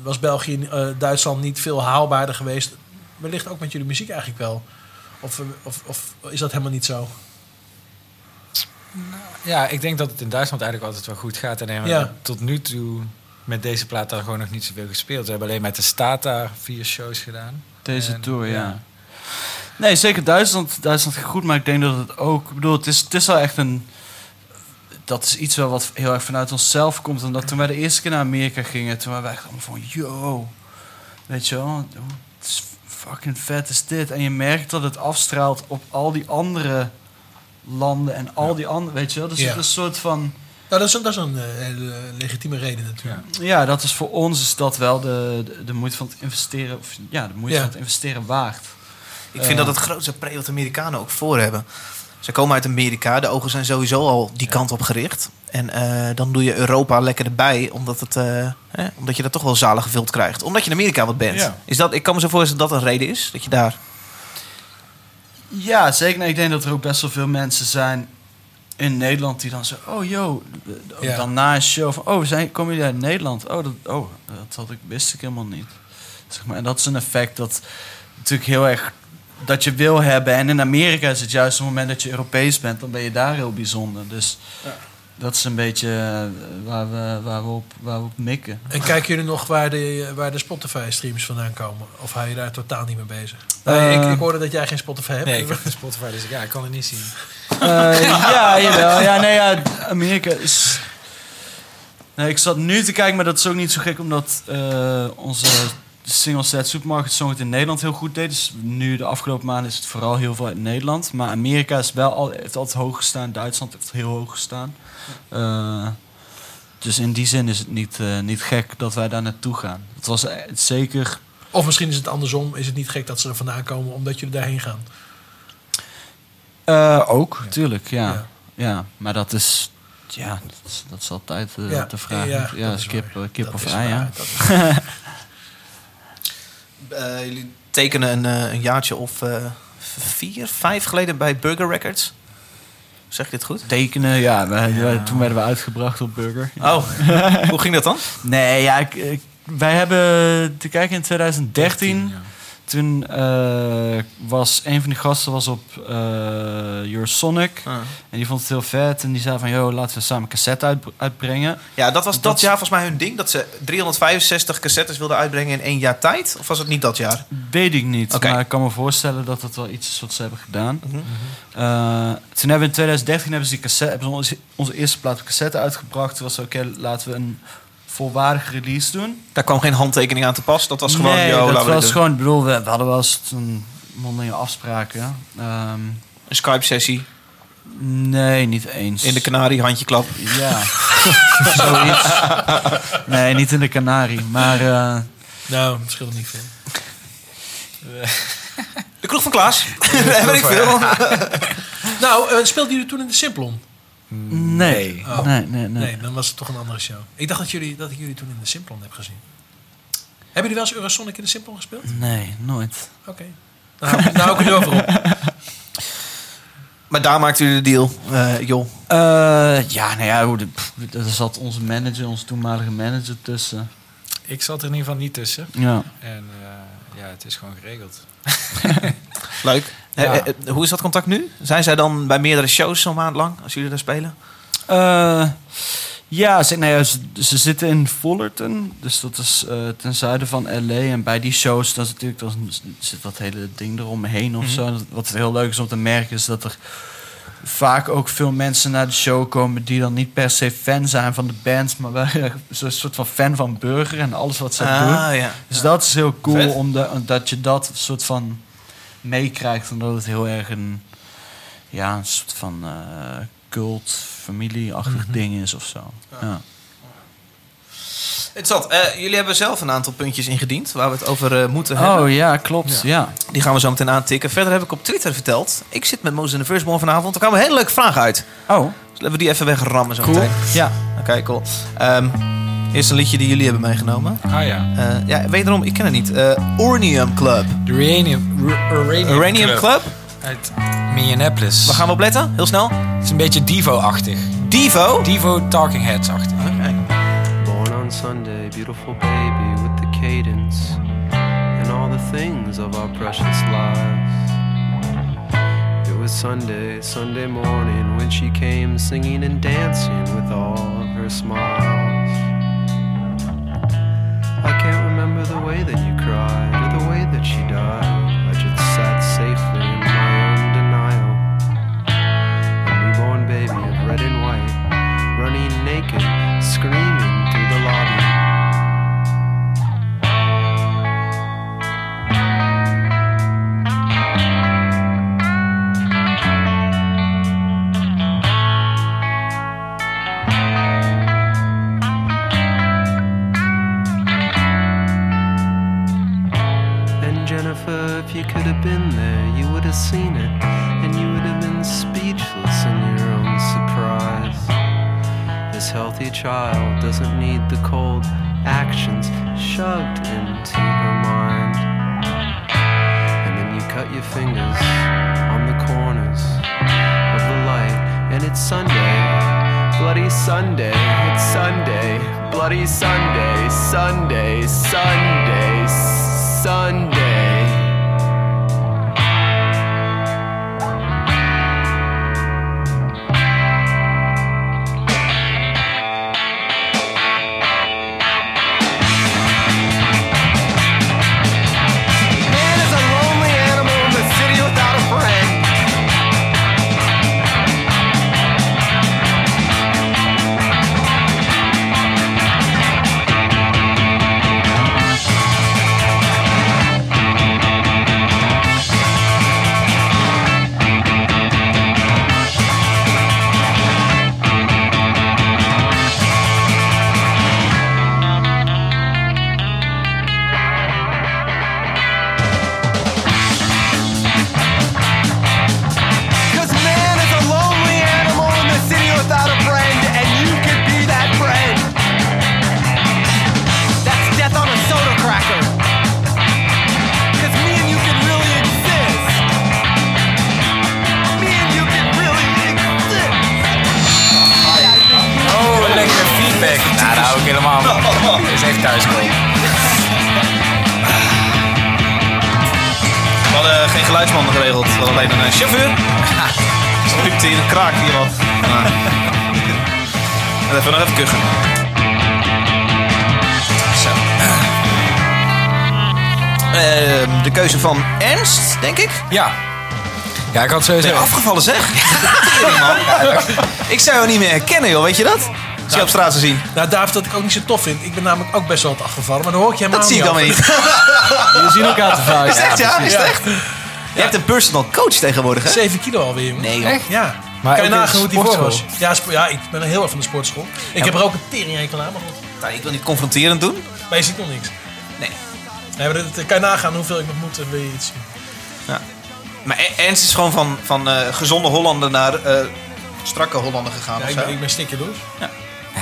Speaker 3: was België, eh, Duitsland niet veel haalbaarder geweest? Wellicht ook met jullie muziek eigenlijk wel. Of, eh, of, of is dat helemaal niet zo?
Speaker 4: Ja, ik denk dat het in Duitsland eigenlijk altijd wel goed gaat. En hebben
Speaker 3: Ja.
Speaker 4: tot nu toe met deze plaat daar gewoon nog niet zoveel gespeeld. Ze hebben alleen met de staat daar vier shows gedaan.
Speaker 2: Deze
Speaker 4: En,
Speaker 2: tour, ja.
Speaker 4: ja.
Speaker 2: Nee, zeker Duitsland. Duitsland gaat goed, maar ik denk dat het ook... Ik bedoel, het is, het is wel echt een... Dat is iets wel wat heel erg vanuit onszelf komt. Omdat toen wij de eerste keer naar Amerika gingen... Toen waren wij echt allemaal van... Yo, weet je wel... hoe is fucking vet is dit? En je merkt dat het afstraalt op al die andere landen. En al die andere... Weet je wel? Dus
Speaker 3: Ja.
Speaker 2: het is een soort van...
Speaker 3: Nou, dat is, dat is een eh, hele legitieme reden natuurlijk.
Speaker 2: Ja, dat is voor ons is dat wel de, de, de moeite van het investeren. Of, ja, de moeite
Speaker 1: Ja.
Speaker 2: van het investeren waard.
Speaker 1: Ik vind dat het grootste pre wat Amerikanen ook voor hebben. Ze komen uit Amerika, de ogen zijn sowieso al die kant op gericht. En eh, dan doe je Europa lekker erbij, omdat, het, eh, hè, omdat je dat toch wel zalig gevuld krijgt. Omdat je in Amerika wat bent.
Speaker 2: Ja.
Speaker 1: Is dat, ik kan me zo voorstellen dat dat een reden is, dat je daar...
Speaker 2: Ja, zeker. Nee, ik denk dat er ook best wel veel mensen zijn in Nederland die dan zo... Oh, yo. ook
Speaker 3: Ja.
Speaker 2: Dan na een show van... Oh, zijn, komen jullie uit Nederland? Oh, dat, oh, dat had ik, wist ik helemaal niet. Zeg maar. En dat is een effect dat natuurlijk heel erg... Dat je wil hebben. En in Amerika is het juist op het moment dat je Europees bent... dan ben je daar heel bijzonder. Dus dat is een beetje eh, waar we, waar we, op, waar we op mikken.
Speaker 3: En kijken jullie nog waar de, waar de Spotify-streams vandaan komen? Of hou je daar totaal niet mee bezig?
Speaker 2: Eh,
Speaker 3: Nee, ik, ik hoorde dat jij geen Spotify hebt.
Speaker 4: Nee, ik heb geen Spotify, dus ik, ja, ik kan het niet zien.
Speaker 2: Eh, ja, jawel. Ja, nee, ja, Amerika is... Nee, ik zat nu te kijken, maar dat is ook niet zo gek... omdat eh, onze single set Supermarket Song het in Nederland heel goed deed. Dus nu, de afgelopen maanden, is het vooral heel veel uit Nederland. Maar Amerika is wel al, heeft altijd hoog gestaan. Duitsland heeft heel hoog gestaan. Eh, dus in die zin is het niet, eh, niet gek dat wij daar naartoe gaan. Het was eh, zeker...
Speaker 3: Of misschien is het andersom. Is het niet gek dat ze er vandaan komen omdat jullie daarheen gaan?
Speaker 2: eh, ook, tuurlijk, ja. ja. maar dat is... Ja, dat is, dat is altijd eh,
Speaker 3: Ja,
Speaker 2: te vragen.
Speaker 3: ja,
Speaker 2: Ja,
Speaker 3: dat is
Speaker 2: kip,
Speaker 3: waar.
Speaker 2: kip
Speaker 3: Dat
Speaker 2: of
Speaker 3: is
Speaker 2: ei,
Speaker 3: waar,
Speaker 2: ja.
Speaker 3: dat
Speaker 1: eh, jullie tekenen een, eh, een jaartje of eh, vier, vijf geleden bij Burger Records. Zeg ik dit goed?
Speaker 2: Tekenen, ja. wij- wij- toen werden we uitgebracht op Burger.
Speaker 1: <laughs> Oh, hoe ging dat dan?
Speaker 2: Nee, ja, ik, ik- wij hebben te kijken in 2013. Toen eh, was een van die gasten was op eh Your Sonic.
Speaker 3: Ah.
Speaker 2: En die vond het heel vet. En die zei van, joh, laten we samen een cassette uit, uitbrengen.
Speaker 1: Ja, dat was dat, jaar volgens mij hun ding. Dat ze 365 cassettes wilden uitbrengen in één jaar tijd. Of was het niet dat jaar?
Speaker 2: Weet ik niet,
Speaker 1: Oké. Mhm.
Speaker 2: maar ik kan me voorstellen dat dat wel iets is wat ze hebben gedaan. Eh, toen hebben we in 2013 hebben ze die cassette, hebben ze onze, onze eerste plaat op cassette uitgebracht. Toen was het oké, laten we een volwaardige release doen.
Speaker 1: Daar kwam geen handtekening aan te pas. Dat was gewoon,
Speaker 2: nee, dat
Speaker 1: yo, laten we dit
Speaker 2: was
Speaker 1: doen.
Speaker 2: gewoon, ik bedoel, we, we hadden wel eens een mondelinge afspraken. Ehm,
Speaker 1: Een Skype-sessie.
Speaker 2: nee, niet eens.
Speaker 1: In de Canarie, handjeklap.
Speaker 2: Ja, <laughs> zoiets. Nee, niet in de Canarie, maar... eh,
Speaker 3: Nou, het scheelt niet veel.
Speaker 1: De kroeg van Klaas. <laughs> Daar ben ik veel.
Speaker 3: nou, eh, speelden jullie toen in de Simplon?
Speaker 2: nee.
Speaker 3: Oh.
Speaker 2: nee, nee, nee.
Speaker 3: dan was het toch een andere show. Ik dacht dat, jullie, dat ik jullie toen in de Simplon heb gezien. Hebben jullie wel eens Eurosonic in de Simplon gespeeld?
Speaker 2: Nee, nooit.
Speaker 3: Oké. Dan hou ik- dan hou ik het over op.
Speaker 1: <laughs> Maar daar maakten jullie de deal. Eh, joh.
Speaker 2: Eh, ja, nou ja, hoe de- pff, er zat onze manager, onze toenmalige manager tussen.
Speaker 4: Ik zat er in ieder geval niet tussen.
Speaker 2: Ja.
Speaker 4: En eh, ja, het is gewoon geregeld.
Speaker 1: Leuk. Eh,
Speaker 4: Ja.
Speaker 1: eh, eh, hoe is dat contact nu? Zijn zij dan bij meerdere shows zo'n maand lang? Als jullie daar spelen?
Speaker 2: Eh, ja, ze, nou ja ze, ze zitten in Fullerton, dus dat is eh, ten zuiden van LA. En bij die shows dat is natuurlijk, dat is- zit dat hele ding eromheen of
Speaker 1: Mhm.
Speaker 2: zo. En dat- Wat heel leuk is om te merken is dat er vaak ook veel mensen naar de show komen die dan niet per se fan zijn van de band, maar wel <laughs> eh, zo'n soort van fan van Burger en alles wat ze
Speaker 1: Ah,
Speaker 2: doen.
Speaker 1: ja.
Speaker 2: Dus dat is heel cool,
Speaker 1: Vet.
Speaker 2: omdat, omdat je dat soort van meekrijgt. Omdat het heel erg een, ja, een soort van eh, cult, familieachtig ding is of zo. Ja.
Speaker 1: Het zat. Eh, jullie hebben zelf een aantal puntjes ingediend waar we het over eh, moeten hebben.
Speaker 2: Oh ja, klopt. Ja.
Speaker 1: Die gaan we zo meteen aantikken. Verder heb ik op Twitter verteld. Ik zit met Moses in the Firstborn vanavond. Er kwam een hele leuke vraag uit.
Speaker 2: Oh. Dus
Speaker 1: laten we die even wegrammen zo meteen.
Speaker 2: Ja.
Speaker 1: Oké, cool. Ehm, eerst een liedje die jullie hebben meegenomen.
Speaker 4: Ah ja.
Speaker 1: Eh, ja, wederom, ik ken het niet. Eh Ornium Club.
Speaker 4: De Uranium, Uranium,
Speaker 1: Uranium Club.
Speaker 4: Uit Minneapolis.
Speaker 1: Waar gaan we op letten? Heel snel.
Speaker 4: Het is een beetje Divo-achtig.
Speaker 1: Divo?
Speaker 4: Divo Talking Heads-achtig.
Speaker 13: Born on Sunday, beautiful baby with the cadence and all the things of our precious lives. It was Sunday, Sunday morning when she came singing and dancing with all of her smiles. I can't remember the way that you cried or the way that she died. I just sat safely healthy child doesn't need the cold actions shoved into her mind. And then you cut your fingers on the corners of the light, and it's Sunday. Bloody Sunday, it's Sunday, bloody Sunday, Sunday, Sunday, Sunday.
Speaker 7: Man is a lonely animal in the city without a friend. Cause man is a lonely animal in the city without a friend, and you could be that friend. That's death on a soda cracker. Cause me and you could really exist. Me and you could really exist.
Speaker 4: Oh, lekkere feedback. Nou, daar hou ik helemaal
Speaker 7: <laughs>
Speaker 4: van. Dit is even thuiskomen.
Speaker 1: We hadden geen geluidsman geregeld. We hadden alleen een eh, chauffeur. Zo ruikt hier een kraak hier wat. Nou. En Even nog even kuchen. Zo. Ehm, de keuze van Ernst, denk ik?
Speaker 4: Ja. Ja, ik had sowieso...
Speaker 1: Ben je afgevallen, zeg? <laughs> Tering, man. Ik zou jou niet meer herkennen, joh. Weet je dat? Als je op straat zou zien.
Speaker 3: Nou, David, dat ik ook niet zo tof vind. Ik ben namelijk ook best wel wat afgevallen, maar dan hoor ik je helemaal
Speaker 1: Dat zie ik dan weer
Speaker 3: over.
Speaker 1: Nou, niet. <laughs>
Speaker 3: Jullie zien elkaar te vaak.
Speaker 1: Is het echt, <laughs> ja? Is het
Speaker 3: Ja.
Speaker 1: echt? Je hebt een personal coach tegenwoordig, hè?
Speaker 3: 7 kilo alweer, jongen.
Speaker 1: Nee, joh.
Speaker 3: Echt? Ja.
Speaker 1: Maar
Speaker 3: kan je
Speaker 1: ook in
Speaker 3: nagaan hoe die voor
Speaker 1: sportschool.
Speaker 3: was? Ja, spo- ja, ik ben heel erg van de sportschool. Ik
Speaker 1: Ja,
Speaker 3: heb
Speaker 1: maar-
Speaker 3: er ook een teringhekel aan, maar goed.
Speaker 1: Nou, ik wil niet confronterend doen.
Speaker 3: Maar je ziet nog niks.
Speaker 1: Nee. Oh,
Speaker 3: Nee, maar dat, dat kan je nagaan hoeveel ik nog moet en wil je iets zien.
Speaker 1: Ja. Maar Er- Ernst is gewoon van, van eh, gezonde Hollander naar eh, strakke Hollander gegaan.
Speaker 3: Ja,
Speaker 1: of
Speaker 3: ik,
Speaker 1: zo.
Speaker 3: ben- ik ben snikkerdoos.
Speaker 4: Ja,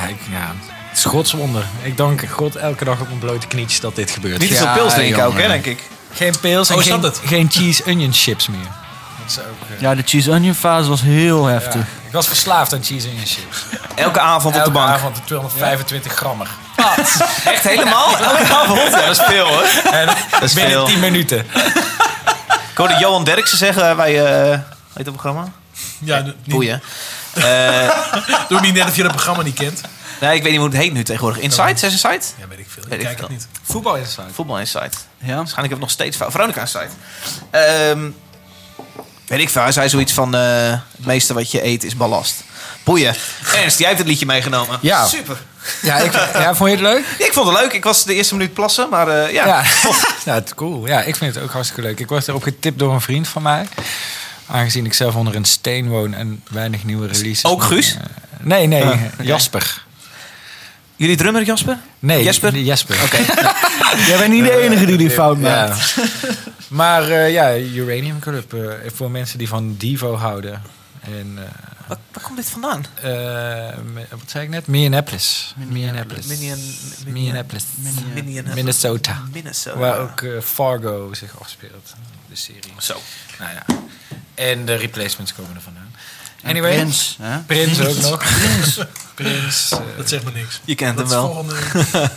Speaker 4: ik, ja. Het is godswonder. Ik dank God elke dag op mijn blote knietjes dat dit gebeurt.
Speaker 1: Niet te veel
Speaker 4: Ja,
Speaker 1: pils drinken ook, hè,
Speaker 4: jongen.
Speaker 1: denk ik.
Speaker 4: Geen pils en
Speaker 1: Oh, is
Speaker 4: geen,
Speaker 1: dat
Speaker 4: geen cheese onion chips meer. Dat is ook... eh,
Speaker 2: Ja, de cheese onion fase was heel heftig.
Speaker 4: Ik was verslaafd aan cheese onion chips.
Speaker 1: Elke avond
Speaker 4: op de bank. Elke avond 225 grammer.
Speaker 1: Echt helemaal? Elke avond? Ja, dat is veel, hoor.
Speaker 4: En
Speaker 1: <laughs> Dat is
Speaker 4: binnen
Speaker 1: veel.
Speaker 4: 10 minuten.
Speaker 1: Ik hoorde Johan Derksen zeggen bij... eh heet dat programma?
Speaker 3: Ja, doe- niet-
Speaker 1: Boeien.
Speaker 3: Doe niet net of je dat programma niet
Speaker 1: <laughs>
Speaker 3: kent.
Speaker 1: nee, ik weet niet hoe het heet nu tegenwoordig. Insight? Zes Insight?
Speaker 3: Ja, weet ik veel.
Speaker 1: Weet ik
Speaker 3: kijk
Speaker 1: veel.
Speaker 3: het niet.
Speaker 4: Voetbal Insight.
Speaker 1: Voetbal Insight. Ja. Waarschijnlijk heb ik nog steeds fout. Veronica Insight. Ehm weet ik veel. Hij zei zoiets van... eh, het meeste wat je eet is ballast. Boeien. Ernst, jij hebt het liedje meegenomen.
Speaker 4: Ja.
Speaker 1: Super.
Speaker 4: Ja, ik, ja, vond je het leuk?
Speaker 1: Ja, ik vond het leuk. Ik was de eerste minuut plassen, maar eh, ja.
Speaker 4: Ja, <laughs> ja het, cool. Ja, ik vind het ook hartstikke leuk. Ik was erop getipt door een vriend van mij. Aangezien ik zelf onder een steen woon en weinig nieuwe releases. eh,
Speaker 1: Ook Guus?
Speaker 4: Nee, nee.
Speaker 1: Ah, oké.
Speaker 4: Jasper.
Speaker 1: Jullie drummer Jasper?
Speaker 4: Nee,
Speaker 1: Jesper?
Speaker 4: Jasper.
Speaker 2: Jij bent niet de enige die die fout
Speaker 4: Ja.
Speaker 2: maakt.
Speaker 4: Maar eh, ja, Uranium Club. eh, voor mensen die van Divo houden. En, eh,
Speaker 1: Waar komt dit vandaan?
Speaker 4: eh, me- wat zei ik net? Minneapolis. Minneapolis.
Speaker 1: Minneapolis.
Speaker 4: Minneapolis.
Speaker 1: Minneapolis.
Speaker 4: Minnesota.
Speaker 1: Minnesota.
Speaker 4: Waar ook eh, Fargo zich afspeelt. De serie.
Speaker 1: Zo.
Speaker 4: Nou ja. En de replacements komen er vandaan.
Speaker 2: En
Speaker 4: Anyway.
Speaker 2: Prins, hè?
Speaker 4: Prins ook nog.
Speaker 3: <laughs>
Speaker 2: Prins.
Speaker 4: Prins. eh,
Speaker 3: Dat zegt me niks.
Speaker 1: Je kent
Speaker 3: Dat
Speaker 1: hem wel.
Speaker 3: is volgende-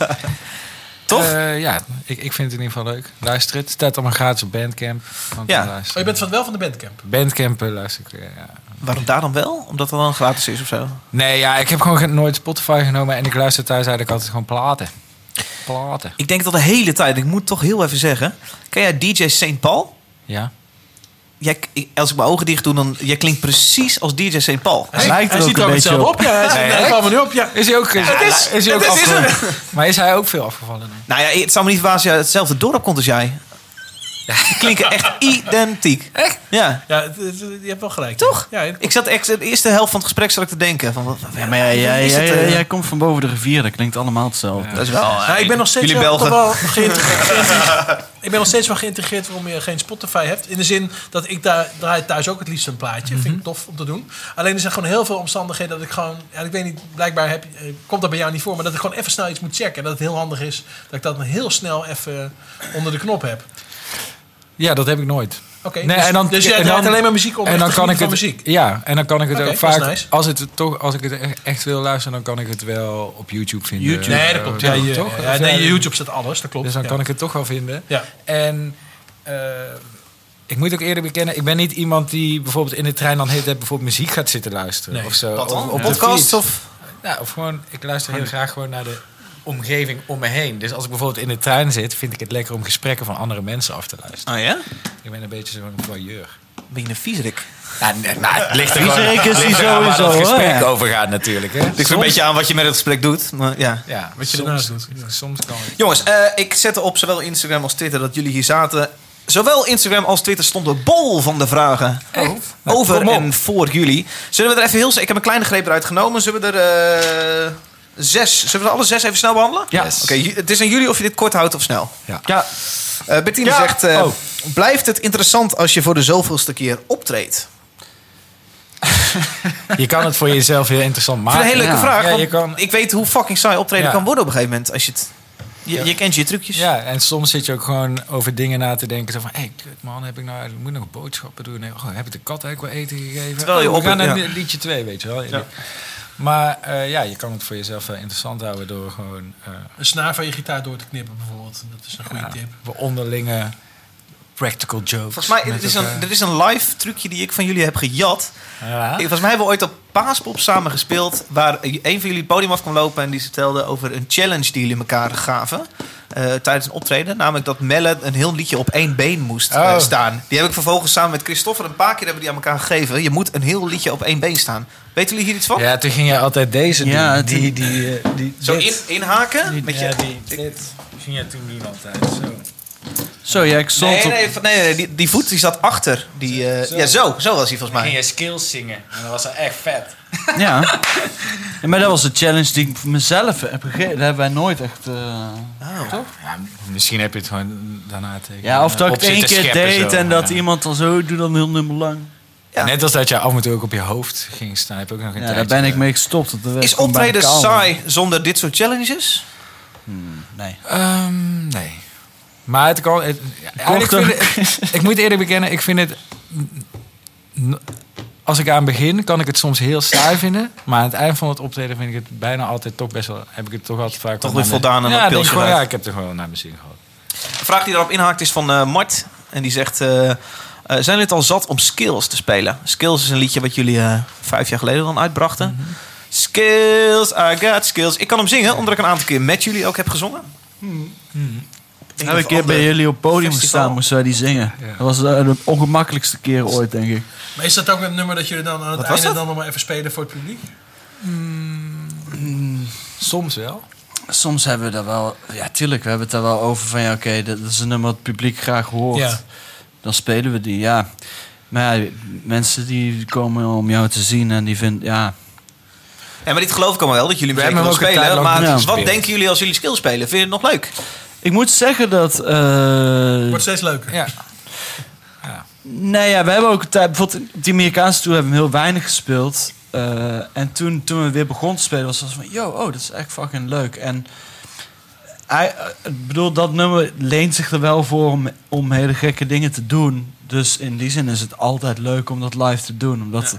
Speaker 1: Tof?
Speaker 4: eh, ja, ik, ik vind het in ieder geval leuk. Luister het. Het staat allemaal gratis op Bandcamp. Want
Speaker 1: Ja.
Speaker 4: dan luister
Speaker 3: Oh, je bent van, wel van de bandcamp.
Speaker 4: Bandcamp eh, luister ik weer, ja.
Speaker 1: Waarom daar dan wel? Omdat het dan gratis is of zo?
Speaker 4: Nee, ja, ik heb gewoon geen- nooit Spotify genomen en ik luister thuis eigenlijk altijd gewoon platen. Platen.
Speaker 1: Ik denk dat de hele tijd, ik moet het toch heel even zeggen. Ken jij DJ St. Paul?
Speaker 4: Ja.
Speaker 1: Jij, ik- als ik mijn ogen dicht doe, dan jij klinkt precies als DJ St. <laughs> Paul.
Speaker 2: Hij lijkt er ook
Speaker 3: ziet
Speaker 2: een
Speaker 3: ook
Speaker 2: beetje
Speaker 3: hetzelfde
Speaker 2: op.
Speaker 3: op. Ja, hij
Speaker 1: Nee,
Speaker 3: zegt, nee,
Speaker 1: hè?
Speaker 3: ik kwam er nu op. Ja.
Speaker 4: Is hij ook, is,
Speaker 1: dat is-
Speaker 4: is hij ook
Speaker 1: dat is
Speaker 4: <laughs> afgevallen? maar is hij ook veel afgevallen? dan?
Speaker 1: Nou ja, het zou me niet verbazen als jij uit hetzelfde dorp komt als jij. Die klinken echt <laughs> identiek. Echt? Ja.
Speaker 3: Ja, het- het- je hebt wel gelijk.
Speaker 1: Toch?
Speaker 3: Ja, het-
Speaker 1: Ik zat echt de eerste helft van het gesprek zat ik te denken. Van, wat,
Speaker 2: Ja, maar jij, jij,
Speaker 1: is het,
Speaker 2: jij,
Speaker 1: eh,
Speaker 2: jij komt van boven de rivier, dat klinkt allemaal hetzelfde.
Speaker 1: dat is wel, eh,
Speaker 3: Nou, ik ben nog steeds
Speaker 1: jullie
Speaker 3: wel,
Speaker 1: Belgen.
Speaker 3: toch wel
Speaker 4: <laughs>
Speaker 3: geïnteresseerd. ik ben nog steeds wel geïntegreerd waarom je geen Spotify hebt. In de zin dat ik daar draai thuis ook het liefst een plaatje.
Speaker 4: Mhm.
Speaker 3: Vind ik tof om te doen. Alleen er zijn gewoon heel veel omstandigheden dat ik gewoon. Ja, ik weet niet, blijkbaar heb, je- eh, komt dat bij jou niet voor. Maar dat ik gewoon even snel iets moet checken. En dat het heel handig is dat ik dat heel snel even onder de knop heb.
Speaker 4: Ja, dat heb ik nooit.
Speaker 3: Oké, dus- dus jij draait alleen maar muziek om
Speaker 4: En
Speaker 3: echt
Speaker 4: dan
Speaker 3: te
Speaker 4: kan ik het,
Speaker 3: genieten van muziek?
Speaker 4: Ja, en dan kan ik het
Speaker 3: Oké,
Speaker 4: ook
Speaker 3: dat is
Speaker 4: vaak.
Speaker 3: nice.
Speaker 4: Als, het toch, als ik het echt, echt wil luisteren, dan kan ik het wel op YouTube vinden.
Speaker 3: YouTube. Nee, dat klopt. Ja,
Speaker 4: Eh,
Speaker 3: je-
Speaker 4: toch?
Speaker 3: ja,
Speaker 4: Of
Speaker 3: nee,
Speaker 4: ja,
Speaker 3: YouTube zet alles, dat klopt.
Speaker 4: Dus dan
Speaker 3: Ja.
Speaker 4: kan ik het toch wel vinden.
Speaker 3: Ja.
Speaker 4: En eh, ik moet ook eerlijk bekennen, ik ben niet iemand die bijvoorbeeld in de trein dan heet bijvoorbeeld muziek gaat zitten luisteren
Speaker 3: Nee.
Speaker 4: of zo.
Speaker 3: Wat dan?
Speaker 4: Of
Speaker 3: Op
Speaker 4: de
Speaker 3: podcasts
Speaker 4: fiets.
Speaker 3: of-
Speaker 4: Ja, Nou, of gewoon, ik luister heel graag gewoon naar de omgeving om me heen. Dus als ik bijvoorbeeld in de trein zit, vind ik het lekker om gesprekken van andere mensen af te luisteren.
Speaker 1: Oh ja?
Speaker 4: Ik ben een beetje zo'n voyeur.
Speaker 1: Ben je een viezerik?
Speaker 4: Ja, nee, nou, het ligt er gewoon
Speaker 1: Viezerik is
Speaker 4: het ligt
Speaker 1: hij
Speaker 4: eraan waar
Speaker 1: sowieso,
Speaker 4: het
Speaker 1: hoor,
Speaker 4: gesprek
Speaker 1: ja.
Speaker 4: over gaat natuurlijk. Hè.
Speaker 1: Het ligt een beetje aan wat je met het gesprek doet. Maar ja.
Speaker 4: Ja,
Speaker 3: wat je
Speaker 4: soms-
Speaker 3: daarnaast doet.
Speaker 4: Soms kan het.
Speaker 1: Jongens, eh, ik zette op zowel Instagram als Twitter dat jullie hier zaten. Zowel Instagram als Twitter stonden bol van de vragen. Eh,
Speaker 4: Nou,
Speaker 1: Over
Speaker 4: kom op.
Speaker 1: en voor jullie. Zullen we er even heel... s- Ik heb een kleine greep eruit genomen. Zullen we er eh, zes... Zullen we er alle zes even snel behandelen?
Speaker 4: Ja.
Speaker 1: Oké, ju- het is aan jullie of je dit kort houdt of snel.
Speaker 4: Ja.
Speaker 1: Eh, Bettine
Speaker 4: Ja.
Speaker 1: zegt... eh,
Speaker 4: Oh.
Speaker 1: Blijft het interessant als je voor de zoveelste keer optreedt?
Speaker 4: Je kan het voor jezelf heel interessant
Speaker 1: Maar,
Speaker 4: maken.
Speaker 1: ik vind het een hele leuke
Speaker 4: Ja.
Speaker 1: vraag.
Speaker 4: Ja,
Speaker 1: want
Speaker 4: je kan,
Speaker 1: Ik weet hoe fucking saai optreden
Speaker 4: Ja.
Speaker 1: kan worden op een gegeven moment. Als je, het, je,
Speaker 4: Ja.
Speaker 1: je kent je trucjes.
Speaker 4: ja, en soms zit je ook gewoon over dingen na te denken. Zo van, hé, hey, kut, man, heb ik nou, ik moet nog boodschappen doen. Nee, oh, heb ik de kat eigenlijk wel eten gegeven?
Speaker 1: Terwijl je
Speaker 4: Oh,
Speaker 1: op-
Speaker 4: we gaan naar
Speaker 1: ja.
Speaker 4: li- liedje 2, weet je wel. Maar eh, ja, je kan het voor jezelf wel interessant houden door gewoon eh,
Speaker 3: Een snaar van je gitaar door te knippen bijvoorbeeld. Dat is een goede
Speaker 4: ja,
Speaker 3: tip.
Speaker 4: we onderlinge practical jokes.
Speaker 1: Volgens mij,
Speaker 4: met
Speaker 1: dit is, een,
Speaker 4: elkaar.
Speaker 1: dit is een live trucje die ik van jullie heb gejat.
Speaker 4: Ja.
Speaker 1: Ik, volgens mij hebben we ooit op Paaspop samen gespeeld... waar een van jullie het podium af kwam lopen... en die vertelde over een challenge die jullie elkaar gaven... eh, tijdens een optreden. Namelijk dat Melle een heel liedje op één been moest eh,
Speaker 4: Oh.
Speaker 1: staan. Die heb ik vervolgens samen met Christoffer een paar keer hebben we die aan elkaar gegeven. Je moet een heel liedje op één been staan. Weten jullie hier iets van?
Speaker 4: Ja, toen ging jij altijd deze doen.
Speaker 2: Ja, toen-
Speaker 4: die, die, eh, die,
Speaker 1: Zo
Speaker 4: dit.
Speaker 1: in, inhaken?
Speaker 4: Die-
Speaker 1: met je,
Speaker 4: ja, die, dit. Ging jij toen doen altijd, zo.
Speaker 2: Zo, ja, ik stond
Speaker 1: Nee,
Speaker 2: op...
Speaker 1: nee, van- nee, nee, die, die voet die zat achter. Die, eh, Ja, zo, zo was hij
Speaker 2: Ah.
Speaker 1: volgens
Speaker 4: Ging
Speaker 1: mij.
Speaker 4: je skills zingen. En dat was wel echt vet.
Speaker 2: Ja. Ja, maar dat was de challenge die ik voor mezelf heb gegeven. Dat hebben wij nooit echt... eh,
Speaker 1: Oh.
Speaker 2: Toch?
Speaker 4: Ja, misschien heb je het gewoon daarna tegen. eh,
Speaker 2: Ja, of dat
Speaker 4: op
Speaker 2: ik het één
Speaker 4: zitten
Speaker 2: keer
Speaker 4: scheppen
Speaker 2: deed
Speaker 4: zo,
Speaker 2: en dat
Speaker 4: ja.
Speaker 2: iemand dan zo doet dan heel nummer lang.
Speaker 4: Net als dat jij af en toe ook op je hoofd ging staan. Heb je ook nog een
Speaker 2: Ja, daar ben ik mee gestopt. want dat werd
Speaker 1: Is
Speaker 2: gewoon bijna
Speaker 1: optreden
Speaker 2: kaal.
Speaker 1: saai zonder dit soort challenges?
Speaker 2: Nee.
Speaker 4: Ehm, nee. Maar het kan. het- ja, eigenlijk
Speaker 2: Korter.
Speaker 4: vind ik, ik moet eerlijk bekennen, ik vind het. n- Als ik aan begin, kan ik het soms heel saai vinden. Maar aan het eind van het optreden vind ik het bijna altijd toch best wel. Heb ik het toch altijd vaak.
Speaker 1: Toch weer
Speaker 4: wel naar mijn-
Speaker 1: voldaan en
Speaker 4: ja,
Speaker 1: dat
Speaker 4: ik denk
Speaker 1: pilsje
Speaker 4: gewoon,
Speaker 1: eruit.
Speaker 4: Ja, ik heb er gewoon naar mijn zin gehad.
Speaker 1: Een vraag die erop inhaakt is van eh, Mart. En die zegt... eh, eh, zijn jullie het al zat om Skills te spelen? Skills is een liedje wat jullie eh, vijf jaar geleden dan uitbrachten.
Speaker 2: Mhm.
Speaker 1: Skills, I got skills. Ik kan hem zingen, omdat ik een aantal keer met jullie ook heb gezongen.
Speaker 3: Mhm.
Speaker 1: Een
Speaker 2: Mhm. Elke
Speaker 1: of
Speaker 2: keer bij
Speaker 1: ander
Speaker 2: jullie op het podium
Speaker 1: festival.
Speaker 2: gestaan moesten wij die zingen. Dat was eh, de ongemakkelijkste keer ooit, denk ik.
Speaker 3: Maar is dat ook een nummer dat jullie dan aan het
Speaker 2: Wat was
Speaker 3: einde
Speaker 2: dat?
Speaker 3: dan nog maar even spelen voor het publiek?
Speaker 4: Soms wel.
Speaker 2: Soms hebben we daar wel... Ja, tuurlijk, we hebben het daar wel over van... Ja, oké, dat is een nummer wat het publiek graag hoort.
Speaker 3: Ja.
Speaker 2: Dan spelen we die, ja. Maar ja, mensen die komen om jou te zien en die vinden... Ja,
Speaker 1: Ja, maar dit geloof ik allemaal wel, dat jullie
Speaker 2: We
Speaker 1: hem zeker
Speaker 2: hebben
Speaker 1: wel
Speaker 2: hem ook een
Speaker 1: spelen.
Speaker 2: tijd lang
Speaker 1: Maar
Speaker 2: niet
Speaker 1: wat
Speaker 2: gespeeld.
Speaker 1: denken jullie als jullie Skills spelen? Vind je het nog leuk?
Speaker 2: ik moet zeggen dat... eh,
Speaker 3: Wordt steeds leuker.
Speaker 4: Ja.
Speaker 2: Nee, ja, we hebben ook een tijd. Bijvoorbeeld op die Amerikaanse tour hebben we heel weinig gespeeld. Eh, en toen, toen we weer begonnen te spelen, was het van: yo, oh, dat is echt fucking leuk. En hij, eh, ik bedoel, dat nummer leent zich er wel voor om, om hele gekke dingen te doen. Dus in die zin is het altijd leuk om dat live te doen. Omdat,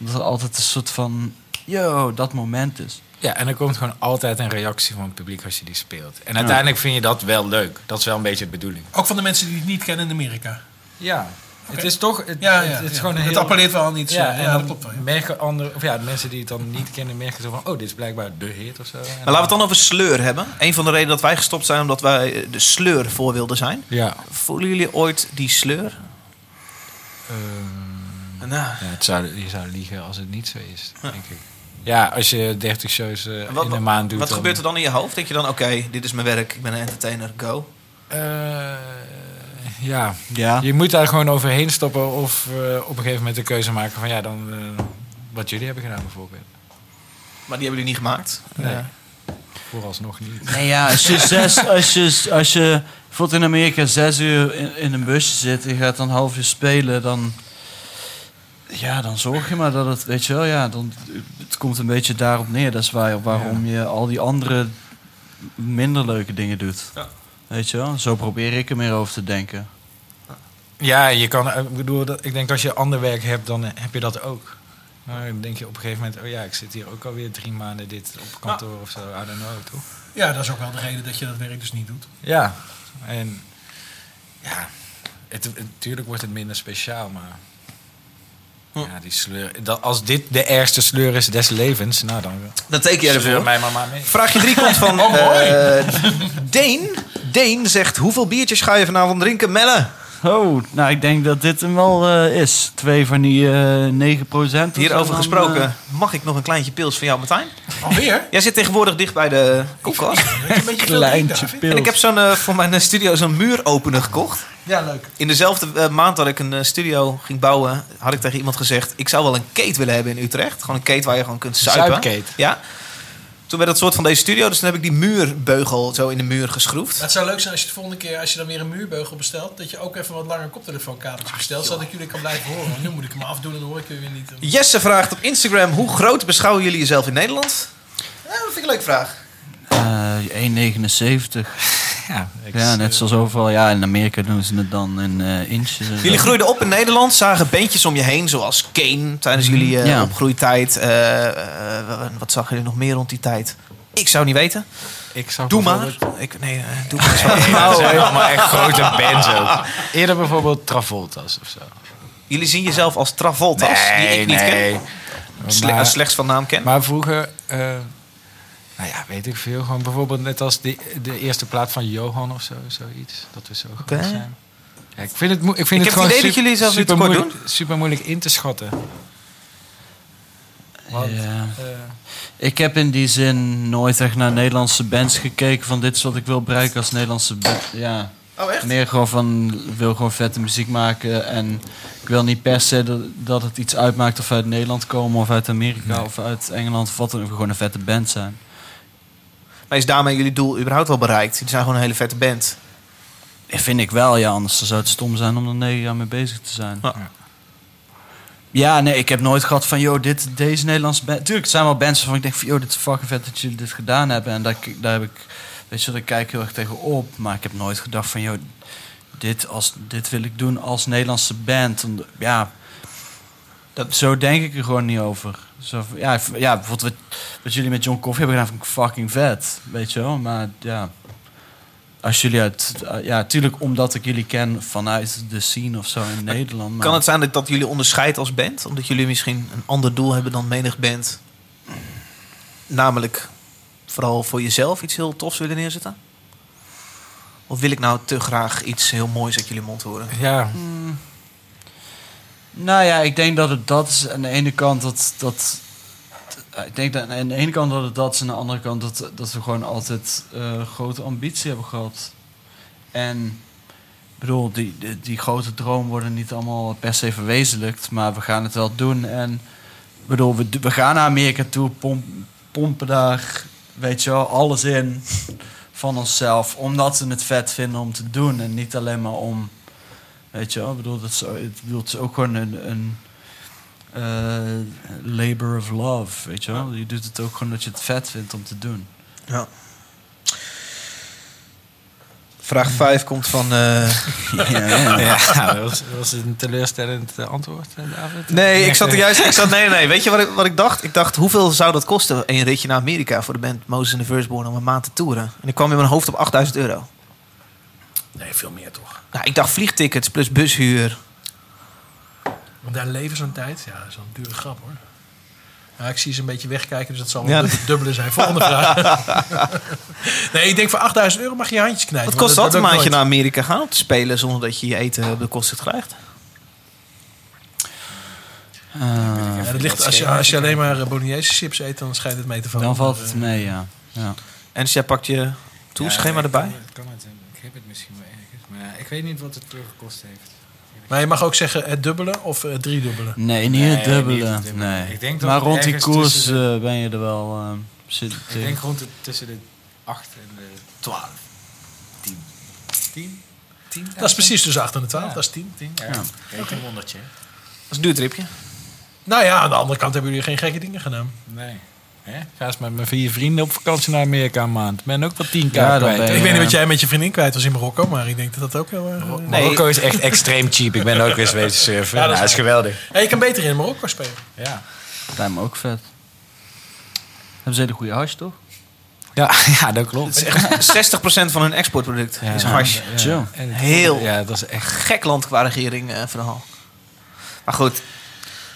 Speaker 2: omdat het altijd een soort van: yo, dat moment is.
Speaker 4: Ja, en er komt gewoon altijd een reactie van het publiek als je die speelt. En
Speaker 2: Ja.
Speaker 4: uiteindelijk vind je dat wel leuk. Dat is wel een beetje de bedoeling.
Speaker 3: Ook van de mensen die het niet kennen in Amerika.
Speaker 4: Ja. Het is toch. Het,
Speaker 3: Ja, ja,
Speaker 4: het, is
Speaker 3: ja.
Speaker 4: gewoon een
Speaker 3: Het
Speaker 4: heel-
Speaker 3: appelleert wel aan iets, eh,
Speaker 4: Ja,
Speaker 3: ja.
Speaker 4: en
Speaker 3: Ja,
Speaker 4: dan
Speaker 3: dat klopt wel, ja.
Speaker 4: merken anderen, of ja, de mensen die het dan niet kennen, merken zo van: oh, dit is blijkbaar de hit of zo. En
Speaker 1: Maar laten we het dan over sleur hebben. Een van de redenen dat wij gestopt zijn, omdat wij eh, de sleur voor wilden zijn.
Speaker 4: Ja.
Speaker 1: Voelen jullie ooit die sleur?
Speaker 4: Ehm,
Speaker 1: Nou.
Speaker 4: ja, het zou, je zou liegen als het niet zo is, denk ik. Ja, als je 30 shows eh,
Speaker 1: Wat,
Speaker 4: in een maand doet.
Speaker 1: wat
Speaker 4: dan-
Speaker 1: gebeurt er dan in je hoofd? Denk je dan, oké, dit is mijn werk, ik ben een entertainer, go.
Speaker 4: Eh, Ja.
Speaker 2: Ja.
Speaker 4: Je moet daar gewoon overheen stoppen of eh, op een gegeven moment de keuze maken van ja, dan eh, wat jullie hebben gedaan bijvoorbeeld.
Speaker 1: Maar die hebben jullie niet gemaakt?
Speaker 4: Nee.
Speaker 1: Ja.
Speaker 4: Vooralsnog niet.
Speaker 1: Nee, ja,
Speaker 2: Als je, zes, als je, als je bijvoorbeeld in Amerika zes uur in, in een busje zit... en je gaat dan een half uur spelen, dan... Ja, dan zorg je maar dat het, weet je wel, ja, dan, het komt een beetje daarop neer. Dat is waar, waarom je al die andere minder leuke dingen doet. Weet je wel, zo probeer ik er meer over te denken.
Speaker 4: Ja, je kan, eh, ik bedoel, dat- ik denk als je ander werk hebt, dan eh, heb je dat ook. Maar dan denk je op een gegeven moment, oh ja, ik zit hier ook alweer drie maanden dit
Speaker 1: Ah.
Speaker 4: op kantoor of zo, I don't know, toch?
Speaker 3: Ja, dat is ook wel de reden dat je dat werk dus niet doet.
Speaker 4: Ja, en ja, het, het- natuurlijk wordt het minder speciaal, maar
Speaker 1: Hm.
Speaker 4: ja, die sleur, dat, als dit de ergste sleur is des levens, nou dan...
Speaker 1: Dat teken jij ervoor.
Speaker 4: Sleur mij maar maar mee.
Speaker 1: Vraagje 3
Speaker 4: <laughs>
Speaker 1: komt van
Speaker 4: Oh, mooi.
Speaker 1: eh, Deen. Deen zegt, hoeveel biertjes ga je vanavond drinken, Melle?
Speaker 2: Oh, nou ik denk dat dit hem wel eh, is. Twee van die eh 9 procent.
Speaker 1: Hierover gesproken, mag ik nog een kleintje pils van jou, Martijn?
Speaker 3: Alweer?
Speaker 1: Jij zit tegenwoordig dicht bij de koelkast.
Speaker 3: Een
Speaker 2: Kleintje
Speaker 1: En
Speaker 2: pils.
Speaker 1: ik heb zo'n, eh, voor mijn eh, studio zo'n muuropener gekocht.
Speaker 3: Ja, leuk.
Speaker 1: In dezelfde eh, maand dat ik een eh, studio ging bouwen, had ik tegen iemand gezegd: Ik zou wel een keet willen hebben in Utrecht. Gewoon een keet waar je gewoon kunt zuipen.
Speaker 4: zuipkeet.
Speaker 1: Ja. Toen werd dat soort van deze studio, dus toen heb ik die muurbeugel zo in de muur geschroefd.
Speaker 3: Maar het zou leuk zijn als je de volgende keer, als je dan weer een muurbeugel bestelt, dat je ook even wat langer koptelefoonkabeltje bestelt, zodat ik jullie kan blijven horen. Want nu moet ik hem afdoen en dan hoor ik jullie weer niet.
Speaker 1: Jesse vraagt op Instagram: Hoe groot beschouwen jullie jezelf in Nederland? Ja, dat vind ik een leuke vraag.
Speaker 2: Eh 1,79.
Speaker 4: Ja,
Speaker 2: ja, net
Speaker 1: eh,
Speaker 2: zoals overal. Ja, in Amerika doen ze het dan in eh inches. en zo.
Speaker 1: Jullie groeiden op in Nederland, zagen bandjes om je heen, zoals Kane tijdens jullie eh,
Speaker 2: Ja.
Speaker 1: opgroeitijd. Eh, eh, wat zag jullie nog meer rond die tijd? Ik zou niet weten.
Speaker 4: Ik zou
Speaker 1: doe maar.
Speaker 4: bijvoorbeeld- Oh,
Speaker 1: Ik, nee, eh, doe maar.
Speaker 4: Nee, <laughs> dat
Speaker 1: <laughs>
Speaker 4: zijn allemaal echt grote bands
Speaker 1: bands
Speaker 4: ook. Eerder bijvoorbeeld Travolta's of zo.
Speaker 1: Jullie zien jezelf als Travolta's, die ik niet ken. Sle-
Speaker 4: Maar-
Speaker 1: als slechts van naam ken.
Speaker 4: Maar vroeger, eh, nou ja, weet ik veel. Gewoon bijvoorbeeld net als de, de eerste plaat van Johan of zo, zoiets. Dat we zo groot
Speaker 1: Oké.
Speaker 4: zijn. Ja, ik vind het, moe- ik vind
Speaker 1: Ik heb
Speaker 4: het
Speaker 1: het
Speaker 4: gewoon
Speaker 1: idee dat
Speaker 4: sup-
Speaker 1: jullie zelf nu
Speaker 4: super
Speaker 1: tekort
Speaker 4: moeilijk, Super moeilijk in te schatten. Want,
Speaker 2: Ja.
Speaker 4: eh,
Speaker 2: Ik heb in die zin nooit echt naar Nederlandse bands gekeken. Van dit is wat ik wil bereiken als Nederlandse band. Ja.
Speaker 1: Oh, echt?
Speaker 2: Meer gewoon van, ik wil gewoon vette muziek maken. En ik wil niet per se dat, dat het iets uitmaakt of we uit Nederland komen of uit Amerika
Speaker 1: Nee.
Speaker 2: of uit Engeland of wat dan ook. Gewoon een vette band zijn.
Speaker 1: Maar is daarmee jullie doel überhaupt wel bereikt? Jullie zijn gewoon een hele vette band.
Speaker 2: Eh, Vind ik wel, ja. Anders zou het stom zijn om er negen jaar mee bezig te zijn. Ja, nee, ik heb nooit gehad van, joh, dit, deze Nederlandse band... Tuurlijk, het zijn wel bands waarvan ik denk van, joh, dit is fucking vet dat jullie dit gedaan hebben. En daar, k- daar heb ik, weet je, wel, daar kijk ik heel erg tegen op. Maar ik heb nooit gedacht van, joh, dit, als, dit wil ik doen als Nederlandse band. Om de- ja, dat, zo denk ik er gewoon niet over. Zo, van, ja, v- ja, bijvoorbeeld wat, wat jullie met John Coffee hebben gedaan, vind ik fucking vet. Weet je wel, maar ja... Als jullie uit... Ja, tuurlijk omdat ik jullie ken vanuit de scene of zo in Nederland. maar-
Speaker 1: Kan het zijn dat, dat jullie onderscheidt als band? Omdat jullie misschien een ander doel hebben dan menig band. Namelijk vooral voor jezelf iets heel tofs willen neerzetten? Of wil ik nou te graag iets heel moois uit jullie mond horen?
Speaker 4: ja.
Speaker 2: Nou ja, ik denk dat het dat is aan de ene kant dat. dat ik denk dat aan de ene kant dat het dat is, aan de andere kant dat, dat we gewoon altijd eh, grote ambitie hebben gehad. En ik bedoel, die, die, die grote droom worden niet allemaal per se verwezenlijkt, maar we gaan het wel doen. En ik bedoel, we, we gaan naar Amerika toe, pomp, pompen daar, weet je wel, alles in van onszelf, omdat we het vet vinden om te doen en niet alleen maar om. Weet je wel, ik bedoel, dat is, ik bedoel, het is ook gewoon een, een eh, labor of love, weet je wel. Je doet het ook gewoon dat je het vet vindt om te
Speaker 4: <laughs>
Speaker 2: doen.
Speaker 1: Ja. Vraag 5 komt van. eh,
Speaker 4: Ja, dat was, was een teleurstellend eh, antwoord, eh,
Speaker 1: <laughs>
Speaker 4: David.
Speaker 1: Nee, ik zat er juist. Ik zat, nee, nee. Weet je wat ik, wat ik dacht? Ik dacht, hoeveel zou dat kosten? Een ritje naar Amerika voor de band Moses and the Firstborn om een maand te toeren. En ik kwam in mijn hoofd op 8000 euro.
Speaker 3: Nee, veel meer toch?
Speaker 1: Nou, ik dacht vliegtickets plus bushuur.
Speaker 3: Want daar leven ze een tijd. Ja, dat is wel een dure grap hoor. Ja, ik zie ze een beetje wegkijken, dus dat zal wel
Speaker 1: Ja.
Speaker 3: het dubbele zijn. Volgende vraag.
Speaker 1: <laughs>
Speaker 3: nee, ik denk voor 8000 euro mag je je handjes knijpen.
Speaker 1: Wat kost
Speaker 3: want
Speaker 1: dat een maandje
Speaker 3: lukt
Speaker 1: naar
Speaker 3: nooit.
Speaker 1: Amerika gaan om te spelen zonder dat je je eten eh, op de kosten krijgt?
Speaker 2: Ah,
Speaker 3: Ja, dat ligt, als, je, als je alleen maar eh, Bolognese chips eet, dan schijnt het mee te vallen.
Speaker 2: Dan valt
Speaker 3: Maar,
Speaker 2: het
Speaker 3: eh,
Speaker 2: mee, ja. ja.
Speaker 1: En dus jij pakt je tourschema
Speaker 4: Ja, ik
Speaker 1: erbij?
Speaker 4: kan het- kan het, eh, Ik heb het misschien wel ergens. Maar ik weet niet wat het teruggekost heeft.
Speaker 3: Maar je mag ook zeggen het dubbele of het driedubbele.
Speaker 2: Nee, niet het dubbele. nee.
Speaker 4: Ik denk dat
Speaker 2: maar
Speaker 4: het
Speaker 2: rond die
Speaker 4: ergens
Speaker 2: koers
Speaker 4: tussen
Speaker 2: eh, ben je er wel. eh, zit,
Speaker 4: Ik denk rond de, tussen de 8 en de 12. 10. 10? 10
Speaker 3: Dat is precies tussen 8 en de 12, dat is 10.
Speaker 4: 10 ja.
Speaker 3: Ja.
Speaker 4: Kijk, een wondertje.
Speaker 1: is een duur tripje.
Speaker 3: Nou ja, aan de andere kant hebben jullie geen gekke dingen gedaan.
Speaker 4: Nee. Hè? Ga eens met mijn vier vrienden op vakantie naar Amerika een maand. Ben ook wel 10k
Speaker 3: Ja,
Speaker 4: kwijt.
Speaker 3: ik weet niet wat jij met je vriendin kwijt was in Marokko, maar ik denk dat dat ook wel... eh,
Speaker 4: Nee. Marokko is echt extreem cheap. Ik ben ook weer Zweedse surfer.
Speaker 3: Ja,
Speaker 4: Ja,
Speaker 3: dat is
Speaker 4: dat is
Speaker 3: waar.
Speaker 4: geweldig.
Speaker 3: Ja, je kan beter in Marokko spelen.
Speaker 4: Ja.
Speaker 2: Lijkt me ook vet. Hebben ze hele goede hash, toch?
Speaker 4: Ja, <laughs> ja dat klopt.
Speaker 1: Het is echt 60% van hun exportproduct is hash.
Speaker 4: Ja, chill. En het-
Speaker 1: Heel
Speaker 4: Ja, dat is echt...
Speaker 1: gek land qua regering eh, verhaal. Maar goed,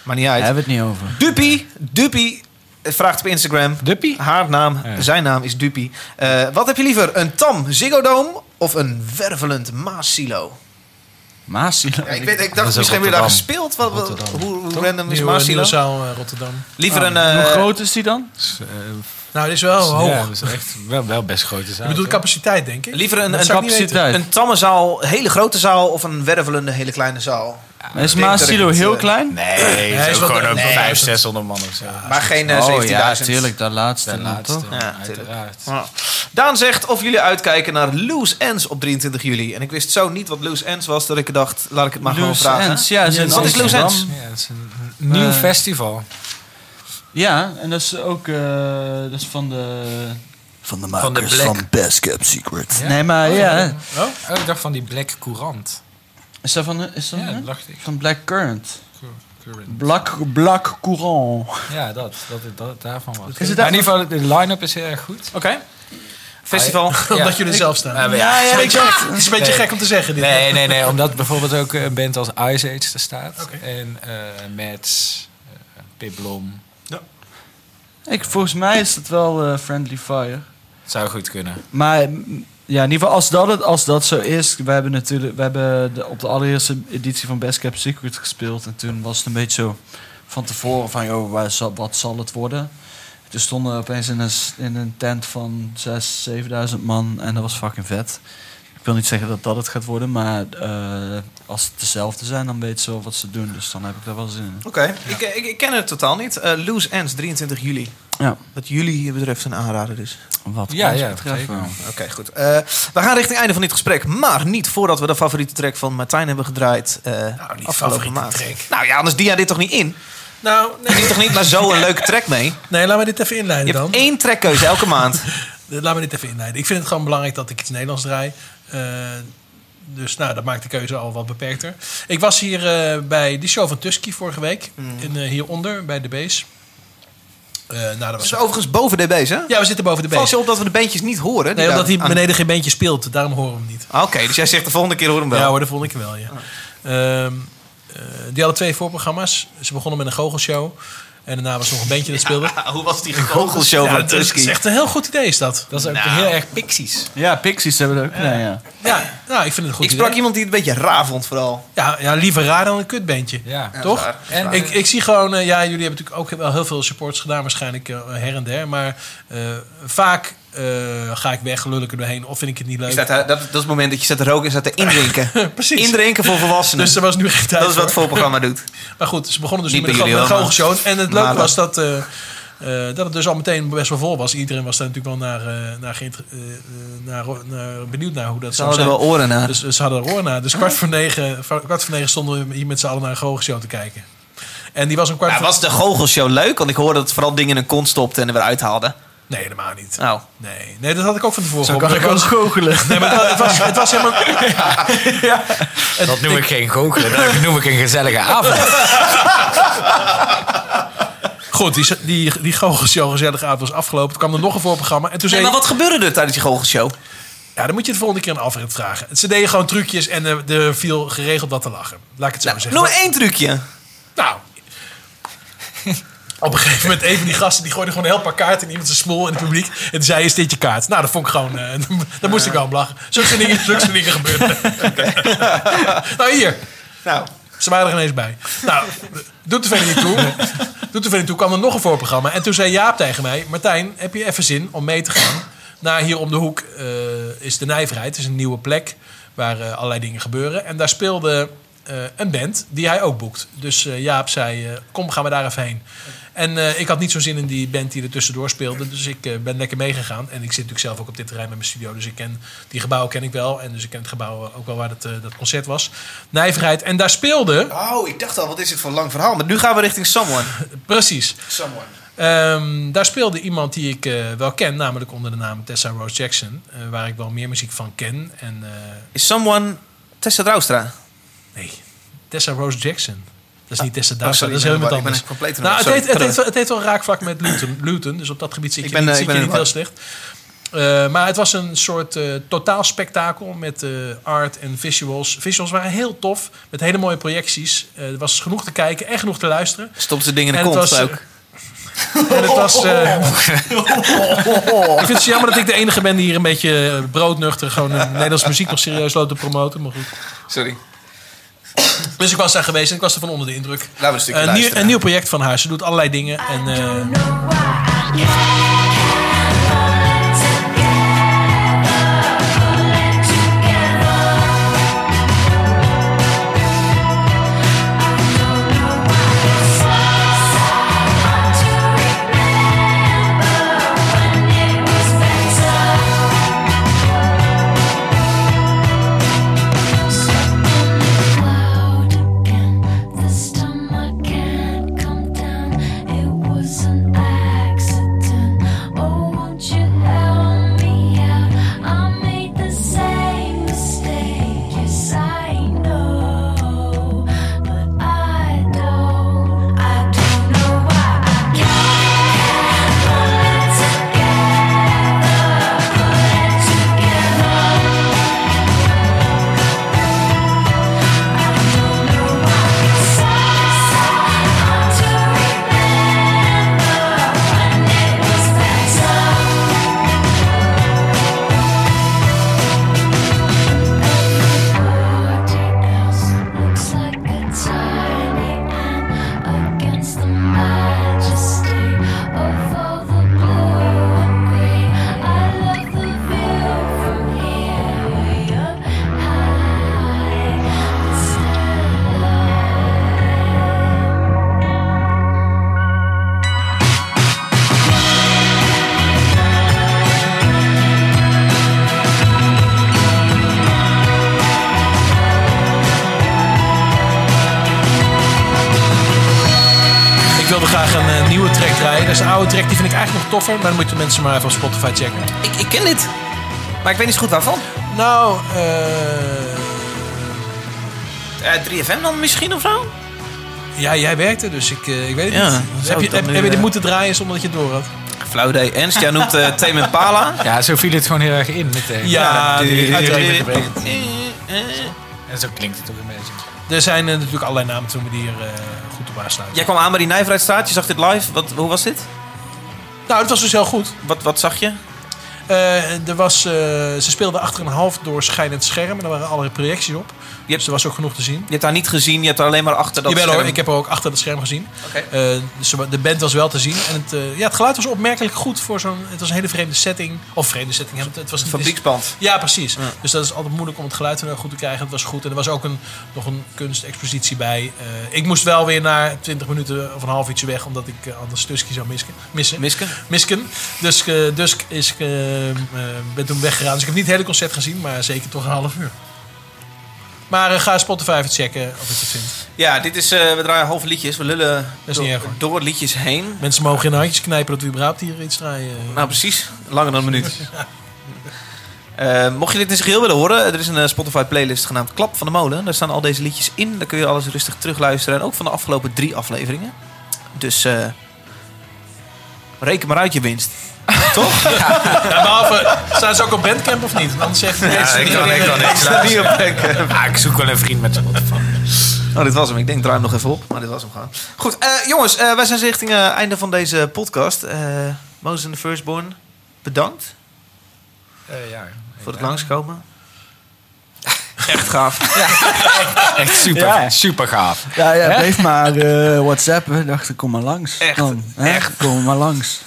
Speaker 1: maar niet uit.
Speaker 2: Daar hebben we het niet over.
Speaker 1: Duppie, Duppie eh, vraagt op Instagram.
Speaker 4: Duppie?
Speaker 1: Haar naam, zijn naam is Duppie. Eh, wat heb je liever, een tam Ziggo Dome of een wervelend Maasilo?
Speaker 2: Maasilo.
Speaker 1: Ja, ik, weet, ik dacht, misschien weer daar gespeeld. Wat, wat- hoe hoe random is
Speaker 3: Nieuwe,
Speaker 1: Maasilo?
Speaker 3: nieuwe zaal eh, Rotterdam.
Speaker 1: Liever een...
Speaker 2: Hoe
Speaker 1: eh,
Speaker 2: Ah, groot is die dan?
Speaker 3: Nou, dit is wel hoog.
Speaker 4: eh, Ja, dat is echt wel, wel best grote
Speaker 3: Je
Speaker 4: zaal.
Speaker 3: bedoelt de capaciteit, denk ik.
Speaker 1: Liever een,
Speaker 3: Dat
Speaker 1: een,
Speaker 3: zou ik niet
Speaker 1: capaciteit.
Speaker 2: weten.
Speaker 1: een tamme zaal, hele grote zaal of een wervelende, hele kleine zaal?
Speaker 2: Maar is
Speaker 1: Ik denk dat
Speaker 2: Maasilo
Speaker 1: ik het,
Speaker 2: heel
Speaker 1: eh,
Speaker 2: klein?
Speaker 4: Nee,
Speaker 3: Hij
Speaker 4: het
Speaker 3: is
Speaker 4: is
Speaker 3: wel
Speaker 4: ook gewoon
Speaker 3: de-
Speaker 4: ook
Speaker 1: nee.
Speaker 4: 500, 600 man of zo.
Speaker 1: Maar geen eh, 17.000.
Speaker 2: oh ja, tuurlijk, dat laatste.
Speaker 4: Ten
Speaker 2: dan,
Speaker 4: laatste,
Speaker 2: toch?
Speaker 1: Ja,
Speaker 4: uiteraard.
Speaker 1: Ja. Daan zegt of jullie uitkijken naar Loose Ends op 23 juli. En ik wist zo niet wat Loose Ends was dat ik dacht, laat ik het maar
Speaker 2: Loose
Speaker 1: gewoon vragen.
Speaker 2: Ends, ja, ze
Speaker 1: Wat is
Speaker 2: zijn
Speaker 1: Loose
Speaker 2: in
Speaker 1: Ends?
Speaker 2: Amsterdam.
Speaker 4: Ja, het is een nieuw
Speaker 2: Eh,
Speaker 4: festival.
Speaker 2: Ja, en dat is ook eh, dat is van de... Van de
Speaker 4: Van de makers Black. van
Speaker 2: Best Kept Secret.
Speaker 4: Ja?
Speaker 2: Nee, maar ja.
Speaker 4: Oh, oh, ik dacht van die Black Courant.
Speaker 2: Is dat van, is dat
Speaker 4: Ja,
Speaker 2: van-
Speaker 4: dat dacht ik.
Speaker 2: van Black Current?
Speaker 4: Current.
Speaker 2: Black, Black Courant.
Speaker 4: Ja, dat, dat, dat, daarvan was.
Speaker 2: Is het
Speaker 4: Maar in ieder geval, de line-up is heel erg goed.
Speaker 1: Oké. Festival.
Speaker 4: Ja. Eh,
Speaker 3: Omdat jullie er zelf staan.
Speaker 4: Ja, ja,
Speaker 3: Het is een beetje-
Speaker 4: ik-
Speaker 3: het is een beetje
Speaker 4: Nee.
Speaker 3: gek om te zeggen. Dit.
Speaker 4: Nee, nee, nee. Omdat bijvoorbeeld ook een band als Ice Age er staat.
Speaker 3: Oké.
Speaker 4: En eh Mats, eh, Pip Blom.
Speaker 2: Ik, volgens mij is het wel eh, Friendly Fire.
Speaker 4: Zou goed kunnen.
Speaker 2: Maar mm, ja, in ieder geval, als dat, het, als dat zo is... We hebben natuurlijk we hebben de- op de allereerste editie van Best Kept Secret gespeeld. En toen was het een beetje zo van tevoren van... Joh, waar zal- wat zal het worden? Toen stonden we opeens in een, s- in een tent van 6.000, 7.000 man. En dat was fucking vet. Ik wil niet zeggen dat dat het gaat worden. Maar eh, als het dezelfde zijn, dan weet ze wel wat ze doen. Dus dan heb ik daar wel zin in.
Speaker 1: Oké, ik, eh, ik, ik ken het totaal niet. Eh, Loose Ends, 23 juli.
Speaker 2: Ja.
Speaker 1: Wat jullie hier betreft een aanrader dus.
Speaker 2: Wat
Speaker 4: Ja,
Speaker 2: ons
Speaker 4: ja,
Speaker 2: betreft
Speaker 4: zeker.
Speaker 2: wel.
Speaker 1: Oké, goed. Eh, we gaan richting einde van dit gesprek. Maar niet voordat we de favoriete track van Martijn hebben gedraaid. eh
Speaker 2: Nou,
Speaker 3: niet
Speaker 1: afgelopen
Speaker 3: favoriete
Speaker 1: maand.
Speaker 3: track.
Speaker 1: Nou ja, anders die jij dit toch niet in?
Speaker 3: Nou, nee.
Speaker 1: Die toch niet maar zo een leuke track mee?
Speaker 3: nee, laat me dit even
Speaker 1: Je
Speaker 3: inleiden dan.
Speaker 1: hebt één trackkeuze elke
Speaker 3: <laughs>
Speaker 1: maand.
Speaker 3: Laat me dit even inleiden. Ik vind het gewoon belangrijk dat ik iets Nederlands draai. Eh, dus nou, dat maakt de keuze al wat beperkter. Ik was hier eh, bij die show van Tusky vorige week.
Speaker 1: Mm.
Speaker 3: In, eh, hieronder, bij de base. Eh, nou, dat
Speaker 1: Dat
Speaker 3: was
Speaker 1: is overigens boven DB's, hè?
Speaker 3: Ja, we zitten boven de
Speaker 1: Valt
Speaker 3: base.
Speaker 1: je op dat we de bandjes niet horen? die
Speaker 3: Nee, omdat
Speaker 1: daar
Speaker 3: hij
Speaker 1: aan-
Speaker 3: beneden geen bandje speelt. Daarom horen we hem niet.
Speaker 1: Ah, Oké, dus jij zegt de volgende keer horen we hem wel.
Speaker 3: Ja
Speaker 1: Ah.
Speaker 3: hoor, dat vond ik wel, ja. Ehm, eh, die hadden twee voorprogramma's. Ze begonnen met een goochelshow. En daarna was nog een bandje dat speelde.
Speaker 1: Ah, Hoe was die goochelshow
Speaker 3: Ja,
Speaker 1: van
Speaker 3: dat is
Speaker 1: Tusky? Nou.
Speaker 3: echt een heel goed idee, is dat.
Speaker 4: Dat is ook heel erg Pixies.
Speaker 2: Ja, Pixies hebben we ook. Nee, ja.
Speaker 3: Ja, nou, ik vind het een goed
Speaker 1: Ik sprak
Speaker 3: idee.
Speaker 1: iemand die het een beetje raar vond vooral.
Speaker 3: Ja, ja, liever raar dan een kutbandje.
Speaker 4: Ja.
Speaker 3: Toch?
Speaker 4: En
Speaker 3: Ik, ik zie gewoon, eh, ja, jullie hebben natuurlijk ook wel heel veel supports gedaan, waarschijnlijk eh, her en der. Maar eh, vaak eh, ga ik weg, lul ik er doorheen, of vind ik het niet
Speaker 1: Je
Speaker 3: leuk.
Speaker 1: staat daar- dat, dat is het moment dat je staat te roken en staat
Speaker 3: <laughs>
Speaker 1: te indrinken.
Speaker 3: Precies.
Speaker 1: Indrinken voor volwassenen.
Speaker 3: Dus er was nu geen tijd
Speaker 1: dat is wat het
Speaker 3: voor.
Speaker 1: voorprogramma
Speaker 3: <laughs>
Speaker 1: doet.
Speaker 3: Maar goed, ze begonnen dus
Speaker 1: Niet
Speaker 3: met een
Speaker 1: bij jullie wel,
Speaker 3: grote show. En het
Speaker 1: maar
Speaker 3: leuke
Speaker 1: dat-
Speaker 3: was dat, eh, eh, dat het dus al meteen best wel vol was. Iedereen was daar natuurlijk wel naar, eh, naar, geïnter- eh, eh, naar, naar- benieuwd naar hoe dat
Speaker 1: Ze
Speaker 3: zou
Speaker 1: hadden
Speaker 3: zijn.
Speaker 1: wel oren naar. Oh.
Speaker 3: Dus ze hadden er oor naar. Dus kwart voor negen, kwart voor negen stonden we hier met z'n allen naar een goochelshow te kijken. En die was een kwart
Speaker 1: Ja,
Speaker 3: voor...
Speaker 1: was de goochelshow leuk? Want ik hoorde dat vooral dingen in een kont stopten en er weer uithaalden.
Speaker 3: Nee, helemaal niet.
Speaker 1: Nou,
Speaker 3: Nee, nee, dat had ik ook van tevoren
Speaker 4: Zo kan ik ook goochelen.
Speaker 3: Nee, maar het, het was,
Speaker 1: <laughs>
Speaker 3: het was helemaal...
Speaker 4: Dat noem ik geen goochelen. Dat noem ik een <laughs> gezellige avond.
Speaker 3: Goed, die, die, die goochelshow gezellig avond was afgelopen. Toen kwam er nog een voorprogramma. En toen
Speaker 1: nee,
Speaker 3: zei
Speaker 1: maar wat gebeurde er tijdens je goochelshow?
Speaker 3: Ja, dan moet je het volgende keer een afrit vragen. Ze deden gewoon trucjes en eh, er viel geregeld wat te lachen. Laat ik het zo
Speaker 1: Nou,
Speaker 3: zeggen.
Speaker 1: noem één trucje.
Speaker 3: Nou. Op een gegeven moment, een van die gasten die gooide gewoon een heel paar kaarten in iemand zijn smoel in het publiek. En die zei: Is dit je kaart? Nou, dat vond ik gewoon. eh, <laughs> daar moest ik wel om lachen. Zulke soort dingen, zulke soort dingen
Speaker 1: <laughs>
Speaker 3: gebeuren. nou, hier.
Speaker 1: Nou,
Speaker 3: Ze waren er ineens bij. Nou, doet er verder niet toe. Doet er verder niet toe. Kwam er nog een voorprogramma. En toen zei Jaap tegen mij... Martijn, heb je even zin om mee te gaan? Nou, hier om de hoek eh, is de Nijverheid. Het is een nieuwe plek. waar eh, allerlei dingen gebeuren. En daar speelde eh, een band die hij ook boekt. Dus eh, Jaap zei, eh, kom, gaan we daar even heen. En eh, ik had niet zo'n zin in die band die er tussendoor speelde. Dus ik eh, ben lekker meegegaan. En ik zit natuurlijk zelf ook op dit terrein met mijn studio. Dus ik ken die gebouwen ken ik wel. En dus ik ken het gebouw eh, ook wel waar dat, eh, dat concert was. Nijverheid. En daar speelde...
Speaker 1: Oh, ik dacht al, wat is dit voor een lang verhaal? Maar nu gaan we richting Someone.
Speaker 3: Precies.
Speaker 1: Someone.
Speaker 3: Ehm, daar speelde iemand die ik eh, wel ken, namelijk onder de naam Tessa Rose Jackson, eh, waar ik wel meer muziek van ken. En, eh,
Speaker 1: Is Someone Tessa Draustra?
Speaker 3: Nee, Tessa Rose Jackson. Dat is niet Tessa
Speaker 1: Ah, oh, sorry, ik ben
Speaker 3: Draustra, dat is heel iemand
Speaker 1: helemaal- ik ben
Speaker 3: dus anders.
Speaker 1: compleet in de
Speaker 3: nou, het,
Speaker 1: war.
Speaker 3: heeft, het,
Speaker 1: Sorry.
Speaker 3: heeft, wel- het heeft wel raakvlak met Luton, Luton, dus op dat gebied zit je
Speaker 1: Ik ben,
Speaker 3: niet,
Speaker 1: eh,
Speaker 3: zit
Speaker 1: ik ben in
Speaker 3: je niet
Speaker 1: de
Speaker 3: heel
Speaker 1: war.
Speaker 3: slecht. Eh, maar het was een soort eh totaal spektakel met eh, art en visuals. Visuals waren heel tof, met hele mooie projecties. Eh, er was genoeg te kijken en genoeg te luisteren.
Speaker 1: <laughs> Stopt ze dingen in de
Speaker 3: En het
Speaker 1: kont
Speaker 3: was,
Speaker 1: ook.
Speaker 3: En het was. eh, ik vind het jammer dat ik de enige ben die hier een beetje eh, broodnuchter gewoon eh, Nederlandse muziek nog serieus loopt te promoten. Maar goed.
Speaker 1: Sorry.
Speaker 3: Dus ik was daar geweest en ik was ervan onder de indruk.
Speaker 1: Laten we een stukje
Speaker 3: een, nieuw,
Speaker 1: luisteren.
Speaker 3: een nieuw project van haar. Ze doet allerlei dingen. En, eh, ik wilde graag een eh, nieuwe track draaien. Dat is een oude track, die vind ik eigenlijk nog toffer. Maar dan moeten mensen maar even op Spotify checken.
Speaker 1: Ik, ik ken dit. Maar ik weet niet zo goed waarvan.
Speaker 3: Nou,
Speaker 1: eh... 3FM dan misschien of zo?
Speaker 3: Ja, jij werkte, dus ik, eh, ik weet het
Speaker 1: Ja,
Speaker 3: niet.
Speaker 1: dat zou
Speaker 3: Heb
Speaker 1: ik
Speaker 3: je,
Speaker 1: dan
Speaker 3: heb,
Speaker 1: nu,
Speaker 3: heb je dit
Speaker 1: eh,
Speaker 3: moeten draaien zonder dat je het door had?
Speaker 1: Flauw idee. Ernst, jij noemt eh Tame
Speaker 3: <laughs>
Speaker 1: Impala.
Speaker 4: Ja, zo viel het gewoon heel erg in meteen.
Speaker 3: Ja,
Speaker 4: die-
Speaker 3: uiteraard.
Speaker 4: die- die-
Speaker 3: En zo klinkt het ook een beetje. Er zijn eh, natuurlijk allerlei namen toen we die hier eh, goed op aansluiten.
Speaker 1: Jij kwam aan bij die Nijverheidsstraat, je zag dit live. Wat, hoe was dit?
Speaker 3: Nou, het was dus heel goed.
Speaker 1: Wat, wat zag je?
Speaker 3: Eh, er was, eh, ze speelden achter een half doorschijnend scherm en er waren allerlei projecties op. Dus er was ook genoeg te zien.
Speaker 1: Je hebt daar niet gezien, je hebt daar alleen maar achter dat
Speaker 3: Jawel
Speaker 1: scherm.
Speaker 3: hoor, ik heb er ook achter het scherm gezien. Eh, dus ze wa- de band was wel te zien. En het, eh, ja, het geluid was opmerkelijk goed voor zo'n... Het was een hele vreemde setting. Of vreemde setting. Het, het was niet
Speaker 1: Fabriekspand.
Speaker 3: Ja, precies. Dus dat is altijd moeilijk om het geluid heel goed te krijgen. Het was goed. En er was ook een, nog een kunstexpositie bij. Eh, ik moest wel weer na 20 minuten of een half uurtje weg. Omdat ik eh, anders Tusky zou misken, missen.
Speaker 1: Misken?
Speaker 3: Misken. Dus, eh, dus is, ik eh, eh, ben toen weggegaan. Dus ik heb niet het hele concert gezien. Maar zeker toch een half uur. Maar eh, ga Spotify even checken of ik het vind.
Speaker 1: Ja, dit is, eh, we draaien halve liedjes. We lullen
Speaker 3: is
Speaker 1: door,
Speaker 3: niet erg, hoor.
Speaker 1: door liedjes heen.
Speaker 3: Mensen mogen in handjes knijpen dat we überhaupt hier iets draaien.
Speaker 1: Nou, precies. Langer dan een minuut. Eh, mocht je dit in zijn geheel willen horen, er is een eh, Spotify-playlist genaamd Klap van de Molen. Daar staan al deze liedjes in. Daar kun je alles rustig terugluisteren. En ook van de afgelopen drie afleveringen. Dus eh, reken maar uit je winst. Toch?
Speaker 3: Ja, behalve, staan ze ook op Bandcamp of niet? Anders zegt
Speaker 4: Ja, ik kan, ik kan niks luisteren. <laughs> Ah, ik zoek wel een vriend met Spotify.
Speaker 1: Oh, dit was hem. Ik denk, draai hem nog even op. Maar dit was hem gewoon. Goed, eh, jongens, eh, wij zijn richting het einde van deze podcast. Eh Moses and the Firstborn, bedankt
Speaker 4: ja.
Speaker 1: voor het langskomen. <laughs> Echt gaaf.
Speaker 4: Echt super,
Speaker 2: Ja.
Speaker 4: super gaaf.
Speaker 2: Ja, ja
Speaker 4: Hè?
Speaker 2: bleef maar eh WhatsAppen. Dacht ik, kom maar langs.
Speaker 4: Echt,
Speaker 2: Dan, hè? Kom maar langs.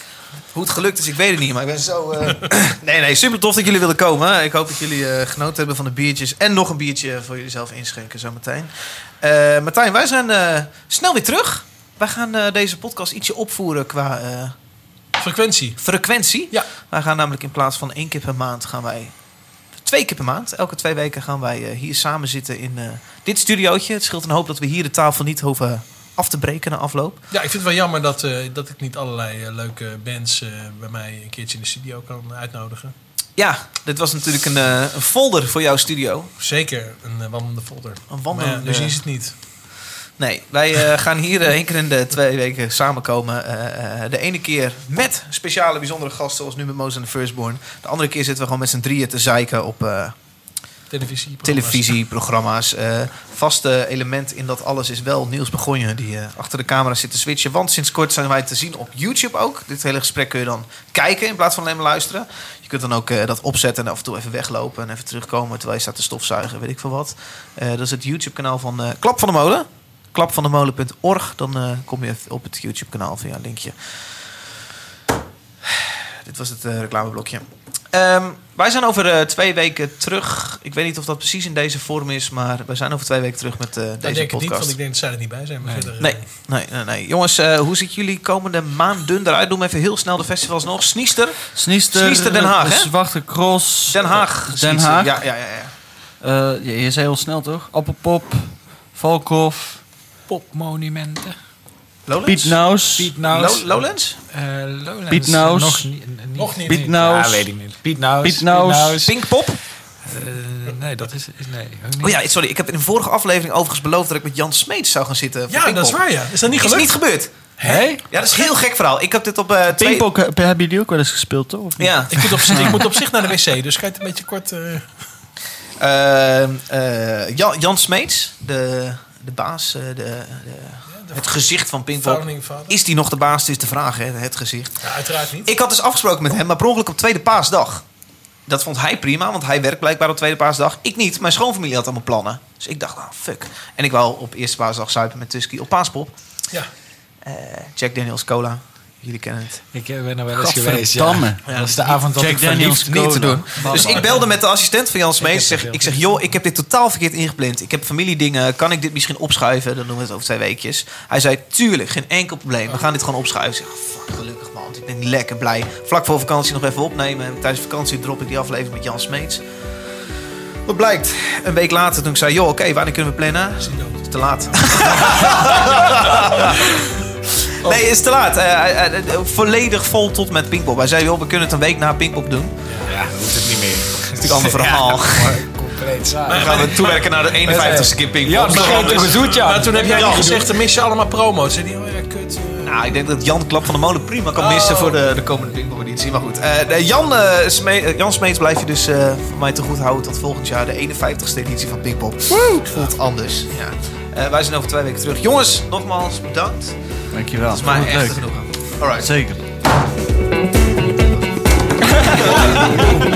Speaker 1: Hoe het gelukt is, ik weet het niet. Maar ik ben zo... eh, <clears throat> nee, nee, super tof dat jullie willen komen. Ik hoop dat jullie eh, genoten hebben van de biertjes. En nog een biertje voor jullie zelf inschenken zometeen. Eh Martijn, wij zijn eh, snel weer terug. Wij gaan eh, deze podcast ietsje opvoeren qua... eh,
Speaker 3: Frequentie.
Speaker 1: Frequentie. Ja. Wij gaan namelijk in plaats van één keer per maand gaan wij... Twee keer per maand. Elke twee weken gaan wij eh, hier samen zitten in eh, dit studiootje. Het scheelt een hoop dat we hier de tafel niet hoeven af te breken na afloop.
Speaker 3: Ja, ik vind het wel jammer dat, eh, dat ik niet allerlei eh, leuke bands eh, bij mij een keertje in de studio kan uitnodigen.
Speaker 1: Ja, dit was natuurlijk een, eh, een folder voor jouw studio.
Speaker 3: Zeker een eh, wandelende folder.
Speaker 1: Een dus wandelende-
Speaker 3: Maar ja, nu zien ze het niet.
Speaker 1: Nee, wij eh, gaan hier eh, één keer in de twee weken samenkomen. Eh, eh, de ene keer met speciale bijzondere gasten, zoals nu met Moos en de Firstborn. De andere keer zitten we gewoon met z'n drieën te zeiken op eh,
Speaker 3: Televisie.
Speaker 1: televisieprogramma's. Eh, vaste element in dat alles is wel Niels Begonje, die eh, achter de camera zit te switchen. Want sinds kort zijn wij te zien op YouTube ook. Dit hele gesprek kun je dan kijken in plaats van alleen maar luisteren. Je kunt dan ook eh, dat opzetten en af en toe even weglopen en even terugkomen terwijl je staat te stofzuigen, weet ik veel wat. Eh, dat is het YouTube-kanaal van eh, Klap van de Molen. Klapvandemolen.org. Dan eh, kom je op het YouTube-kanaal via een linkje. Dit was het eh, reclameblokje. Ehm, wij zijn over eh, twee weken terug. Ik weet niet of dat precies in deze vorm is, maar wij zijn over twee weken terug met eh,
Speaker 3: Daar
Speaker 1: deze
Speaker 3: denk ik niet,
Speaker 1: podcast.
Speaker 3: want ik denk dat zij er niet bij zijn. Maar verder, eh,
Speaker 1: Nee, nee, nee, nee. Jongens, eh, hoe ziet jullie komende maanden eruit? Doe me even heel snel de festivals nog. Sniester.
Speaker 2: Sniester,
Speaker 1: Den Haag, hè?
Speaker 2: eh, Zwarte Cross.
Speaker 1: Den Haag.
Speaker 2: eh, Den
Speaker 1: Sniester.
Speaker 2: Haag.
Speaker 1: Ja, ja, ja. ja.
Speaker 2: Eh, je, je zei heel snel, toch? Appelpop, Valkhof,
Speaker 4: Popmonumenten.
Speaker 1: Lowlands?
Speaker 2: Piet Naus.
Speaker 4: Piet Naus.
Speaker 1: Lo- Lowlands?
Speaker 4: Eh, Lowlands.
Speaker 2: Piet Naus.
Speaker 4: Nog ni- n- niet.
Speaker 2: Nog niet. Piet Naus.
Speaker 4: Ja, weet ik niet. Piet Naus.
Speaker 2: Piet Naus.
Speaker 1: Pinkpop?
Speaker 4: Eh, nee, dat is... is nee, ook niet.
Speaker 1: Oh ja, sorry. Ik heb in de vorige aflevering overigens beloofd dat ik met Jan Smeets zou gaan zitten. voor
Speaker 3: Ja, dat is
Speaker 1: Pinkpop.
Speaker 3: waar, ja. Is dat niet
Speaker 1: Is
Speaker 3: gelukt?
Speaker 1: <laughs> niet gebeurd.
Speaker 3: Hé?
Speaker 1: Ja, dat is een heel gek verhaal. Ik heb dit op eh twee...
Speaker 2: Pinkpop eh, hebben jullie ook wel eens gespeeld, toch? Of niet?
Speaker 1: Ja.
Speaker 3: Ik moet, op, zich- ik moet op zich naar de wc, dus ga je het een beetje kort... eh,
Speaker 1: Ehm, eh, Jan, Jan Smeets, de, de baas, eh, de, de- het gezicht van Pinkpop.
Speaker 3: founding father.
Speaker 1: Is die nog de baas? Dit is de vraag, hè? het gezicht.
Speaker 3: Ja, uiteraard niet.
Speaker 1: Ik had dus afgesproken met hem, maar per ongeluk op tweede paasdag. Dat vond hij prima, want hij werkt blijkbaar op tweede paasdag. Ik niet, mijn schoonfamilie had allemaal plannen. Dus ik dacht, nou, fuck. En ik wou op eerste paasdag zuipen met Tusky op paaspop.
Speaker 3: Ja.
Speaker 1: Eh, Jack Daniels Cola, jullie kennen het.
Speaker 4: Ik eh, ben er wel eens geweest, ja. Dat is de avond
Speaker 2: eh,
Speaker 4: dat ik verliefd
Speaker 1: niet te doen.
Speaker 4: Bam.
Speaker 1: Dus ik belde met de assistent van Jan Smeets. Ik zeg, ik zeg, joh, ik heb dit totaal verkeerd ingepland. Ik heb familiedingen. Kan ik dit misschien opschuiven? Dan doen we het over twee weekjes. Hij zei, tuurlijk, geen enkel probleem. We gaan dit gewoon opschuiven. Ik zeg, fuck, gelukkig man. want Ik ben lekker blij. Vlak voor vakantie nog even opnemen. En tijdens vakantie drop ik die aflevering met Jan Smeets. Wat blijkt? Een week later toen ik zei, joh, oké, wanneer kunnen we plannen? Is te laat. Oh. Nee, is te laat. Eh, eh, eh, volledig vol tot met Pinkpop. Hij zei, joh, we kunnen het een week na Pinkpop doen.
Speaker 4: Ja, dat hoeft het niet meer. Dat
Speaker 1: natuurlijk
Speaker 4: is
Speaker 1: een ander
Speaker 4: <laughs>
Speaker 1: verhaal.
Speaker 4: compleet saai.
Speaker 1: Dan gaan we toewerken naar de 51ste keer Pinkpop.
Speaker 4: Ja, dat
Speaker 1: Nog
Speaker 4: begint
Speaker 1: anders.
Speaker 4: toch een zoetje
Speaker 3: Maar toen heb jij
Speaker 1: Ja.
Speaker 3: niet gezegd, dan mis je allemaal promo's. Zei die, oh ja, kut.
Speaker 1: Nou, ik denk dat Jan Klap van de Molen prima kan missen
Speaker 4: Oh.
Speaker 1: voor de, de komende Pinkpop-editie. Maar goed, Eh, de Jan, eh, Sme- eh, Jan Smeets blijf je dus eh voor mij te goed houden tot volgend jaar. De 51ste editie van Pinkpop. Het voelt anders. Ja. Eh, wij zijn over twee weken terug. Jongens, nogmaals bedankt.
Speaker 2: Dankjewel.
Speaker 1: Dat is mij
Speaker 2: Vond het
Speaker 1: echt
Speaker 2: leuk.
Speaker 1: genoeg. Alright.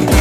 Speaker 2: Zeker.